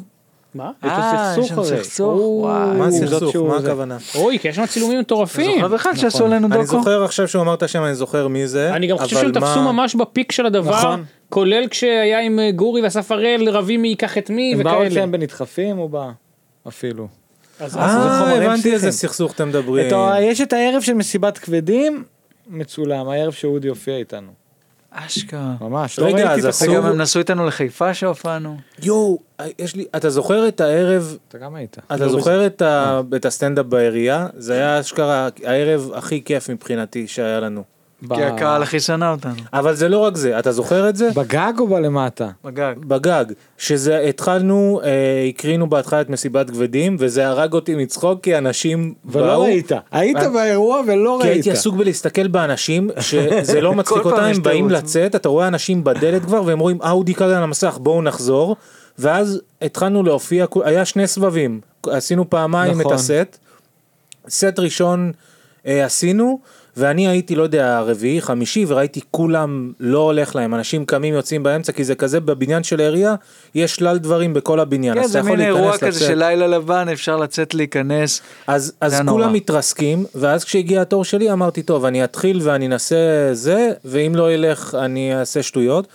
[SPEAKER 7] מה?
[SPEAKER 5] יש
[SPEAKER 4] אה,
[SPEAKER 5] לו
[SPEAKER 4] יש שם
[SPEAKER 5] סכסוך הרי.
[SPEAKER 4] סכסוך,
[SPEAKER 5] או,
[SPEAKER 4] וואי.
[SPEAKER 6] מה
[SPEAKER 5] זאת
[SPEAKER 6] הסכסוך?
[SPEAKER 5] שהוא
[SPEAKER 6] מה
[SPEAKER 5] זה.
[SPEAKER 6] הכוונה?
[SPEAKER 7] אוי כי יש שם צילומים מטורפים.
[SPEAKER 4] זוכר בכלל שעשו עלינו
[SPEAKER 6] אני
[SPEAKER 4] דוקו?
[SPEAKER 6] זוכר עכשיו שהוא אמר את השם, אני זוכר מי זה.
[SPEAKER 7] אני גם חושב
[SPEAKER 6] אבל
[SPEAKER 7] שהם תפסו
[SPEAKER 6] מה-
[SPEAKER 7] ממש בפיק של הדבר.
[SPEAKER 5] נכון.
[SPEAKER 7] כולל כשהיה עם אה, גורי ואסף הראל רבים מי ייקח את מי
[SPEAKER 5] הם באו
[SPEAKER 7] וכאלה.
[SPEAKER 5] אצלם בנדחפים או בא? אפילו.
[SPEAKER 7] אז- אז-
[SPEAKER 5] זה
[SPEAKER 6] אה,
[SPEAKER 5] חומרים
[SPEAKER 6] הבנתי
[SPEAKER 5] פסיכיים.
[SPEAKER 6] איזה סכסוך אתם מדברים.
[SPEAKER 5] את ה- יש את הערב של מסיבת כבדים, מצולם, הערב שאודי הופיע איתנו.
[SPEAKER 4] אשכרה.
[SPEAKER 5] ממש, לא
[SPEAKER 6] רגע,
[SPEAKER 5] ראיתי
[SPEAKER 6] אז
[SPEAKER 5] את החומר.
[SPEAKER 6] אסור-
[SPEAKER 4] וגם הם נסעו איתנו לחיפה שהופענו.
[SPEAKER 6] יואו, יש לי, אתה זוכר את הערב,
[SPEAKER 5] אתה גם היית.
[SPEAKER 6] אתה זוכר את ה- את הסטנדאפ בעירייה? זה היה אשכרה הערב הכי כיף מבחינתי שהיה לנו.
[SPEAKER 5] ב-
[SPEAKER 4] כי הקהל הכי שנא אותנו.
[SPEAKER 6] אבל זה לא רק זה, אתה זוכר את זה?
[SPEAKER 5] בגג או בלמטה?
[SPEAKER 4] בגג.
[SPEAKER 6] בגג, שזה התחלנו, אה, הקרינו בהתחלה את מסיבת כבדים, וזה הרג אותי מצחוק כי אנשים
[SPEAKER 5] ולא ראית. היית
[SPEAKER 6] אה,
[SPEAKER 5] באירוע ולא
[SPEAKER 6] כי
[SPEAKER 5] ראית.
[SPEAKER 6] הייתי עסוק בלהסתכל באנשים, שזה לא מצחיק
[SPEAKER 4] לא <laughs> כל פעם
[SPEAKER 6] אותם,
[SPEAKER 4] יש
[SPEAKER 6] הם באים
[SPEAKER 4] תירוץ.
[SPEAKER 6] לצאת, אתה רואה אנשים בדלת כבר, והם רואים אאודי כאן על המסך, בואו נחזור. ואז התחלנו להופיע, היה שני סבבים, עשינו פעמיים את
[SPEAKER 5] נכון.
[SPEAKER 6] הסט. סט ראשון אה, עשינו, ואני הייתי, לא יודע, רביעי, חמישי, וראיתי כולם לא הולך להם, אנשים קמים, יוצאים באמצע, כי זה כזה בבניין של העירייה, יש שלל דברים בכל הבניין,
[SPEAKER 4] כן,
[SPEAKER 6] אז אתה
[SPEAKER 4] זה
[SPEAKER 6] יכול
[SPEAKER 4] מין
[SPEAKER 6] להיכנס,
[SPEAKER 4] אירוע כזה
[SPEAKER 6] לצאת.
[SPEAKER 4] של לילה לבן, אפשר לצאת להיכנס.
[SPEAKER 6] אז, אז
[SPEAKER 4] זה נורא.
[SPEAKER 6] כולם מתרסקים, ואז כשהגיע התור שלי אמרתי, טוב, אני אתחיל ואני אנסה זה, ואם לא ילך אני אעשה שטויות.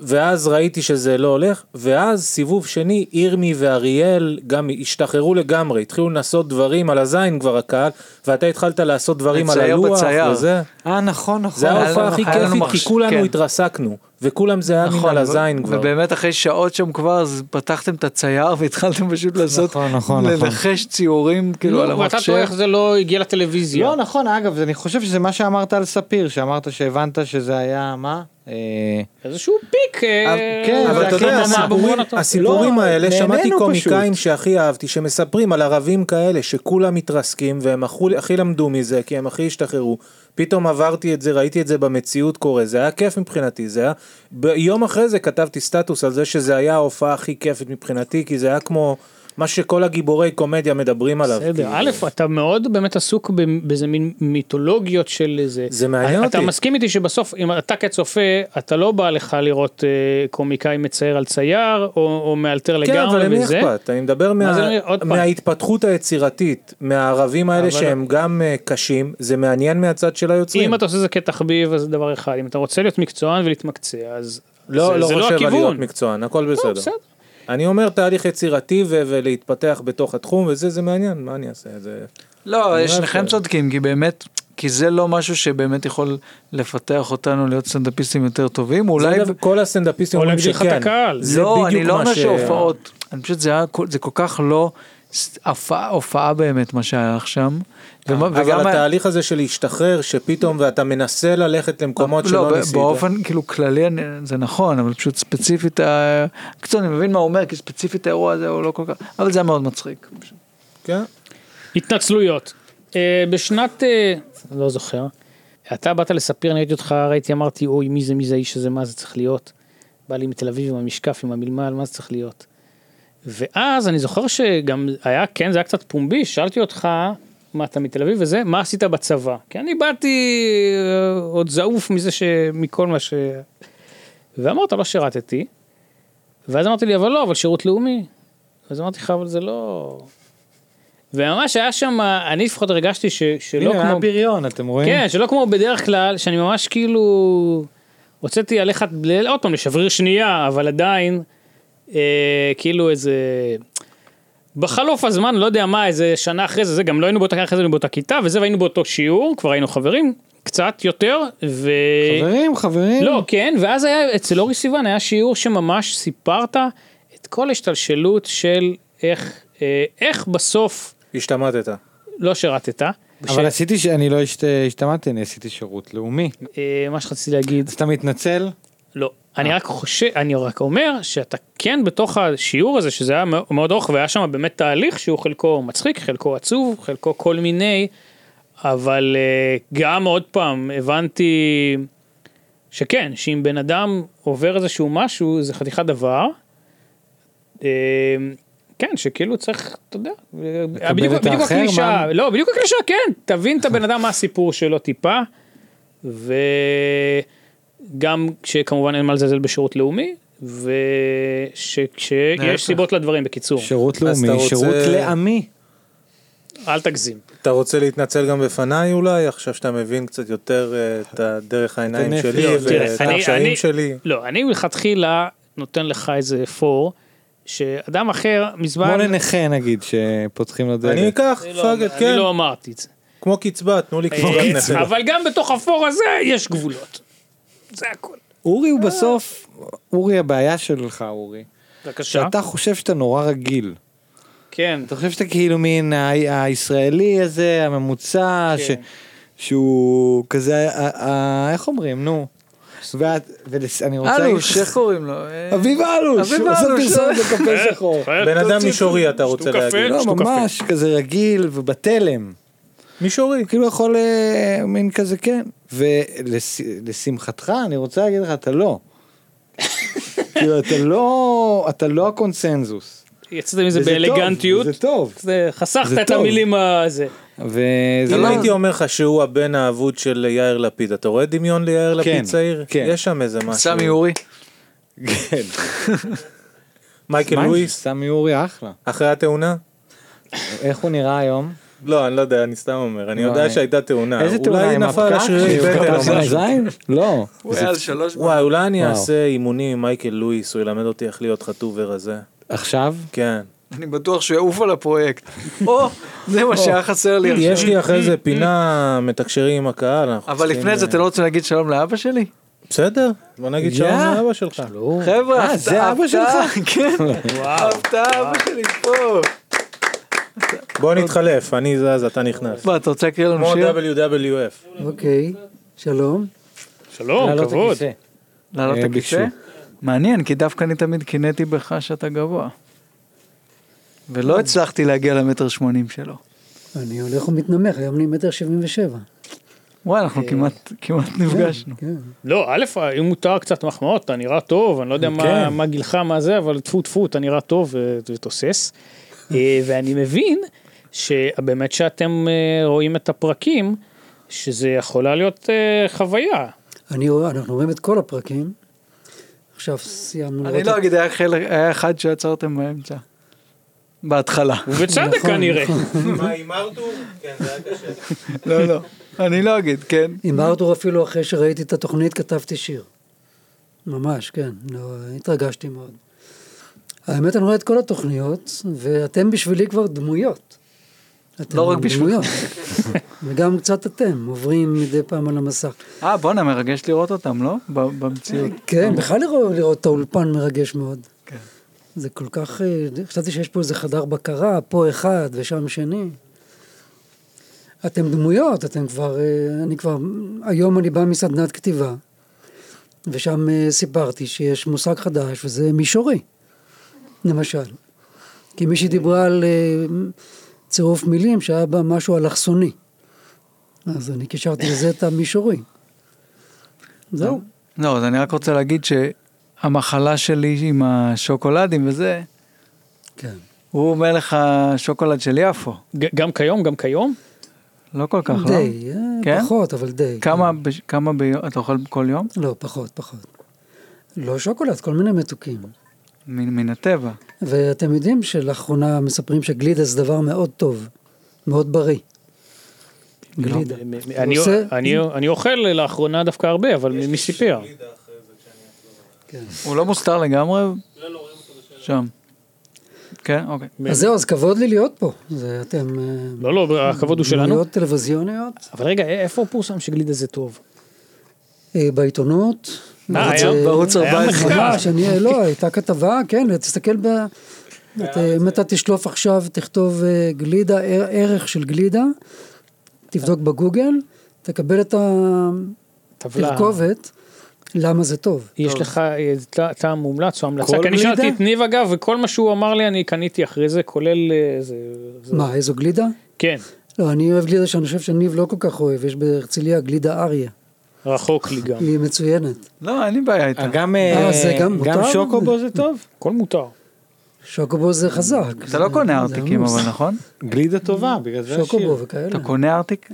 [SPEAKER 6] ואז ראיתי שזה לא הולך, ואז סיבוב שני, ירמי ואריאל גם השתחררו לגמרי, התחילו לנסות דברים על הזין כבר הקהל, ואתה התחלת לעשות דברים על
[SPEAKER 4] לצייר
[SPEAKER 6] הלוח,
[SPEAKER 4] בצייר.
[SPEAKER 6] וזה.
[SPEAKER 5] אה, נכון, נכון.
[SPEAKER 6] זה
[SPEAKER 4] היה לנו-
[SPEAKER 6] ההופעה הכי
[SPEAKER 4] היה לנו
[SPEAKER 6] כיפית, כי
[SPEAKER 4] מחש-
[SPEAKER 6] כולנו
[SPEAKER 4] כן. נכון,
[SPEAKER 6] התרסקנו, וכולם זה היה מן על הזין
[SPEAKER 4] ו-
[SPEAKER 6] כבר.
[SPEAKER 4] ובאמת אחרי שעות שם כבר, אז פתחתם את הצייר והתחלתם פשוט לעשות,
[SPEAKER 5] נכון, נכון, נכון.
[SPEAKER 4] לנחש ציורים כאילו על
[SPEAKER 7] נו, ואתה טועה
[SPEAKER 4] המחשב.
[SPEAKER 7] איך זה לא הגיע לטלוויזיה.
[SPEAKER 5] לא, נכון, אגב, אני חושב שזה מה שאמרת על ספיר, שאמרת שהבנת שזה היה, מה? אה,
[SPEAKER 7] איזשהו פיק. אה,
[SPEAKER 5] כן, אבל
[SPEAKER 7] זה
[SPEAKER 6] אבל אתה
[SPEAKER 7] הקטע
[SPEAKER 6] יודע,
[SPEAKER 7] מה-
[SPEAKER 6] הסיפורים,
[SPEAKER 7] במובן הטוב.
[SPEAKER 6] הסיפורים
[SPEAKER 5] לא,
[SPEAKER 6] האלה,
[SPEAKER 5] נהנינו
[SPEAKER 6] שמעתי
[SPEAKER 5] פשוט.
[SPEAKER 6] קומיקאים שהכי אהבתי, שמספרים על ערבים כאלה, שכולם מתרסקים, והם הכו- הכי למדו מזה, כי הם הכי השתחררו. פתאום עברתי את זה, ראיתי את זה במציאות קורה, זה היה כיף מבחינתי, זה היה... ביום אחרי זה כתבתי סטטוס על זה שזה היה ההופעה הכי כיפית מבחינתי, כי זה היה כמו מה שכל הגיבורי קומדיה מדברים עליו.
[SPEAKER 7] בסדר,
[SPEAKER 6] כאילו.
[SPEAKER 7] א', אתה מאוד באמת עסוק ב- באיזה מין מיתולוגיות של איזה...
[SPEAKER 6] זה מעניין
[SPEAKER 7] אתה
[SPEAKER 6] אותי.
[SPEAKER 7] מסכים איתי שבסוף, אם אתה כצופה, אתה לא בא לך לראות אה, קומיקאי מצייר על צייר, או, או מאלתר
[SPEAKER 6] כן, אבל
[SPEAKER 7] לגמרי
[SPEAKER 6] למי
[SPEAKER 7] וזה.
[SPEAKER 6] אכפת? אני מדבר מה-
[SPEAKER 7] זה למי- עוד פעם.
[SPEAKER 6] מההתפתחות היצירתית, מהערבים האלה
[SPEAKER 7] אבל-
[SPEAKER 6] שהם גם אה, קשים, זה מעניין מהצד של היוצרים.
[SPEAKER 7] אם אתה עושה זה כתחביב, אז זה דבר אחד. אם אתה רוצה להיות מקצוען ולהתמקצע, אז
[SPEAKER 6] לא,
[SPEAKER 7] זה,
[SPEAKER 6] לא
[SPEAKER 7] זה
[SPEAKER 6] חושב
[SPEAKER 7] לא
[SPEAKER 6] על להיות
[SPEAKER 7] הכיוון. לא,
[SPEAKER 6] מקצוען, הכל בסדר.
[SPEAKER 7] בסדר.
[SPEAKER 6] אני אומר תהליך יצירתי ו- ולהתפתח בתוך התחום וזה, זה מעניין, מה אני אעשה? זה...
[SPEAKER 4] לא,
[SPEAKER 6] אני
[SPEAKER 4] שניכם
[SPEAKER 6] אוהב-
[SPEAKER 4] צודקים, כי באמת, כי זה לא משהו שבאמת יכול לפתח אותנו להיות סטנדאפיסטים יותר טובים, אולי...
[SPEAKER 6] זה אגב, כל הסטנדאפיסטים
[SPEAKER 7] או
[SPEAKER 6] אומרים
[SPEAKER 7] להגדיל לך את
[SPEAKER 6] שכן.
[SPEAKER 7] הקהל.
[SPEAKER 6] זה
[SPEAKER 4] לא,
[SPEAKER 6] בדיוק
[SPEAKER 4] אני לא
[SPEAKER 6] מה
[SPEAKER 4] אומר
[SPEAKER 6] ש-
[SPEAKER 4] שהופעות, אני פשוט זה היה, כל- זה כל כך לא ס- הופעה- הופעה באמת מה שהיה לך שם. ומה- וגם
[SPEAKER 6] אה, אבל
[SPEAKER 4] היה-
[SPEAKER 6] התהליך הזה של להשתחרר, שפתאום ואתה מנסה ללכת למקומות
[SPEAKER 4] לא,
[SPEAKER 6] שלא
[SPEAKER 4] ב-
[SPEAKER 6] ניסית.
[SPEAKER 4] באופן כאילו כללי אני- זה נכון, אבל פשוט ספציפית, ה- קצת אני מבין מה הוא אומר, כי ספציפית האירוע הזה הוא לא כל כך, אבל זה היה מאוד מצחיק.
[SPEAKER 6] כן.
[SPEAKER 7] התנצלויות. אה, בשנת, אה, לא זוכר, אתה באת לספיר, אני ראיתי אותך, ראיתי, אמרתי, אוי, מי זה, מי זה האיש הזה, מה זה צריך להיות? בא לי מתל אביב עם המשקף, עם המלמל, מה זה צריך להיות? ואז אני זוכר שגם היה, כן, זה היה קצת פומבי, שאלתי אותך, מה אתה מתל אביב וזה, מה עשית בצבא? כי אני באתי אה, עוד זעוף מזה ש... מכל מה ש... ואמרת, לא שירתתי. ואז אמרתי לי, אבל לא, אבל שירות לאומי. אז אמרתי לך, אבל זה לא... וממש היה שם, אני לפחות הרגשתי ש... שלא
[SPEAKER 5] הנה, היה
[SPEAKER 7] לא כמו...
[SPEAKER 5] בריון, אתם רואים?
[SPEAKER 7] כן, שלא כמו בדרך כלל, שאני ממש כאילו... הוצאתי עליך, ל- עוד פעם, לשבריר שנייה, אבל עדיין, אה, כאילו איזה... בחלוף הזמן, לא יודע מה, איזה שנה אחרי זה, זה גם לא היינו באותה, אחרי זה היינו באותה כיתה, וזה, והיינו באותו שיעור, כבר היינו חברים, קצת יותר, ו...
[SPEAKER 5] חברים, חברים.
[SPEAKER 7] אה, לא, כן, ואז היה, אצל אורי סיוון היה שיעור שממש סיפרת את כל השתלשלות של איך, אה, איך בסוף
[SPEAKER 6] השתמטת.
[SPEAKER 7] לא שירתת.
[SPEAKER 5] אבל
[SPEAKER 7] אבל...
[SPEAKER 5] עשיתי, ש- אני לא השת- השתמטתי, אני עשיתי שירות לאומי.
[SPEAKER 7] אה, מה שרציתי להגיד,
[SPEAKER 5] אז אתה מתנצל?
[SPEAKER 7] לא, אני
[SPEAKER 5] אה.
[SPEAKER 7] רק חושב, אני רק אומר שאתה כן בתוך השיעור הזה, שזה היה מאו- מאוד ארוך, והיה שם באמת תהליך שהוא חלקו מצחיק, חלקו עצוב, חלקו כל מיני, אבל אה, גם עוד פעם, הבנתי שכן, שאם בן אדם עובר איזשהו משהו, זה חתיכת דבר. אה, כן, שכאילו צריך, אתה יודע, אה, בדיוק
[SPEAKER 5] את
[SPEAKER 7] בדיוק
[SPEAKER 5] האחר,
[SPEAKER 7] הקלישאה,
[SPEAKER 5] מה?
[SPEAKER 7] לא, בדיוק הקלישאה, כן, תבין את הבן אדם מה הסיפור שלו טיפה, ו... גם כשכמובן אין מה לזלזל בשירות לאומי,
[SPEAKER 6] להפך.
[SPEAKER 7] וכשיש סיבות לדברים, בקיצור,
[SPEAKER 5] שירות
[SPEAKER 6] אז אתה
[SPEAKER 5] לאומי,
[SPEAKER 6] רוצה-
[SPEAKER 5] שירות לעמי.
[SPEAKER 7] אל תגזים.
[SPEAKER 6] אתה רוצה להתנצל גם בפניי אולי, עכשיו שאתה מבין קצת יותר אה, את הדרך העיניים
[SPEAKER 5] הנפש.
[SPEAKER 6] שלי
[SPEAKER 5] לא,
[SPEAKER 7] תראה,
[SPEAKER 6] ואת
[SPEAKER 7] אני-
[SPEAKER 6] הקשיים
[SPEAKER 7] אני-
[SPEAKER 6] שלי.
[SPEAKER 7] לא, אני מלכתחילה נותן לך איזה פור, שאדם אחר
[SPEAKER 5] כמו
[SPEAKER 7] מזמן,
[SPEAKER 5] לנכה נגיד, שפותחים לו
[SPEAKER 6] אני
[SPEAKER 5] דלת.
[SPEAKER 6] אקח,
[SPEAKER 7] אני לא-
[SPEAKER 6] פאגט,
[SPEAKER 7] אני
[SPEAKER 6] כן,
[SPEAKER 7] לא אמרתי את זה.
[SPEAKER 6] כמו קצבה, תנו לי קצבת
[SPEAKER 7] אה,
[SPEAKER 6] נפש.
[SPEAKER 7] אבל גם בתוך הפור הזה יש גבולות. זה הכל.
[SPEAKER 5] אורי הוא בסוף, אורי הבעיה שלך אורי,
[SPEAKER 7] בבקשה.
[SPEAKER 5] שאתה חושב שאתה נורא רגיל.
[SPEAKER 7] כן.
[SPEAKER 5] אתה חושב שאתה כאילו מין ה- הישראלי הזה, הממוצע, ש...
[SPEAKER 7] כן.
[SPEAKER 5] שהוא כזה, ה- ה- איך אומרים, נו. ואת- ולס- אני רוצה להגיד
[SPEAKER 4] אלוש, איך
[SPEAKER 5] לך,
[SPEAKER 4] קוראים לו? אה,
[SPEAKER 5] אביב אלוש,
[SPEAKER 4] אביב
[SPEAKER 5] הוא עושה
[SPEAKER 4] אלוש,
[SPEAKER 5] פרסומת בקפה <laughs>
[SPEAKER 7] אה,
[SPEAKER 5] שחור.
[SPEAKER 7] אה,
[SPEAKER 6] בן אדם
[SPEAKER 7] תוציא-
[SPEAKER 6] מישורי אתה רוצה
[SPEAKER 7] שתו קפה,
[SPEAKER 6] להגיד.
[SPEAKER 5] לא,
[SPEAKER 7] שתו קפה.
[SPEAKER 5] ממש, כזה רגיל ובתלם.
[SPEAKER 6] מישורי.
[SPEAKER 5] כאילו יכול אה, מין כזה כן ולשמחתך אני רוצה להגיד לך אתה לא. כאילו אתה לא אתה לא הקונסנזוס.
[SPEAKER 7] יצאתם מזה
[SPEAKER 5] וזה טוב,
[SPEAKER 7] באלגנטיות.
[SPEAKER 5] וזה טוב.
[SPEAKER 7] זה- חסכת
[SPEAKER 5] זה
[SPEAKER 7] את
[SPEAKER 5] טוב.
[SPEAKER 7] המילים הזה.
[SPEAKER 5] וזה
[SPEAKER 6] אם
[SPEAKER 5] לא...
[SPEAKER 6] הייתי אומר לך שהוא הבן האבוד של יאיר לפיד, אתה רואה דמיון ליאיר
[SPEAKER 5] כן,
[SPEAKER 6] לפיד צעיר?
[SPEAKER 5] כן.
[SPEAKER 6] יש שם איזה משהו.
[SPEAKER 4] סמי אורי.
[SPEAKER 5] <laughs> כן.
[SPEAKER 6] מייקל
[SPEAKER 5] מה,
[SPEAKER 6] כן, לואיס,
[SPEAKER 5] סמי אורי אחלה.
[SPEAKER 6] אחרי התאונה?
[SPEAKER 5] איך הוא נראה היום?
[SPEAKER 6] לא, אני לא יודע, אני סתם אומר. אני יודע
[SPEAKER 5] וואי.
[SPEAKER 6] שהייתה תאונה.
[SPEAKER 5] לא, אה. איזה תאונה?
[SPEAKER 6] אה, אולי
[SPEAKER 5] עם
[SPEAKER 6] נפל על
[SPEAKER 5] הפקק?
[SPEAKER 6] השרירי
[SPEAKER 5] שהוא
[SPEAKER 6] בטן
[SPEAKER 5] קפץ
[SPEAKER 6] או
[SPEAKER 5] על
[SPEAKER 6] משהו.
[SPEAKER 5] הזין? לא.
[SPEAKER 4] הוא היה על שלוש.
[SPEAKER 6] וואי, אולי אני
[SPEAKER 5] וואו.
[SPEAKER 6] אעשה אימונים עם מייקל לואיס, הוא ילמד אותי איך להיות חטוב ורזה.
[SPEAKER 5] עכשיו?
[SPEAKER 6] כן.
[SPEAKER 4] אני בטוח שהוא יעוף על הפרויקט. <laughs> או, זה מה שהיה חסר לי
[SPEAKER 6] יש
[SPEAKER 4] עכשיו.
[SPEAKER 6] לי אחרי זה פינה מתקשרים עם הקהל. אנחנו
[SPEAKER 4] אה, אבל
[SPEAKER 6] צריכים,
[SPEAKER 4] לפני זה
[SPEAKER 6] אה,
[SPEAKER 4] אתם לא רוצים להגיד שלום לאבא שלי?
[SPEAKER 6] בסדר, בוא נגיד
[SPEAKER 5] יא.
[SPEAKER 6] שלום לאבא שלך.
[SPEAKER 4] חבר'ה,
[SPEAKER 5] אה, זה
[SPEAKER 4] הפתעה,
[SPEAKER 5] אבא שלך?
[SPEAKER 4] <laughs> כן, הפתעה, אבא שלי פה.
[SPEAKER 6] בוא נתחלף, אני זז, אתה נכנס.
[SPEAKER 4] מה, אתה רוצה להקריא לנו
[SPEAKER 6] כמו
[SPEAKER 4] שיר?
[SPEAKER 6] WWF.
[SPEAKER 8] אוקיי, שלום.
[SPEAKER 7] שלום,
[SPEAKER 5] לעלות
[SPEAKER 7] כבוד.
[SPEAKER 5] הכיסא.
[SPEAKER 4] לעלות את
[SPEAKER 5] אה,
[SPEAKER 4] הכיסא? מעניין, כי דווקא אני תמיד קינאתי בך שאתה גבוה. ולא הצלחתי להגיע למטר שמונים שלו.
[SPEAKER 8] אני הולך ומתנמך, היום אני מטר שבעים ושבע.
[SPEAKER 4] וואי, אנחנו כמעט כמעט נפגשנו.
[SPEAKER 8] כן.
[SPEAKER 7] לא, א', אם מותר קצת מחמאות, אתה נראה טוב, אני לא יודע מה-
[SPEAKER 8] כן.
[SPEAKER 7] מה גילך, מה זה, אבל טפו טפו, אתה נראה טוב ו- ותוסס. אה, ואני מבין שבאמת שאתם אה, רואים את הפרקים, שזה יכולה להיות אה, חוויה.
[SPEAKER 8] אני רואה, אנחנו רואים את כל הפרקים. עכשיו סיימנו
[SPEAKER 4] אני
[SPEAKER 8] לראות
[SPEAKER 4] לא
[SPEAKER 8] את-
[SPEAKER 4] אגיד, היה חלק- היה אחד שעצרתם באמצע. בהתחלה.
[SPEAKER 7] ובצדק
[SPEAKER 8] נכון,
[SPEAKER 7] כנראה.
[SPEAKER 6] מה, עם ארתור? כן, זה היה קשה.
[SPEAKER 4] לא, לא. <laughs> אני לא אגיד, כן.
[SPEAKER 8] עם ארתור אפילו אחרי שראיתי את התוכנית כתבתי שיר. ממש, כן. לא, התרגשתי מאוד. האמת, אני רואה את כל התוכניות, ואתם בשבילי כבר דמויות. אתם
[SPEAKER 4] לא רק בשבילך.
[SPEAKER 8] דמויות. וגם קצת אתם, עוברים מדי פעם על המסך.
[SPEAKER 4] אה, בואנה, מרגש לראות אותם, לא? ב- במציאות.
[SPEAKER 8] כן, בכלל לראות, לראות את האולפן מרגש מאוד.
[SPEAKER 4] כן.
[SPEAKER 8] זה כל כך, אה, חשבתי שיש פה איזה חדר בקרה, פה אחד ושם שני. אתם דמויות, אתם כבר, אה, אני כבר, היום אני בא מסדנת כתיבה, ושם אה, סיפרתי שיש מושג חדש, וזה מישורי, למשל. כי מישהי דיברה על אה, צירוף מילים שהיה בה משהו אלכסוני. אז אני קישרתי לזה את המישורי. זהו.
[SPEAKER 4] לא, אז אני רק רוצה להגיד שהמחלה שלי עם השוקולדים וזה,
[SPEAKER 8] כן.
[SPEAKER 4] הוא מלך השוקולד של יפו.
[SPEAKER 7] ג- גם כיום, גם כיום.
[SPEAKER 4] לא כל כך, לא?
[SPEAKER 8] די, אה,
[SPEAKER 4] כן?
[SPEAKER 8] פחות, אבל די.
[SPEAKER 4] כמה, בש- כמה ביום, אתה אוכל כל יום?
[SPEAKER 8] כן. לא, פחות, פחות. לא שוקולד, כל מיני מתוקים.
[SPEAKER 4] מן, מן הטבע.
[SPEAKER 8] ואתם יודעים שלאחרונה מספרים שגלידה זה דבר מאוד טוב, מאוד בריא.
[SPEAKER 4] לא.
[SPEAKER 8] גלידה.
[SPEAKER 7] אני- אה,
[SPEAKER 8] עושה-
[SPEAKER 7] אני- אני אוכל לאחרונה דווקא הרבה, אבל מי סיפר?
[SPEAKER 4] הוא לא מוסתר לגמרי? שם. כן, אוקיי.
[SPEAKER 8] אז זהו, אז כבוד לי להיות פה. זה אתם... אה,
[SPEAKER 7] לא, לא, הכבוד הוא שלנו.
[SPEAKER 8] דמויות טלוויזיוניות,
[SPEAKER 7] אבל רגע, אה, איפה פורסם שגלידה זה טוב?
[SPEAKER 8] אה, בעיתונות.
[SPEAKER 7] מה,
[SPEAKER 8] ערוץ,
[SPEAKER 7] היה-
[SPEAKER 8] אה,
[SPEAKER 4] בערוץ
[SPEAKER 7] היה
[SPEAKER 4] 14.
[SPEAKER 7] מחקר.
[SPEAKER 8] ממש, אני, לא, הייתה כתבה, כן, תסתכל ב... את, אה, אם אתה תשלוף עכשיו, תכתוב אה, גלידה, ער- ערך של גלידה, תבדוק בגוגל, תקבל את
[SPEAKER 7] טבלה.
[SPEAKER 8] התרכובת, למה זה טוב.
[SPEAKER 7] יש לך אה, ט- טעם מומלץ או המלצה?
[SPEAKER 5] כל
[SPEAKER 7] כי אני שאלתי
[SPEAKER 5] גלידה?
[SPEAKER 7] את ניב אגב, וכל מה שהוא אמר לי אני קניתי אחרי זה, כולל אה, זה... זה-
[SPEAKER 8] מה, איזו גלידה?
[SPEAKER 7] כן,
[SPEAKER 8] לא, אני אוהב גלידה שאני חושב שניב לא כל כך אוהב, יש בהרצליה גלידה אריה,
[SPEAKER 7] רחוק לי <laughs> גם.
[SPEAKER 8] היא מצוינת.
[SPEAKER 4] לא, אין לי בעיה איתה.
[SPEAKER 5] גם
[SPEAKER 8] אה,
[SPEAKER 5] אה,
[SPEAKER 8] זה גם
[SPEAKER 5] גם
[SPEAKER 8] מותר?
[SPEAKER 5] שוקובו זה טוב?
[SPEAKER 7] הכל מותר.
[SPEAKER 8] שוקובו זה חזק.
[SPEAKER 4] אתה לא קונה ארטיקים אבל, נכון?
[SPEAKER 5] גלידה טובה, בגלל זה השיר.
[SPEAKER 8] שוקובו וכאלה.
[SPEAKER 4] אתה קונה ארטיק?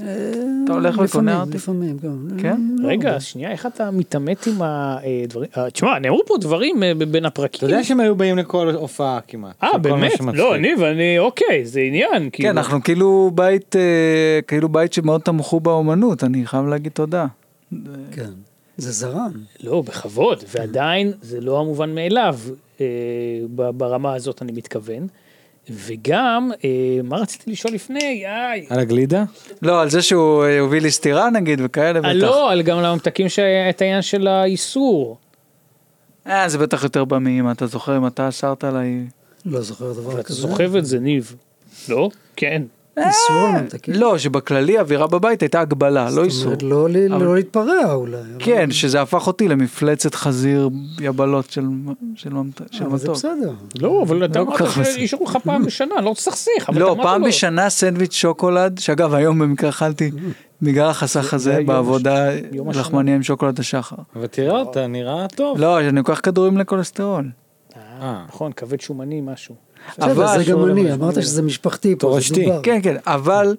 [SPEAKER 4] אתה הולך
[SPEAKER 8] אה, לפעמים,
[SPEAKER 4] וקונה ארטיק?
[SPEAKER 8] לפעמים, גם.
[SPEAKER 4] כן?
[SPEAKER 7] רגע, שנייה, איך אתה מתעמת עם הדברים? אה, תשמע, נאמרו פה דברים אה, ב- בין
[SPEAKER 5] אתה
[SPEAKER 7] הפרקים.
[SPEAKER 5] יודע שהם היו באים לכל הופעה כמעט.
[SPEAKER 7] אה,
[SPEAKER 5] לכל מה
[SPEAKER 7] באמת?
[SPEAKER 5] שמצחיק.
[SPEAKER 7] לא, ניב, אני, אוקיי, זה עניין.
[SPEAKER 4] כן,
[SPEAKER 7] כאילו.
[SPEAKER 4] אנחנו כאילו בית, אה, כאילו בית שמאוד תמכו באומנות, אני חייב להגיד תודה.
[SPEAKER 8] כן. זה זרם.
[SPEAKER 7] לא, בכבוד, ועדיין זה לא המובן מאליו אה, ב- ברמה הזאת, אני מתכוון. וגם, אה, מה רציתי לשאול לפני? איי,
[SPEAKER 5] על הגלידה?
[SPEAKER 4] לא, על זה שהוא אה, הוביל לי סטירה נגיד וכאלה בטח.
[SPEAKER 7] אה, לא, על גם לממתקים שהיה את העניין של האיסור.
[SPEAKER 4] אה, זה בטח יותר בא מאמא, אתה זוכר אם אתה אסרת עליי?
[SPEAKER 8] לא זוכר דבר
[SPEAKER 7] אתה
[SPEAKER 8] כזה. אה!
[SPEAKER 7] סוחב את זה, ניב. לא? כן.
[SPEAKER 4] אה!
[SPEAKER 8] איסור על ממתקים.
[SPEAKER 4] לא, שבכללי האווירה בבית הייתה הגבלה, לא
[SPEAKER 8] זאת
[SPEAKER 4] איסור.
[SPEAKER 8] אומרת, לא ל-
[SPEAKER 4] אבל-
[SPEAKER 8] לא להתפרע אולי. אבל-
[SPEAKER 4] כן, שזה הפך אותי למפלצת חזיר יבלות של של ממת- של
[SPEAKER 8] אה, אבל זה
[SPEAKER 4] מתוק.
[SPEAKER 8] בסדר.
[SPEAKER 7] לא, אבל אתה
[SPEAKER 4] לא כל
[SPEAKER 7] אמרת
[SPEAKER 4] כך בסדר.
[SPEAKER 7] שאישרו לך פעם בשנה, אני לא רוצה לסכסך. אבל אתה
[SPEAKER 4] לא,
[SPEAKER 7] אמרת
[SPEAKER 4] פעם
[SPEAKER 7] לו.
[SPEAKER 4] בשנה סנדוויץ' שוקולד, שאגב היום במקרה אכלתי
[SPEAKER 8] אה,
[SPEAKER 4] בגלל החסך הזה
[SPEAKER 7] יום
[SPEAKER 4] בעבודה
[SPEAKER 7] יום השנה.
[SPEAKER 4] לחמניה עם שוקולד השחר.
[SPEAKER 5] אבל תראה אותה, נראה טוב.
[SPEAKER 4] לא, אני לוקח כדורים לכולסטרול.
[SPEAKER 7] אה,
[SPEAKER 5] אה.
[SPEAKER 7] נכון, כבד שומני, משהו.
[SPEAKER 8] בסדר, זה גם
[SPEAKER 4] אסור
[SPEAKER 8] אני,
[SPEAKER 4] למש-
[SPEAKER 8] אמרת שזה משפחתי פה, זה
[SPEAKER 5] תורשתי.
[SPEAKER 8] דובר.
[SPEAKER 4] לא כן, כן, אבל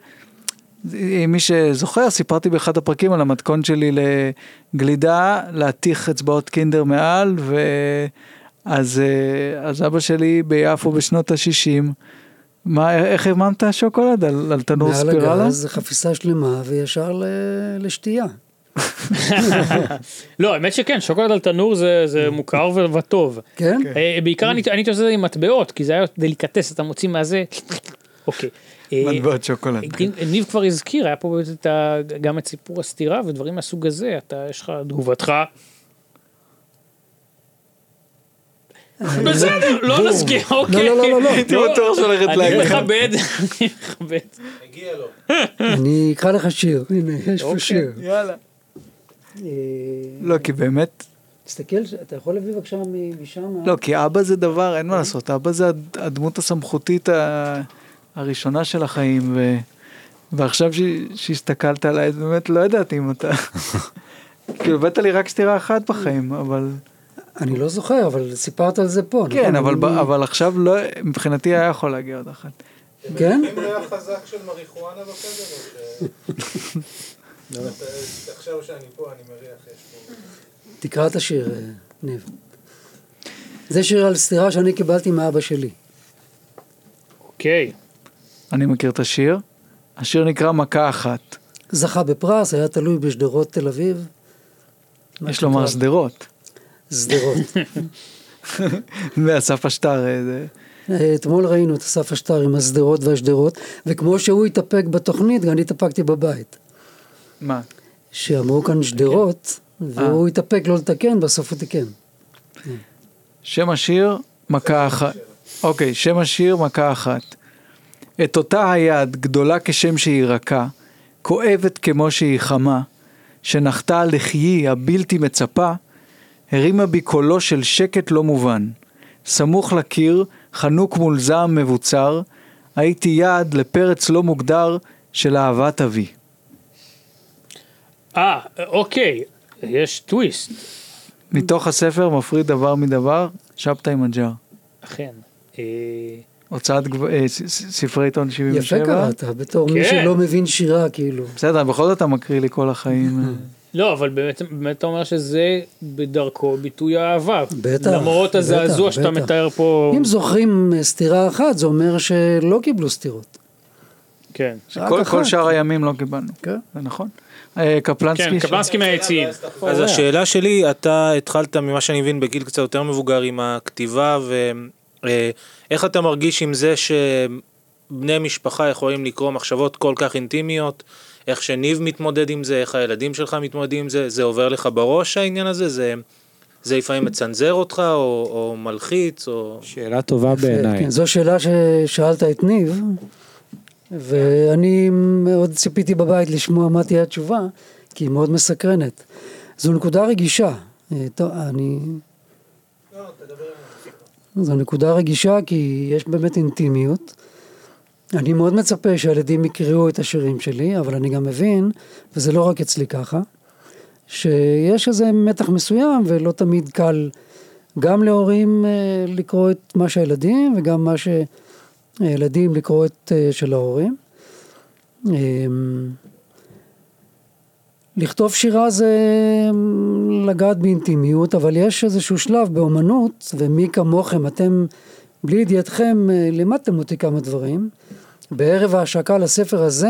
[SPEAKER 4] אה, מי שזוכר, סיפרתי באחד הפרקים על המתכון שלי לגלידה, להתיך אצבעות קינדר מעל, ו... אז, אה, אז אבא שלי ביפו בשנות ה-60, מה, איך הרממת שוקולד? על, על תנור
[SPEAKER 8] מעל
[SPEAKER 4] ספירלה?
[SPEAKER 8] הגז, זה חפיסה שלמה וישר ל- לשתייה.
[SPEAKER 7] לא, האמת שכן, שוקולד על תנור זה זה מוכר ו- וטוב.
[SPEAKER 8] כן?
[SPEAKER 7] אה, בעיקר אני אני הייתי עושה את זה עם מטבעות, כי זה היה דליקטס, אתה מוציא מהזה. אוקיי. אה,
[SPEAKER 4] מטבעות שוקולד.
[SPEAKER 7] ניב- ניב כבר הזכיר, היה פה את ה- גם את סיפור הסתירה ודברים מהסוג הזה, אתה, יש לך, תגובתך.
[SPEAKER 8] אה,
[SPEAKER 7] בסדר, לא נסכים, אוקיי.
[SPEAKER 8] לא, לא, לא, לא.
[SPEAKER 7] הייתי בטוח שהולכת להגיד. אני מכבד, <laughs> אני מכבד.
[SPEAKER 8] אני אקרא לך שיר, הנה, יש
[SPEAKER 4] אוקיי.
[SPEAKER 8] פה שיר.
[SPEAKER 4] יאללה.
[SPEAKER 8] אה,
[SPEAKER 4] לא, כי באמת,
[SPEAKER 8] תסתכל, ש- אתה יכול להביא בבקשה מ- משם?
[SPEAKER 4] לא, כי אבא זה דבר, אין מה לעשות, אבא זה הד- הדמות הסמכותית ה- הראשונה של החיים, ו... ועכשיו ש... שהסתכלת עליי, באמת לא ידעתי אם <laughs> אתה... כאילו, הבאת לי רק סטירה אחת בחיים, אבל...
[SPEAKER 8] אני לא זוכר, אבל סיפרת על זה פה.
[SPEAKER 4] כן,
[SPEAKER 8] נכון?
[SPEAKER 4] אבל, ב...
[SPEAKER 8] אני-
[SPEAKER 4] אבל עכשיו לא, מבחינתי היה יכול להגיע עוד אחת.
[SPEAKER 8] כן? לא.
[SPEAKER 2] אם ריח חזק של מריחואנה בחדר אה,
[SPEAKER 8] <laughs>
[SPEAKER 2] או ש... אה, עכשיו שאני פה אני מריח יש פה.
[SPEAKER 8] תקרא את השיר, אה, ניב. זה שיר על סטירה שאני קיבלתי מאבא שלי.
[SPEAKER 7] אוקיי.
[SPEAKER 4] אני מכיר את השיר. השיר נקרא מכה אחת.
[SPEAKER 8] זכה בפרס, היה תלוי בשדרות תל אביב.
[SPEAKER 4] יש לומר <laughs>
[SPEAKER 2] <laughs>
[SPEAKER 4] שדרות.
[SPEAKER 8] שדרות.
[SPEAKER 4] ואסף אשתר, אה, זה-
[SPEAKER 8] אה, אתמול ראינו את אסף אשטר עם השדרות והשדרות, וכמו שהוא התאפק בתוכנית, גם אני התאפקתי בבית.
[SPEAKER 4] מה?
[SPEAKER 8] שאמרו
[SPEAKER 2] כן.
[SPEAKER 8] כאן שדרות,
[SPEAKER 2] אה.
[SPEAKER 8] והוא התאפק לא לתקן, בסוף הוא תיקן.
[SPEAKER 4] שם השיר, מכה אחת. אוקיי, שם השיר, מכה אחת. את אותה היד, גדולה כשם שהיא רכה, כואבת כמו שהיא חמה, שנחתה על לחיי הבלתי מצפה, הרימה בי קולו של שקט לא מובן. סמוך לקיר, חנוק מול זעם מבוצר, הייתי יעד לפרץ לא מוגדר של אהבת אבי.
[SPEAKER 7] אה, אוקיי, יש טוויסט,
[SPEAKER 4] מתוך הספר מפריד דבר מדבר, שבתאי מג'אר.
[SPEAKER 7] אכן. אה,
[SPEAKER 4] הוצאת גב- אה, ס- ס- ספרי עיתון 77.
[SPEAKER 8] יפה קראת, בתור מי
[SPEAKER 7] כן.
[SPEAKER 8] שלא מבין שירה, כאילו.
[SPEAKER 4] בסדר, בכל זאת אתה מקריא לי כל החיים.
[SPEAKER 7] לא, אבל באמת, באמת אתה אומר שזה בדרכו ביטוי האהבה.
[SPEAKER 8] בטח,
[SPEAKER 7] למרות
[SPEAKER 8] בטח,
[SPEAKER 7] הזעזוע שאתה
[SPEAKER 8] בטח.
[SPEAKER 7] מתאר פה.
[SPEAKER 8] אם זוכרים אה, סטירה אחת, זה אומר שלא קיבלו סטירות.
[SPEAKER 7] כן.
[SPEAKER 4] כל, כל שאר הימים לא קיבלנו.
[SPEAKER 8] כן.
[SPEAKER 4] זה נכון. אה, קפלנסקי.
[SPEAKER 7] כן,
[SPEAKER 4] ש-
[SPEAKER 7] קפלנסקי מהיציעים.
[SPEAKER 6] אז השאלה שלי, אתה התחלת ממה שאני מבין בגיל קצת יותר מבוגר עם הכתיבה ואיך אתה מרגיש עם זה שבני משפחה יכולים לקרוא מחשבות כל כך אינטימיות, איך שניב מתמודד עם זה, איך הילדים שלך מתמודדים עם זה, זה עובר לך בראש העניין הזה, זה, זה לפעמים מצנזר אותך או, או מלחיץ או...
[SPEAKER 5] שאלה טובה בעיניי.
[SPEAKER 8] כן, זו שאלה ששאלת את ניב, ואני מאוד ציפיתי בבית לשמוע מה תהיה התשובה, כי היא מאוד מסקרנת. זו נקודה רגישה. אה, טוב, אני... זו נקודה רגישה כי יש באמת אינטימיות. אני מאוד מצפה שהילדים יקראו את השירים שלי, אבל אני גם מבין, וזה לא רק אצלי ככה, שיש איזה מתח מסוים ולא תמיד קל גם להורים אה, לקרוא את מה שהילדים וגם מה שהילדים לקרוא את אה, של ההורים. אה, לכתוב שירה זה אה, לגעת באינטימיות, אבל יש איזשהו שלב באומנות, ומי כמוכם, אתם, בלי ידיעתכם, אה, לימדתם אותי כמה דברים. בערב ההשקה לספר הזה,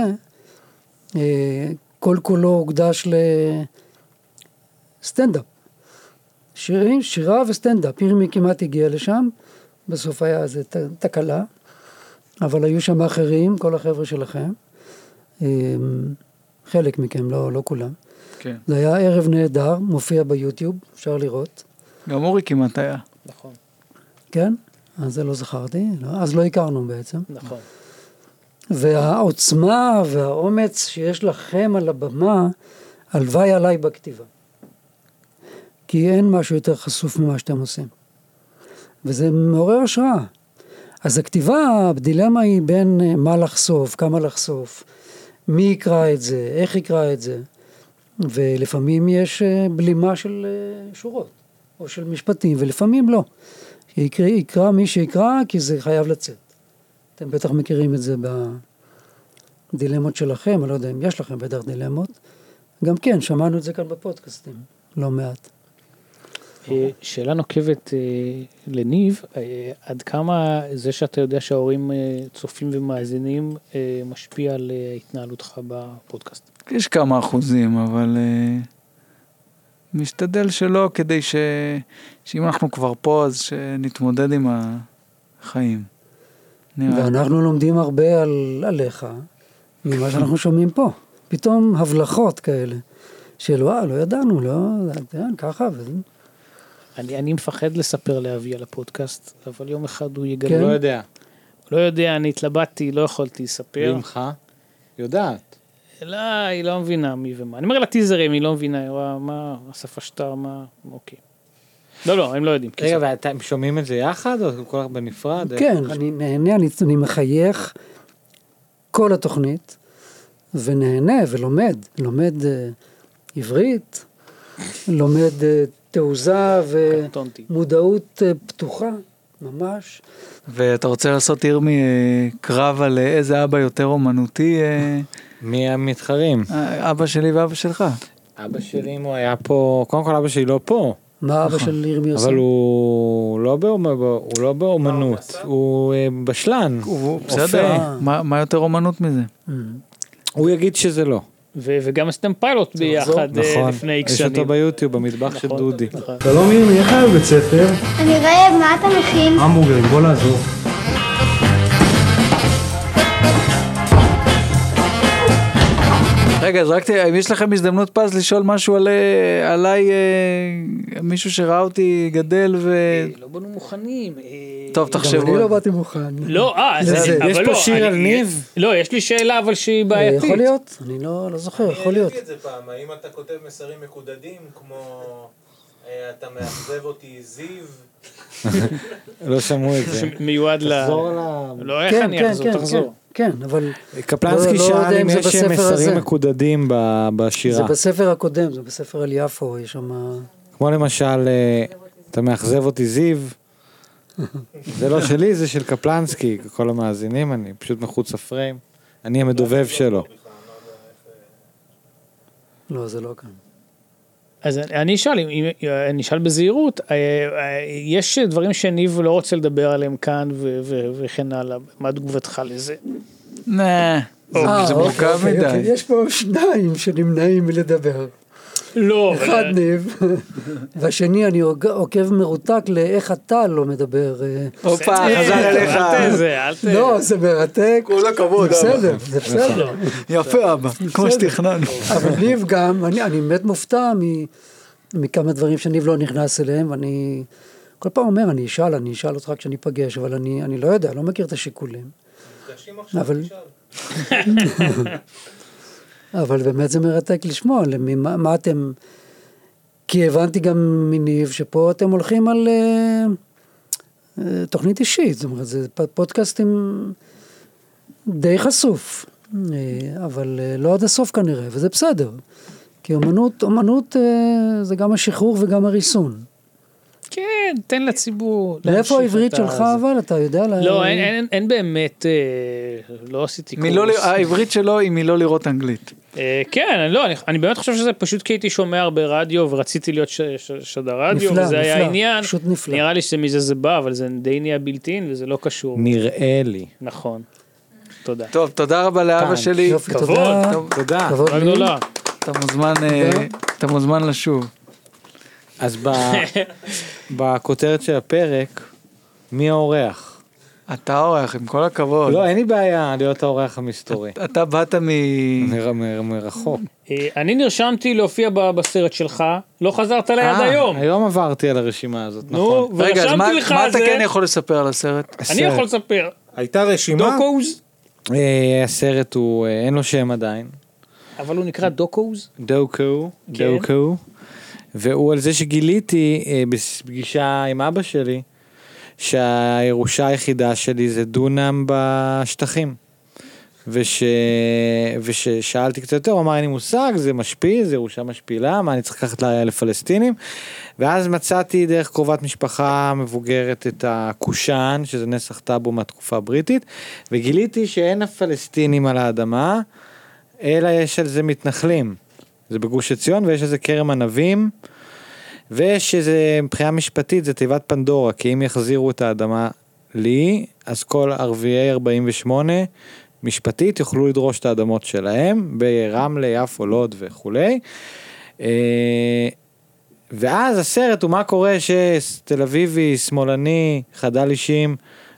[SPEAKER 8] אה, כל כולו הוקדש לסטנדאפ. שירים, שירה וסטנדאפ. ירמי כמעט הגיע לשם, בסוף היה איזה ת- תקלה, אבל היו שם אחרים, כל החבר'ה שלכם. אמ, חלק מכם, לא, לא כולם.
[SPEAKER 4] כן.
[SPEAKER 8] זה היה ערב נהדר, מופיע ביוטיוב, אפשר לראות,
[SPEAKER 4] גם אורי כמעט היה.
[SPEAKER 8] כן? אז זה לא זכרתי, לא, אז לא הכרנו בעצם.
[SPEAKER 7] נכון.
[SPEAKER 8] והעוצמה והאומץ שיש לכם על הבמה, הלוואי עליי בכתיבה. כי אין משהו יותר חשוף ממה שאתם עושים. וזה מעורר השראה. אז הכתיבה, הדילמה היא בין אה, מה לחשוף, כמה לחשוף, מי יקרא את זה, איך יקרא את זה, ולפעמים יש אה, בלימה של אה, שורות, או של משפטים, ולפעמים לא. שיקרא יקרא מי שיקרא, כי זה חייב לצאת. אתם בטח מכירים את זה בדילמות שלכם, אני לא יודע אם יש לכם בטח דילמות. גם כן, שמענו את זה כאן בפודקאסטים, לא מעט.
[SPEAKER 7] אה, שאלה נוקבת אה, לניב, אה, עד כמה זה שאתה יודע שההורים אה, צופים ומאזינים אה, משפיע על אה, התנהלותך בפודקאסט?
[SPEAKER 4] יש כמה אחוזים, אבל אה, משתדל שלא, כדי ש... שאם אנחנו כבר פה, אז שנתמודד עם החיים. נראה.
[SPEAKER 8] ואנחנו לומדים הרבה על, עליך, ממה שאנחנו שומעים פה. פתאום הבלחות כאלה, של וואה, לא ידענו, לא, כן, ככה, וזה.
[SPEAKER 7] אני, אני מפחד לספר לאבי על הפודקאסט, אבל יום אחד הוא יגלה.
[SPEAKER 8] כן.
[SPEAKER 5] לא יודע.
[SPEAKER 7] לא יודע, אני התלבטתי, לא יכולתי לספר.
[SPEAKER 5] ממך? יודעת.
[SPEAKER 7] לא, היא לא מבינה מי ומה. אני אומר לה טיזרים, היא לא מבינה, היא רואה מה השפה שאתה, מה, אוקיי. לא, לא, הם לא יודעים. כי
[SPEAKER 5] רגע,
[SPEAKER 7] זה-
[SPEAKER 5] ואתם שומעים את זה יחד, או כל כך בנפרד?
[SPEAKER 8] כן, אני נהנה, אני, אני מחייך כל התוכנית, ונהנה ולומד, לומד אה, עברית, לומד אה, תעוזה
[SPEAKER 7] קטונתי.
[SPEAKER 8] ומודעות אה, פתוחה, ממש.
[SPEAKER 4] ואתה רוצה לעשות עיר מקרב על אה, איזה אבא יותר אומנותי, אה,
[SPEAKER 5] מי המתחרים?
[SPEAKER 4] אה, אבא שלי ואבא שלך.
[SPEAKER 5] אבא שלי, אם הוא היה פה, קודם כל אבא שלי לא פה,
[SPEAKER 8] מה אבא של ירמי עושה?
[SPEAKER 5] אבל הוא לא באומ- הוא לא באומנות, הוא אה, בשלן.
[SPEAKER 4] הוא
[SPEAKER 5] בסדר.
[SPEAKER 4] בסדר, מה- מה יותר אומנות מזה?
[SPEAKER 5] הוא יגיד שזה לא.
[SPEAKER 7] ו- וגם עשיתם פיילוט ביחד אה,
[SPEAKER 5] נכון.
[SPEAKER 7] לפני איקס
[SPEAKER 5] יש
[SPEAKER 7] שנים. נכון,
[SPEAKER 5] אותו ביוטיוב, במטבח של דודי.
[SPEAKER 9] שלום ירמי, איך היה בבית ספר?
[SPEAKER 10] אני רעב, מה אתה מכין?
[SPEAKER 9] המבורגרים, בוא לעזור.
[SPEAKER 4] רגע, אז רק תראה, אם יש לכם הזדמנות פז לשאול משהו על, אה, עליי, אה, מישהו שראה אותי גדל ו...
[SPEAKER 8] אה,
[SPEAKER 7] לא באנו מוכנים. אה,
[SPEAKER 4] טוב,
[SPEAKER 8] גם אני
[SPEAKER 4] תחשבו.
[SPEAKER 8] לא באתי מוכן.
[SPEAKER 7] לא, אה, אז
[SPEAKER 8] זה-
[SPEAKER 7] אני-
[SPEAKER 5] יש
[SPEAKER 7] אבל
[SPEAKER 5] פה
[SPEAKER 7] לא,
[SPEAKER 5] שיר
[SPEAKER 7] אני-
[SPEAKER 5] על ניב?
[SPEAKER 7] לא, יש לי שאלה אבל שהיא
[SPEAKER 8] אה,
[SPEAKER 7] בעייתית.
[SPEAKER 8] יכול להיות, אני לא לא זוכר, יכול להיות.
[SPEAKER 2] אני העליתי את זה פעם, האם אתה כותב מסרים מקודדים, כמו אה, אתה מאכזב אותי זיו,
[SPEAKER 5] לא שמעו את
[SPEAKER 7] <laughs>
[SPEAKER 5] זה.
[SPEAKER 7] מיועד ל...
[SPEAKER 5] תחזור ל-
[SPEAKER 7] לא, איך
[SPEAKER 8] כן,
[SPEAKER 7] אני
[SPEAKER 8] כן,
[SPEAKER 7] אחזור?
[SPEAKER 8] כן,
[SPEAKER 7] תחזור.
[SPEAKER 8] כן, כן, אבל
[SPEAKER 5] קפלנסקי
[SPEAKER 8] לא יודע
[SPEAKER 5] שאל
[SPEAKER 8] אם
[SPEAKER 5] אם
[SPEAKER 8] זה
[SPEAKER 5] יש
[SPEAKER 8] בספר הזה.
[SPEAKER 5] מסרים מקודדים ב-
[SPEAKER 8] זה
[SPEAKER 5] בשירה.
[SPEAKER 8] בספר הקודם, זה בספר על יפו, יש שם... אה,
[SPEAKER 5] כמו למשל, אה, אתה מאכזב אותי זיו. זה לא שלי, זה של קפלנסקי, כל המאזינים, אני פשוט מחוץ לפריים. אני המדובב שלו.
[SPEAKER 8] לא, זה לא כאן.
[SPEAKER 7] אז אני- אני אשאל, אם- אם- אני אשאל בזהירות, אה, אה, יש דברים שניב לא רוצה לדבר עליהם כאן ו- ו- וכן הלאה, מה תגובתך לזה?
[SPEAKER 4] נה, זה-
[SPEAKER 8] אה,
[SPEAKER 4] זה
[SPEAKER 8] אוקיי,
[SPEAKER 4] מורכב
[SPEAKER 8] אוקיי, אוקיי.
[SPEAKER 4] מדי.
[SPEAKER 8] יש פה שניים שנמנעים מלדבר.
[SPEAKER 7] לא,
[SPEAKER 8] אחד ניב, <laughs> והשני אני עוג- עוקב מרותק לאיך אתה לא מדבר. אה.
[SPEAKER 4] הופה, חזר אליך.
[SPEAKER 7] אל תזה, אל ת...
[SPEAKER 8] לא, זה מרתק. כל הכבוד. בסדר, זה בסדר.
[SPEAKER 4] יפה אבא, כמו שתכננו.
[SPEAKER 8] אבל ניב גם, אני, אני באמת מופתע מ, מכמה דברים שניב לא נכנס אליהם, ואני כל פעם אומר, אני אשאל, אני אשאל אותך כשניפגש, אבל אני, אני לא יודע, לא מכיר את השיקולים. אבל... <laughs> אבל באמת זה מרתק לשמוע, למי, מה, מה אתם... כי הבנתי גם מניב שפה אתם הולכים על אה, אה, תוכנית אישית, זאת אומרת, זה פ- פודקאסט עם די חשוף, אה, אבל אה, לא עד הסוף כנראה, וזה בסדר. כי אומנות, אומנות אה, זה גם השחרור וגם הריסון.
[SPEAKER 7] כן, תן לציבור. להמשיך
[SPEAKER 8] מאיפה
[SPEAKER 7] את
[SPEAKER 8] העברית
[SPEAKER 7] ה-
[SPEAKER 8] שלך
[SPEAKER 7] זה.
[SPEAKER 8] אבל, אתה יודע? לה-
[SPEAKER 7] לא, אין- אין- אין באמת, אה, לא עשיתי קורס.
[SPEAKER 4] מלא ל- אה, העברית שלו היא מלא לראות אנגלית.
[SPEAKER 7] אה, כן, אני לא, אני- אני באמת חושב שזה פשוט כי הייתי שומע הרבה רדיו ורציתי להיות ש- ש- שדר רדיו,
[SPEAKER 8] נפלא,
[SPEAKER 7] וזה היה
[SPEAKER 8] נפלא,
[SPEAKER 7] העניין.
[SPEAKER 8] פשוט נפלא.
[SPEAKER 7] נראה לי שמזה זה בא, אבל זה די נהיה בלתי אין וזה לא קשור.
[SPEAKER 5] נראה לי.
[SPEAKER 7] נכון. תודה.
[SPEAKER 4] טוב, תודה רבה לאבא שלי.
[SPEAKER 8] יופי,
[SPEAKER 7] כבוד.
[SPEAKER 8] תודה.
[SPEAKER 4] טוב,
[SPEAKER 5] תודה.
[SPEAKER 8] כבוד
[SPEAKER 7] תודה
[SPEAKER 8] לי.
[SPEAKER 7] גדולה.
[SPEAKER 4] אתה מוזמן, אה, אתה מוזמן לשוב.
[SPEAKER 5] אז ב- בכותרת של הפרק, מי האורח?
[SPEAKER 4] אתה האורח, עם כל הכבוד.
[SPEAKER 5] לא, אין לי בעיה להיות האורח המסתורי.
[SPEAKER 4] אתה באת מ...
[SPEAKER 5] מר- מר- מרחוק.
[SPEAKER 7] אה, אני נרשמתי להופיע ב- בסרט שלך, לא חזרת אליי עד
[SPEAKER 5] אה,
[SPEAKER 7] היום.
[SPEAKER 5] היום עברתי על הרשימה הזאת, נכון.
[SPEAKER 7] נו,
[SPEAKER 4] רגע, אז מה-
[SPEAKER 7] ורשמתי לך
[SPEAKER 4] מה
[SPEAKER 7] על
[SPEAKER 4] אתה
[SPEAKER 7] זה,
[SPEAKER 4] כן יכול לספר על הסרט?
[SPEAKER 7] אני יכול לספר.
[SPEAKER 6] הייתה רשימה,
[SPEAKER 7] דוקוז,
[SPEAKER 5] אה, הסרט הוא, אה, אין לו שם עדיין.
[SPEAKER 7] אבל הוא נקרא דוקוז.
[SPEAKER 5] דוקו,
[SPEAKER 7] כן.
[SPEAKER 5] דוקו, והוא על זה שגיליתי אה, בפגישה עם אבא שלי, שהירושה היחידה שלי זה דונם בשטחים. וש... וששאלתי קצת יותר, הוא אמר אין לי מושג, זה משפיל, זה ירושה משפילה, מה אני צריך לקחת ל- לפלסטינים? ואז מצאתי דרך קרובת משפחה מבוגרת את הקושאן, שזה נסח טאבו מהתקופה הבריטית, וגיליתי שאין הפלסטינים על האדמה, אלא יש על זה מתנחלים. זה בגוש עציון ויש על זה כרם ענבים. ושזה מבחינה משפטית זה תיבת פנדורה, כי אם יחזירו את האדמה לי, אז כל ערביי 48 משפטית יוכלו לדרוש את האדמות שלהם ברמלה, יפו, לוד וכולי. אה, ואז הסרט הוא מה קורה שתל אביבי, שמאלני, חדל אישים,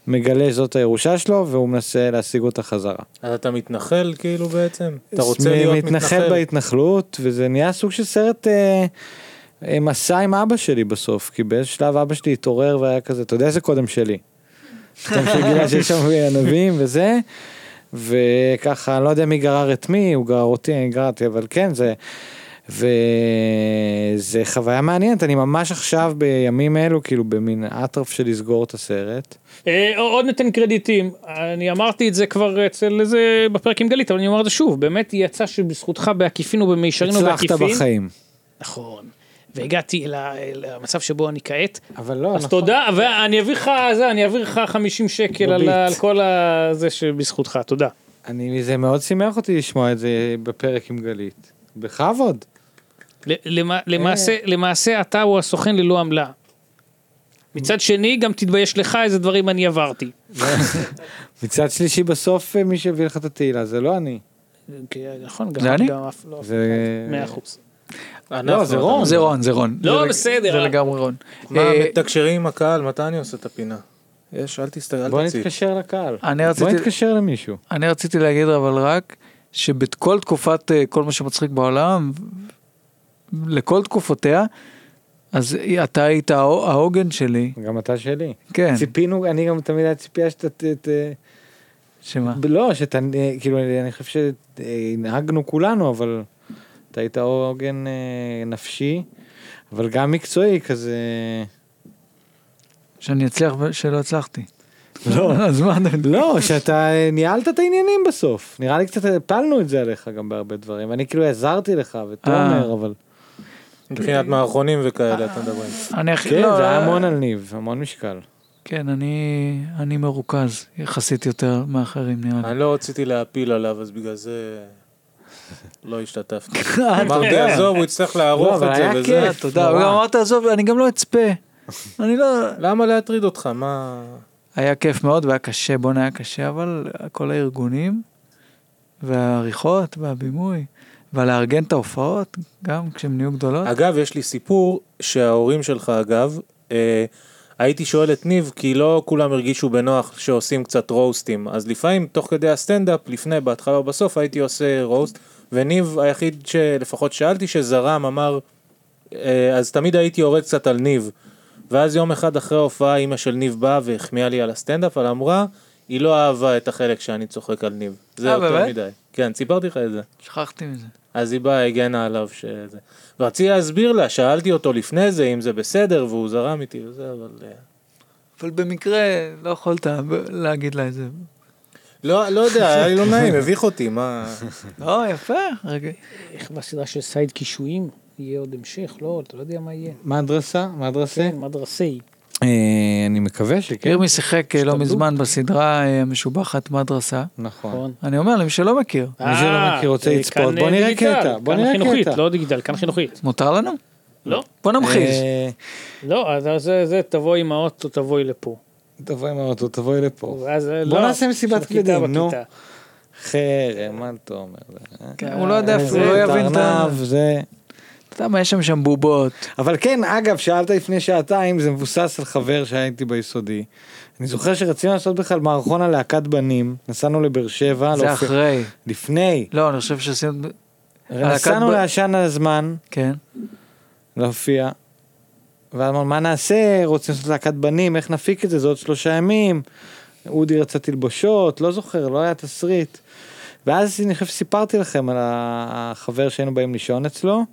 [SPEAKER 5] מגלה שזאת הירושה שלו והוא מנסה להשיג אותה חזרה.
[SPEAKER 6] אז אתה מתנחל כאילו בעצם? אתה רוצה להיות
[SPEAKER 5] מתנחל
[SPEAKER 6] מתנחל?
[SPEAKER 5] בהתנחלות וזה נהיה סוג של סרט אה, אה, מסע עם אבא שלי בסוף כי באיזה שלב אבא שלי התעורר והיה כזה אתה יודע זה קודם <laughs> שלי. פתאום שגילה שיש שם ענבים וזה וככה אני לא יודע מי גרר את מי הוא גרר אותי אני גררתי אבל כן זה. וזה חוויה מעניינת אני ממש עכשיו בימים אלו כאילו במין אטרף של לסגור את הסרט.
[SPEAKER 7] אה, עוד ניתן קרדיטים, אני אמרתי את זה כבר אצל איזה, בפרק עם גלית, אבל אני אומר את זה שוב, באמת יצא שבזכותך בעקיפין ובמישרין
[SPEAKER 5] הצלחת
[SPEAKER 7] ובעקיפין,
[SPEAKER 5] בחיים.
[SPEAKER 7] נכון, והגעתי אל ה- אל המצב שבו אני כעת,
[SPEAKER 5] אבל לא
[SPEAKER 7] אז תודה, ואני אעביר לך, זה, אני אעביר לך 50 שקל על ה- על כל ה- זה שבזכותך, תודה.
[SPEAKER 5] אני, זה מאוד שימח אותי לשמוע את זה בפרק עם גלית. בכבוד.
[SPEAKER 7] ל- למע- למעשה- למעשה אתה הוא הסוכן ללא עמלה. מצד שני, גם תתבייש לך איזה דברים אני עברתי.
[SPEAKER 5] מצד שלישי בסוף אה, מי שהביא לך את התהילה זה לא אני.
[SPEAKER 7] כן, נכון, גם
[SPEAKER 4] זה אני?
[SPEAKER 7] גם אף- לא,
[SPEAKER 5] זה...
[SPEAKER 7] מאה אחוז.
[SPEAKER 5] לא, זה רון.
[SPEAKER 4] זה רון, זה רון.
[SPEAKER 7] לא,
[SPEAKER 4] זה-
[SPEAKER 7] בסדר.
[SPEAKER 4] זה לגמרי רון.
[SPEAKER 6] מה,
[SPEAKER 4] אה,
[SPEAKER 6] מתקשרים עם הקהל? מתי אני עושה את הפינה? יש, אל תסתכל,
[SPEAKER 5] בוא
[SPEAKER 6] אל תציג.
[SPEAKER 5] נתקשר לקהל.
[SPEAKER 4] אני
[SPEAKER 5] בוא
[SPEAKER 4] רציתי-
[SPEAKER 5] נתקשר למישהו.
[SPEAKER 4] אני רציתי להגיד אבל רק שבכל תקופת אה, כל מה שמצחיק בעולם, לכל תקופותיה, אז אתה היית ההו- העוגן שלי,
[SPEAKER 5] גם אתה שלי.
[SPEAKER 4] כן,
[SPEAKER 5] ציפינו, אני גם תמיד היה ציפייה שאתה... ת- ת-
[SPEAKER 4] שמה?
[SPEAKER 5] לא, שאתה... אה, כאילו, אני חושב שהנהגנו כולנו, אבל אתה היית עוגן אה, נפשי, אבל גם מקצועי כזה...
[SPEAKER 4] שאני אצליח שלא הצלחתי.
[SPEAKER 5] לא.
[SPEAKER 4] <laughs> אז מה אתה...
[SPEAKER 5] לא, שאתה אה, ניהלת את העניינים בסוף. נראה לי קצת הפלנו את זה עליך גם בהרבה דברים. אני כאילו עזרתי לך ותומר,
[SPEAKER 4] אה.
[SPEAKER 5] אבל... אה.
[SPEAKER 6] מבחינת מערכונים וכאלה אתה מדבר.
[SPEAKER 4] אני הכי...
[SPEAKER 5] כן,
[SPEAKER 4] לא,
[SPEAKER 5] זה היה
[SPEAKER 4] אה,
[SPEAKER 5] המון על ניב, המון משקל.
[SPEAKER 4] כן, אני אני מרוכז יחסית יותר מאחרים נראה לי.
[SPEAKER 6] אני לא רציתי להפיל עליו, אז בגלל זה לא
[SPEAKER 5] <laughs>
[SPEAKER 6] השתתפתי.
[SPEAKER 4] אה,
[SPEAKER 6] אמרתי, עזוב, הוא יצטרך
[SPEAKER 5] לא,
[SPEAKER 6] לערוך
[SPEAKER 5] אבל
[SPEAKER 6] את זה
[SPEAKER 5] היה
[SPEAKER 6] וזה.
[SPEAKER 5] כיף.
[SPEAKER 4] תודה, הוא
[SPEAKER 5] נורא.
[SPEAKER 4] גם אמר תעזוב, אני גם לא אצפה. אני לא...
[SPEAKER 6] למה להטריד אותך? מה...
[SPEAKER 4] היה כיף מאוד והיה קשה, בואנה היה קשה, אבל כל הארגונים והעריכות והבימוי ולארגן את ההופעות, גם כשהם נהיו גדולות.
[SPEAKER 6] אגב, יש לי סיפור שההורים שלך, אגב, אה, הייתי שואל את ניב, כי לא כולם הרגישו בנוח שעושים קצת רוסטים. אז לפעמים, תוך כדי הסטנדאפ, לפני, בהתחלה או בסוף, הייתי עושה רוסט, וניב היחיד שלפחות שאלתי שזרם, אמר, אה, אז תמיד הייתי יורה קצת על ניב. ואז יום אחד אחרי ההופעה, אימא של ניב באה והחמיאה לי על הסטנדאפ, אבל אמרה, היא לא אהבה את החלק שאני צוחק על ניב. זה
[SPEAKER 4] אה,
[SPEAKER 6] יותר
[SPEAKER 4] באמת?
[SPEAKER 6] מדי. כן, סיפרתי לך את זה.
[SPEAKER 4] שכחתי מזה.
[SPEAKER 6] אז היא באה, הגנה עליו שזה. ורציתי להסביר לה, שאלתי אותו לפני זה אם זה בסדר, והוא זרם איתי וזה, אבל... אה,
[SPEAKER 4] אבל במקרה לא יכולת ב- להגיד לה את זה.
[SPEAKER 6] לא, לא יודע, היה לי לא
[SPEAKER 5] <laughs>
[SPEAKER 6] נעים, הביך אותי, מה...
[SPEAKER 4] לא, יפה, רגע.
[SPEAKER 7] איך בסדרה של סייד קישואים יהיה עוד המשך? לא, אתה לא יודע מה יהיה.
[SPEAKER 5] מדרסה? מדרסה?
[SPEAKER 7] כן, מדרסי.
[SPEAKER 5] אה, אני מקווה שכן.
[SPEAKER 4] ירמי שיחק אה, לא מזמן בסדרה אה, המשובחת מדרסה.
[SPEAKER 5] נכון.
[SPEAKER 7] נכון.
[SPEAKER 4] אני אומר למי שלא מכיר,
[SPEAKER 5] מי שלא
[SPEAKER 7] אה,
[SPEAKER 5] מכיר, רוצה
[SPEAKER 7] אה,
[SPEAKER 5] לצפות,
[SPEAKER 7] כאן,
[SPEAKER 5] בוא
[SPEAKER 7] אה,
[SPEAKER 5] נראה
[SPEAKER 7] דיגיטל,
[SPEAKER 5] קטע, בוא
[SPEAKER 7] כאן
[SPEAKER 5] נראה
[SPEAKER 7] חינוכית,
[SPEAKER 5] קטע.
[SPEAKER 7] לא דיגיטל, כאן חינוכית.
[SPEAKER 4] מותר לנו?
[SPEAKER 7] לא.
[SPEAKER 4] בוא נמחיש.
[SPEAKER 5] אה,
[SPEAKER 7] לא, אז זה, זה, תבואי עם האוטו, תבואי לפה.
[SPEAKER 5] תבואי עם האוטו, תבואי לפה.
[SPEAKER 7] ואז, אה,
[SPEAKER 5] בוא
[SPEAKER 7] לא,
[SPEAKER 5] נעשה מסיבת
[SPEAKER 7] בכיתה,
[SPEAKER 5] כבדים, נו.
[SPEAKER 7] בכיתה.
[SPEAKER 5] חרם, אל תומר.
[SPEAKER 4] כן, הוא לא יודע, אפילו, הוא לא יבין את ה...
[SPEAKER 5] הארנב, אה, זה...
[SPEAKER 4] אתה יודע מה, יש שם שם בובות.
[SPEAKER 5] אבל כן, אגב, שאלת לפני שעתיים, זה מבוסס על חבר שהיה איתי ביסודי. אני זוכר שרצינו לעשות בכלל מערכון על להקת בנים, נסענו לבאר שבע,
[SPEAKER 4] זה
[SPEAKER 5] לאופי-
[SPEAKER 4] אחרי.
[SPEAKER 5] לפני,
[SPEAKER 4] לא, אני חושב שעשינו...
[SPEAKER 5] נסענו
[SPEAKER 4] ב-
[SPEAKER 5] לעשן הזמן,
[SPEAKER 4] כן.
[SPEAKER 5] להופיע. ואמרנו, מה נעשה? רוצים לעשות להקת בנים, איך נפיק את זה? זה עוד שלושה ימים. אודי רצה תלבושות, לא זוכר, לא היה תסריט. ואז אני חושב שסיפרתי לכם על החבר שהיינו באים לישון אצלו,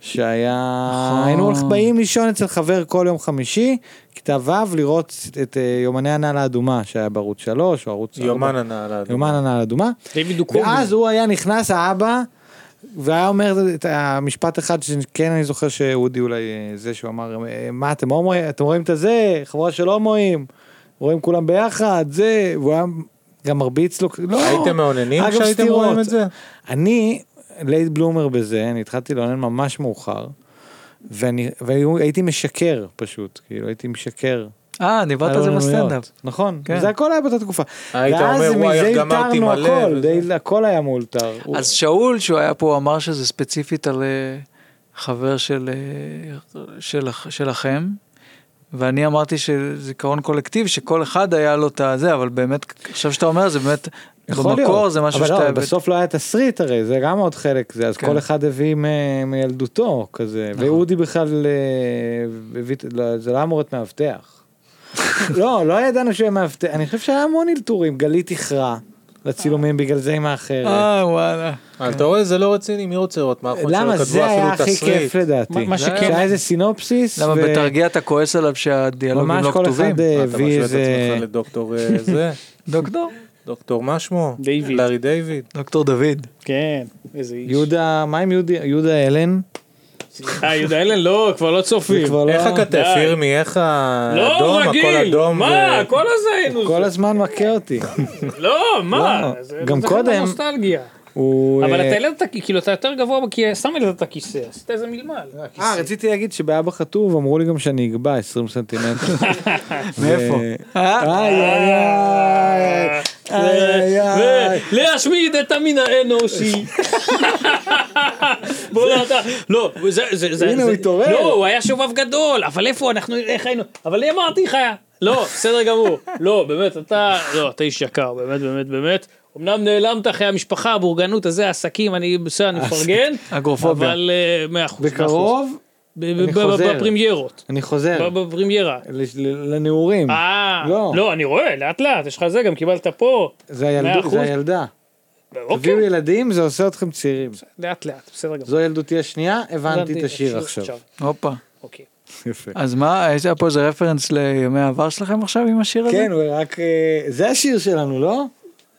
[SPEAKER 5] שהיה...
[SPEAKER 6] נכון.
[SPEAKER 5] היינו הולך- באים לישון אצל חבר כל יום חמישי, כיתה ו' לראות את אה, יומני הנעל האדומה, שהיה בערוץ 3 או ערוץ...
[SPEAKER 6] יומן
[SPEAKER 5] ארבע.
[SPEAKER 6] הנעל האדומה.
[SPEAKER 5] יומן הנעל האדומה.
[SPEAKER 7] דיוויד הוא קומי.
[SPEAKER 5] ואז הוא היה נכנס, האבא, והיה אומר את המשפט אחד שכן אני זוכר שאודי אולי אה, זה שהוא אמר, אה, מה אתם הומואים, אתם רואים את הזה, חבורה של הומואים, רואים כולם ביחד, זה, והוא היה גם מרביץ לו, לא.
[SPEAKER 6] הייתם מאוננים
[SPEAKER 5] היה גם
[SPEAKER 6] כשהייתם
[SPEAKER 5] סתירות. כן.
[SPEAKER 6] רואים את זה?
[SPEAKER 5] אני לייט בלומר בזה, אני התחלתי לאונן ממש מאוחר, ואני, והייתי משקר פשוט, כאילו הייתי משקר.
[SPEAKER 4] אה, דיברת על זה בסטנדאפ.
[SPEAKER 5] נכון,
[SPEAKER 4] כן.
[SPEAKER 5] זה הכל היה באותה תקופה.
[SPEAKER 6] היית אומר,
[SPEAKER 5] ואז
[SPEAKER 6] "וואי, איך
[SPEAKER 5] מזה
[SPEAKER 6] גמרתי
[SPEAKER 5] התרנו
[SPEAKER 6] מלא",
[SPEAKER 5] הכל,
[SPEAKER 6] וזה.
[SPEAKER 5] די- הכל היה מאולתר. הוא-
[SPEAKER 4] אז שאול, שהוא היה פה, הוא אמר שזה ספציפית על אה, חבר של, אה, של, שלכם, ואני אמרתי שזיכרון קולקטיבי, שכל אחד היה לו את הזה, אבל באמת, עכשיו שאתה אומר, זה באמת,
[SPEAKER 5] יכול
[SPEAKER 4] במקור
[SPEAKER 5] להיות.
[SPEAKER 4] זה משהו
[SPEAKER 5] אבל
[SPEAKER 4] שאתה...
[SPEAKER 5] לא,
[SPEAKER 4] הבאת.
[SPEAKER 5] בסוף לא היה תסריט הרי, זה גם עוד חלק, זה אז
[SPEAKER 4] כן. נכון.
[SPEAKER 5] כל אחד הביא מ- מילדותו כזה, ואודי בכלל אה, הביא, את- לא, זה לא היה אמור להיות
[SPEAKER 4] <laughs>
[SPEAKER 5] מאבטח. לא, לא ידענו שהוא יהיה מאבטח, אני חושב שהיה המון אלתורים, גלית איחרה לצילומים בגלל זה עם האחרת.
[SPEAKER 4] אה, וואלה.
[SPEAKER 6] אז אתה רואה, זה לא רציני, מי רוצה לראות מערכות
[SPEAKER 5] למה
[SPEAKER 6] שלא
[SPEAKER 5] זה
[SPEAKER 6] כתבו
[SPEAKER 5] היה
[SPEAKER 6] אפילו
[SPEAKER 5] הכי
[SPEAKER 6] תסריט?
[SPEAKER 5] כיף לדעתי,
[SPEAKER 7] מה- מה
[SPEAKER 5] זה
[SPEAKER 7] שכן-
[SPEAKER 5] היה איזה סינופסיס,
[SPEAKER 4] למה
[SPEAKER 5] ו-
[SPEAKER 4] בתרגיע אתה כועס עליו שהדיאלוגים
[SPEAKER 5] ממש
[SPEAKER 4] לא
[SPEAKER 5] כל
[SPEAKER 4] כתובים?
[SPEAKER 5] אחד אה,
[SPEAKER 6] אתה משווה
[SPEAKER 5] הביא
[SPEAKER 6] את
[SPEAKER 5] איזה,
[SPEAKER 6] עצמך לדוקטור
[SPEAKER 5] <laughs>
[SPEAKER 6] אה, זה,
[SPEAKER 4] דוקטור?
[SPEAKER 6] דוקטור מה שמו?
[SPEAKER 7] דיוויד.
[SPEAKER 6] לארי דיוויד.
[SPEAKER 4] דוקטור דוד.
[SPEAKER 7] כן, איזה איש.
[SPEAKER 5] יהודה, מה עם יהודי- יהודה אלן?
[SPEAKER 7] אה, יהודה אלן לא, כבר לא צופים.
[SPEAKER 5] כבר לא-
[SPEAKER 6] איך הכתף,
[SPEAKER 7] די.
[SPEAKER 6] ירמי, איך
[SPEAKER 7] לא,
[SPEAKER 6] האדום, הכל
[SPEAKER 7] רגיל.
[SPEAKER 6] אדום.
[SPEAKER 7] מה,
[SPEAKER 6] ו-
[SPEAKER 7] כל הזה היינו...
[SPEAKER 5] כל הזמן מכה אותי.
[SPEAKER 7] לא, מה?
[SPEAKER 5] לא,
[SPEAKER 7] זה-
[SPEAKER 5] גם
[SPEAKER 7] זה
[SPEAKER 5] קודם-
[SPEAKER 7] נוסטלגיה.
[SPEAKER 5] הוא,
[SPEAKER 7] אבל
[SPEAKER 5] אה,
[SPEAKER 7] אתה העלית את הכיסא, כאילו אתה יותר גבוה בכיסא, סתם העלית את הכיסא, עשית איזה מלמל.
[SPEAKER 5] אה, רציתי להגיד שבאבא חטוב אמרו לי גם שאני אגבע 20
[SPEAKER 7] <laughs>
[SPEAKER 5] סנטימטר.
[SPEAKER 4] מאיפה?
[SPEAKER 5] איי איי
[SPEAKER 7] אה.
[SPEAKER 5] איי. איי, איי, איי.
[SPEAKER 7] ו- להשמיד את המין האנושי. בוא נעשה, לא, זה, זה, זה,
[SPEAKER 5] הנה,
[SPEAKER 7] זה-
[SPEAKER 5] הוא התעורר.
[SPEAKER 7] לא, הוא היה שובב גדול, אבל איפה אנחנו, איך היינו, אבל אני אמרתי לך, לא, בסדר גמור, לא, באמת, אתה, לא, אתה איש יקר, באמת, באמת, באמת. אמנם נעלמת אחרי המשפחה, הבורגנות הזה, העסקים, אני בסדר, אני מפרגן,
[SPEAKER 4] אגרופוביה.
[SPEAKER 7] אבל אה, מאה אחוז. מאה אחוז.
[SPEAKER 5] בקרוב
[SPEAKER 7] ב- ב-
[SPEAKER 5] אני
[SPEAKER 7] ב-
[SPEAKER 5] חוזר.
[SPEAKER 7] בפרמיירות,
[SPEAKER 5] אני חוזר
[SPEAKER 7] ב- בפרמיירה.
[SPEAKER 5] ל- ל- לנעורים.
[SPEAKER 7] אה,
[SPEAKER 5] לא.
[SPEAKER 7] לא, אני רואה, לאט לאט, יש לך זה, גם קיבלת פה.
[SPEAKER 5] זה
[SPEAKER 7] מאה
[SPEAKER 5] הילדות,
[SPEAKER 7] אחוז.
[SPEAKER 5] זה הילדה.
[SPEAKER 7] אוקיי,
[SPEAKER 5] תביאו ילדים זה עושה אתכם צעירים.
[SPEAKER 7] לאט לאט, בסדר גמור.
[SPEAKER 5] זו ילדותי השנייה, לא הבנתי את השיר עכשיו.
[SPEAKER 4] הופה.
[SPEAKER 7] אוקיי.
[SPEAKER 5] <laughs> יפה.
[SPEAKER 4] אז מה, יש היה פה איזה רפרנס לימי העבר שלכם עכשיו עם השיר הזה?
[SPEAKER 5] כן, הוא רק... אה, זה השיר שלנו, לא?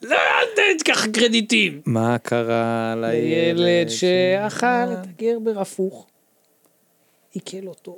[SPEAKER 7] לא, אל תן ככה קרדיטים.
[SPEAKER 5] מה קרה
[SPEAKER 7] ילד
[SPEAKER 5] לילד?
[SPEAKER 7] שאכל את הגרבר הפוך, עיכל אותו.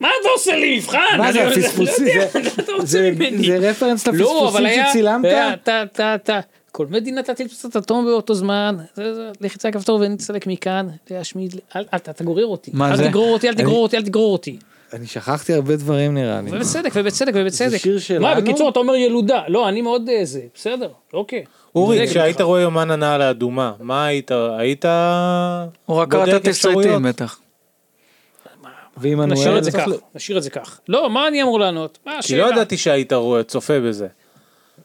[SPEAKER 7] מה אתה עושה לי מבחן?
[SPEAKER 5] מה זה
[SPEAKER 7] אני-
[SPEAKER 5] הפספוסים?
[SPEAKER 7] <laughs> לא יודע,
[SPEAKER 5] זה-
[SPEAKER 7] מה אתה
[SPEAKER 5] זה-
[SPEAKER 7] רוצה ממני?
[SPEAKER 5] זה רפרנס
[SPEAKER 7] לא, אבל
[SPEAKER 5] לפספוסים
[SPEAKER 7] היה- אה,
[SPEAKER 5] שצילמת?
[SPEAKER 7] היה- אתה, אתה, אתה. כל מדינה תטיל פצצת אטום באותו זמן, זה- זה- לחיצה על כפתור ונצטלק מכאן, להשמיד, אל- אל- אתה אתה גורר אותי,
[SPEAKER 4] מה זה?
[SPEAKER 7] אל תגרור אותי, אל תגרור אותי, אל תגרור אותי.
[SPEAKER 5] אני שכחתי הרבה דברים נראה לי.
[SPEAKER 7] ובצדק, ובצדק, ובצדק.
[SPEAKER 5] שיר שלנו?
[SPEAKER 7] מה, בקיצור, אתה אומר ילודה. לא, אני מאוד אה, זה, בסדר, אוקיי.
[SPEAKER 6] אורי,
[SPEAKER 7] בודק
[SPEAKER 6] כשהיית
[SPEAKER 7] אותך.
[SPEAKER 6] רואה יומן הנעל האדומה, מה היית, היית
[SPEAKER 4] הוא רק
[SPEAKER 6] בודק
[SPEAKER 4] קרא את
[SPEAKER 6] אפשרויות?
[SPEAKER 4] התסריטים בטח.
[SPEAKER 5] ועמנואל?
[SPEAKER 7] נשאיר את זה כך, נשאיר את זה כך. לא, מה אני אמור לענות? מה
[SPEAKER 6] כי
[SPEAKER 7] השאלה?
[SPEAKER 6] לא ידעתי שהיית רואה, צופה בזה.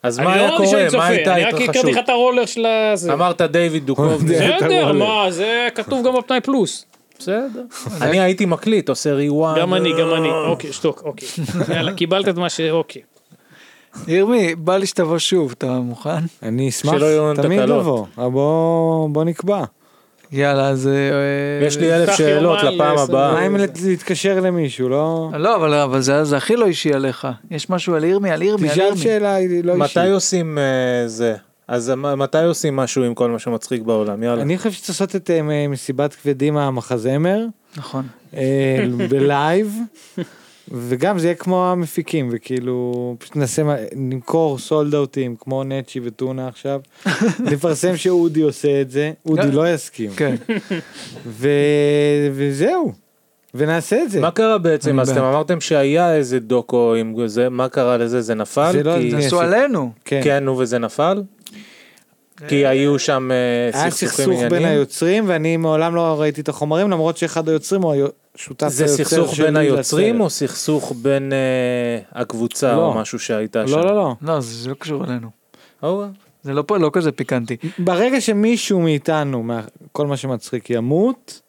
[SPEAKER 6] אז מה
[SPEAKER 7] אני
[SPEAKER 6] היה
[SPEAKER 7] לא אמרתי שאני
[SPEAKER 6] קורה, מה
[SPEAKER 7] צופה,
[SPEAKER 6] הייתה
[SPEAKER 7] אני רק הכרתי
[SPEAKER 6] ההתרחשות?
[SPEAKER 7] לך את הרולר של הזה.
[SPEAKER 6] אמרת דיוויד
[SPEAKER 7] <laughs>
[SPEAKER 6] דוקובני.
[SPEAKER 7] בסדר, מה, זה כתוב גם בפנאי פלוס. בסדר.
[SPEAKER 6] אני הייתי מקליט, עושה ריוואן.
[SPEAKER 7] גם אני, גם אני. אוקיי, שתוק, אוקיי. יאללה, קיבלת את מה ש... אוקיי.
[SPEAKER 4] ירמי, בא לי שתבוא שוב, אתה מוכן?
[SPEAKER 5] אני אשמח
[SPEAKER 6] שלא יהיו לנו
[SPEAKER 5] תמיד
[SPEAKER 6] תקלות.
[SPEAKER 5] לבוא, אבל בוא בוא נקבע.
[SPEAKER 4] יאללה, אז... אה,
[SPEAKER 6] יש לי אלף
[SPEAKER 7] פתח
[SPEAKER 6] שאלות
[SPEAKER 7] יומן
[SPEAKER 6] לפעם
[SPEAKER 7] לעשר
[SPEAKER 5] מה
[SPEAKER 6] הבאה.
[SPEAKER 5] אם לת- להתקשר למישהו, לא?
[SPEAKER 7] אה,
[SPEAKER 4] לא, אבל, אבל זה, זה הכי לא אישי עליך. יש משהו על ירמי, על ירמי, על
[SPEAKER 5] תשאל
[SPEAKER 4] ירמי.
[SPEAKER 5] שאלה היא לא אישית.
[SPEAKER 6] מתי עושים אה, זה? אז מ- מתי עושים משהו עם כל מה שמצחיק בעולם? יאללה.
[SPEAKER 5] אני חושב שצריך לעשות את אה, מסיבת כבדים המחזמר
[SPEAKER 4] נכון.
[SPEAKER 5] אה, <laughs> בלייב. וגם זה יהיה כמו המפיקים וכאילו פשוט נעשה מה- נמכור סולד אאוטים כמו נצ'י וטונה
[SPEAKER 7] <laughs>
[SPEAKER 5] עכשיו נפרסם שאודי עושה את זה
[SPEAKER 7] אה.
[SPEAKER 5] אודי לא יסכים <laughs>
[SPEAKER 4] כן.
[SPEAKER 5] ו- וזהו ונעשה את זה
[SPEAKER 6] מה קרה בעצם?
[SPEAKER 4] אני
[SPEAKER 6] אז
[SPEAKER 4] בעד.
[SPEAKER 6] אתם אמרתם שהיה איזה דוקו עם זה, מה קרה לזה? זה נפל?
[SPEAKER 5] זה לא-
[SPEAKER 6] כי-
[SPEAKER 5] זה
[SPEAKER 4] תעשו עלינו.
[SPEAKER 5] כן.
[SPEAKER 6] כן, נו, וזה נפל? כי היו שם אה,
[SPEAKER 5] היה
[SPEAKER 6] סכסוכים
[SPEAKER 5] סכסוך בין
[SPEAKER 6] עניינים?
[SPEAKER 5] היוצרים ואני מעולם לא ראיתי את החומרים למרות שאחד היוצרים הוא היו- שותף היוצר
[SPEAKER 6] זה סכסוך
[SPEAKER 5] שלי
[SPEAKER 6] בין היוצרים
[SPEAKER 5] לסרט.
[SPEAKER 6] או סכסוך בין אה, הקבוצה
[SPEAKER 5] לא.
[SPEAKER 6] או משהו שהייתה שם?
[SPEAKER 5] לא לא לא.
[SPEAKER 4] לא, זה, זה לא קשור אלינו.
[SPEAKER 6] לא.
[SPEAKER 4] זה לא פה, לא כזה פיקנטי.
[SPEAKER 5] ברגע שמישהו מאיתנו מה- כל מה שמצחיק ימות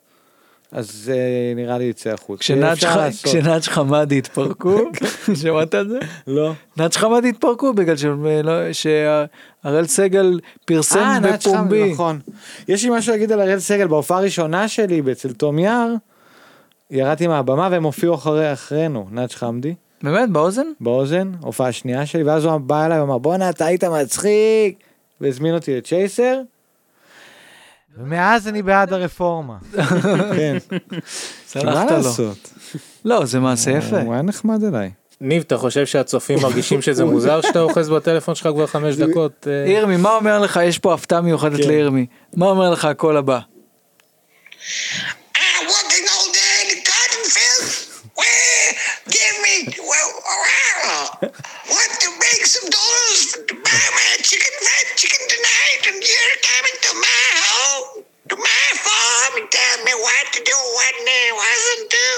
[SPEAKER 5] אז זה נראה לי יצא החוצה.
[SPEAKER 4] כשנאג'
[SPEAKER 5] אפשר
[SPEAKER 4] ח-
[SPEAKER 5] לעשות.
[SPEAKER 4] כשנאג' חמאדי התפרקו,
[SPEAKER 5] <laughs>
[SPEAKER 4] שמעת על זה?
[SPEAKER 5] לא.
[SPEAKER 4] נאג' חמאדי התפרקו בגלל שהם, אה, לא- שהראל סגל פרסם
[SPEAKER 5] אה נכון. נאצ' חם
[SPEAKER 4] בפומבי.
[SPEAKER 5] נכון. יש לי משהו להגיד על אראל סגל בהופעה הראשונה שלי אצל תום יער ירדתי מהבמה והם הופיעו אחרי, אחרינו, נאג' חמדי,
[SPEAKER 4] באמת, באוזן?
[SPEAKER 5] באוזן, הופעה שנייה שלי, ואז הוא בא אליי ואמר, בואנה, אתה היית מצחיק, והזמין אותי לצ'ייסר. ומאז אני בעד הרפורמה. כן. מה
[SPEAKER 4] סלחת לו.
[SPEAKER 5] לעשות?
[SPEAKER 4] לא, זה מעשה יפה.
[SPEAKER 5] הוא היה נחמד אליי.
[SPEAKER 6] ניב, אתה חושב שהצופים מרגישים
[SPEAKER 5] <laughs>
[SPEAKER 6] שזה מוזר שאתה אוחז בטלפון שלך כבר חמש דקות? אה,
[SPEAKER 4] ירמי, מה אומר לך? יש פה הפתעה
[SPEAKER 5] כן.
[SPEAKER 4] מיוחדת לירמי. מה אומר לך הקול הבא?
[SPEAKER 11] I working all day in the cotton field. Well, give me well, well, want to make some dollars to buy my chicken fried chicken tonight, and you're coming to my home, to my farm, and tell me what to do, what not wasn't to.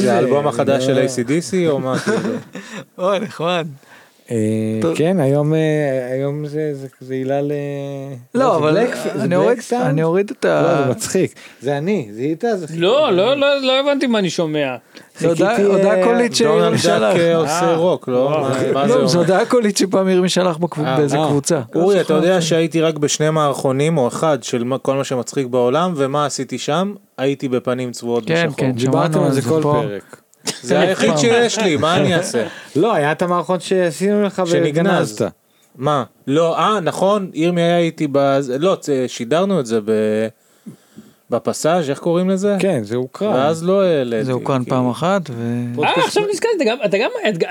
[SPEAKER 6] זה האלבום החדש
[SPEAKER 5] לא.
[SPEAKER 6] של ACDC או
[SPEAKER 5] <laughs>
[SPEAKER 6] מה?
[SPEAKER 4] אוי, נחמד.
[SPEAKER 5] אה, כן, היום אה, היום זה- זה- זה הילה ל...
[SPEAKER 4] לא,
[SPEAKER 5] זה
[SPEAKER 4] אבל
[SPEAKER 5] בלק- זה
[SPEAKER 4] אני
[SPEAKER 5] בלק
[SPEAKER 4] אוריד-
[SPEAKER 5] סאונד?
[SPEAKER 4] אני אוריד את
[SPEAKER 5] לא,
[SPEAKER 4] ה...
[SPEAKER 5] זה מצחיק. זה אני, זיהית? זה
[SPEAKER 7] לא, לא, לא, לא הבנתי מה אני שומע.
[SPEAKER 4] זה הודעה
[SPEAKER 5] חיכיתי,
[SPEAKER 4] הודעה
[SPEAKER 5] אה,
[SPEAKER 4] קולית שירמי
[SPEAKER 6] דונלד
[SPEAKER 4] שלח.
[SPEAKER 6] דאק אה, עושה רוק, לא? מה- מה זה
[SPEAKER 4] לא, זו
[SPEAKER 6] אומר? אוקיי,
[SPEAKER 4] הודעה קולית שפעם ירמי שלח בקב- באיזה
[SPEAKER 5] אה.
[SPEAKER 4] קבוצה.
[SPEAKER 6] אורי, אתה יודע שהייתי רק בשני מערכונים או אחד של מה- כל מה שמצחיק בעולם, ומה עשיתי שם? הייתי בפנים צבועות
[SPEAKER 4] כן,
[SPEAKER 6] בשחור.
[SPEAKER 4] כן.
[SPEAKER 5] דיברתם
[SPEAKER 4] שמענו
[SPEAKER 5] על
[SPEAKER 4] על
[SPEAKER 5] זה
[SPEAKER 4] זה
[SPEAKER 5] כל
[SPEAKER 4] פה.
[SPEAKER 5] פרק.
[SPEAKER 6] זה
[SPEAKER 4] כן,
[SPEAKER 6] היחיד שיש לי, מה אני
[SPEAKER 4] <laughs>
[SPEAKER 6] אעשה?
[SPEAKER 5] לא, היה את המערכון שעשינו לך
[SPEAKER 6] שנגנז.
[SPEAKER 5] וגנזת.
[SPEAKER 6] מה? לא, אה, נכון, ירמי היה איתי ב... לא, צ- שידרנו את זה ב... בפסאז', איך קוראים לזה?
[SPEAKER 5] כן, זה הוקרא.
[SPEAKER 6] ואז לא העליתי.
[SPEAKER 4] זה הוקרן
[SPEAKER 6] כי-
[SPEAKER 4] פעם אחת ו...
[SPEAKER 7] אה, עכשיו נזכרתי, אתה גם, אתה גם, את-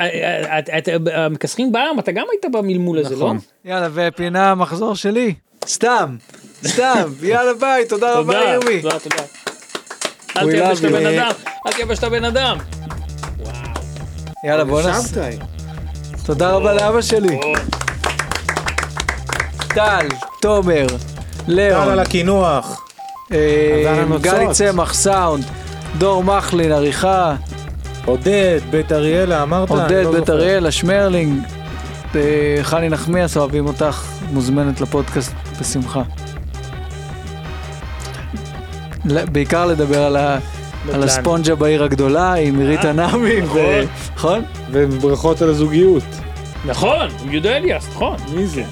[SPEAKER 7] את- את- את- המכסחים בעם, אתה גם היית במלמול הזה, לא?
[SPEAKER 4] יאללה, ופינה המחזור שלי. סתם, <laughs> סתם, יאללה ביי, תודה רבה
[SPEAKER 7] תודה,
[SPEAKER 4] ירמי.
[SPEAKER 7] תודה, תודה.
[SPEAKER 4] We
[SPEAKER 7] אל תייבש את
[SPEAKER 4] love you.
[SPEAKER 7] הבן אדם, אל תייבש את הבן אדם.
[SPEAKER 4] יאללה, בוא נס... תודה רבה לאבא שלי. טל, תומר,
[SPEAKER 6] טל על
[SPEAKER 4] לאון,
[SPEAKER 6] הקינוח.
[SPEAKER 4] אה,
[SPEAKER 5] אבל הנוצות.
[SPEAKER 4] גלי צמח, סאונד, דור מחלין, עריכה,
[SPEAKER 6] עודד, בית אריאלה, אמרת? אני
[SPEAKER 4] עודד,
[SPEAKER 6] לא
[SPEAKER 4] בית
[SPEAKER 6] זוכר.
[SPEAKER 4] אריאל, השמרלינג, אה, חני נחמיאס, אוהבים אותך, מוזמנת לפודקאסט בשמחה. ל- בעיקר לדבר על ה... על הספונג'ה בעיר הגדולה עם
[SPEAKER 6] אה,
[SPEAKER 4] עירית הנאמי, ו-
[SPEAKER 7] נכון.
[SPEAKER 4] נכון?
[SPEAKER 5] וברכות על הזוגיות.
[SPEAKER 6] <laughs>
[SPEAKER 7] נכון, הוא יודע אליאס, נכון.
[SPEAKER 5] מי זה?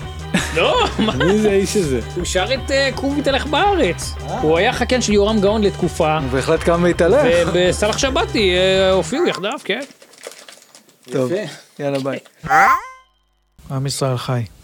[SPEAKER 7] לא, מה?
[SPEAKER 5] מי זה האיש הזה?
[SPEAKER 7] הוא שר את אה, קום ותלך בארץ.
[SPEAKER 5] אה.
[SPEAKER 7] הוא היה חכן של יורם גאון לתקופה,
[SPEAKER 4] הוא בהחלט קם והתהלך.
[SPEAKER 7] ובסלח שבתי אה, הופיעו יחדיו, כן.
[SPEAKER 6] כן.
[SPEAKER 4] טוב, יאללה ביי. עם ישראל חי.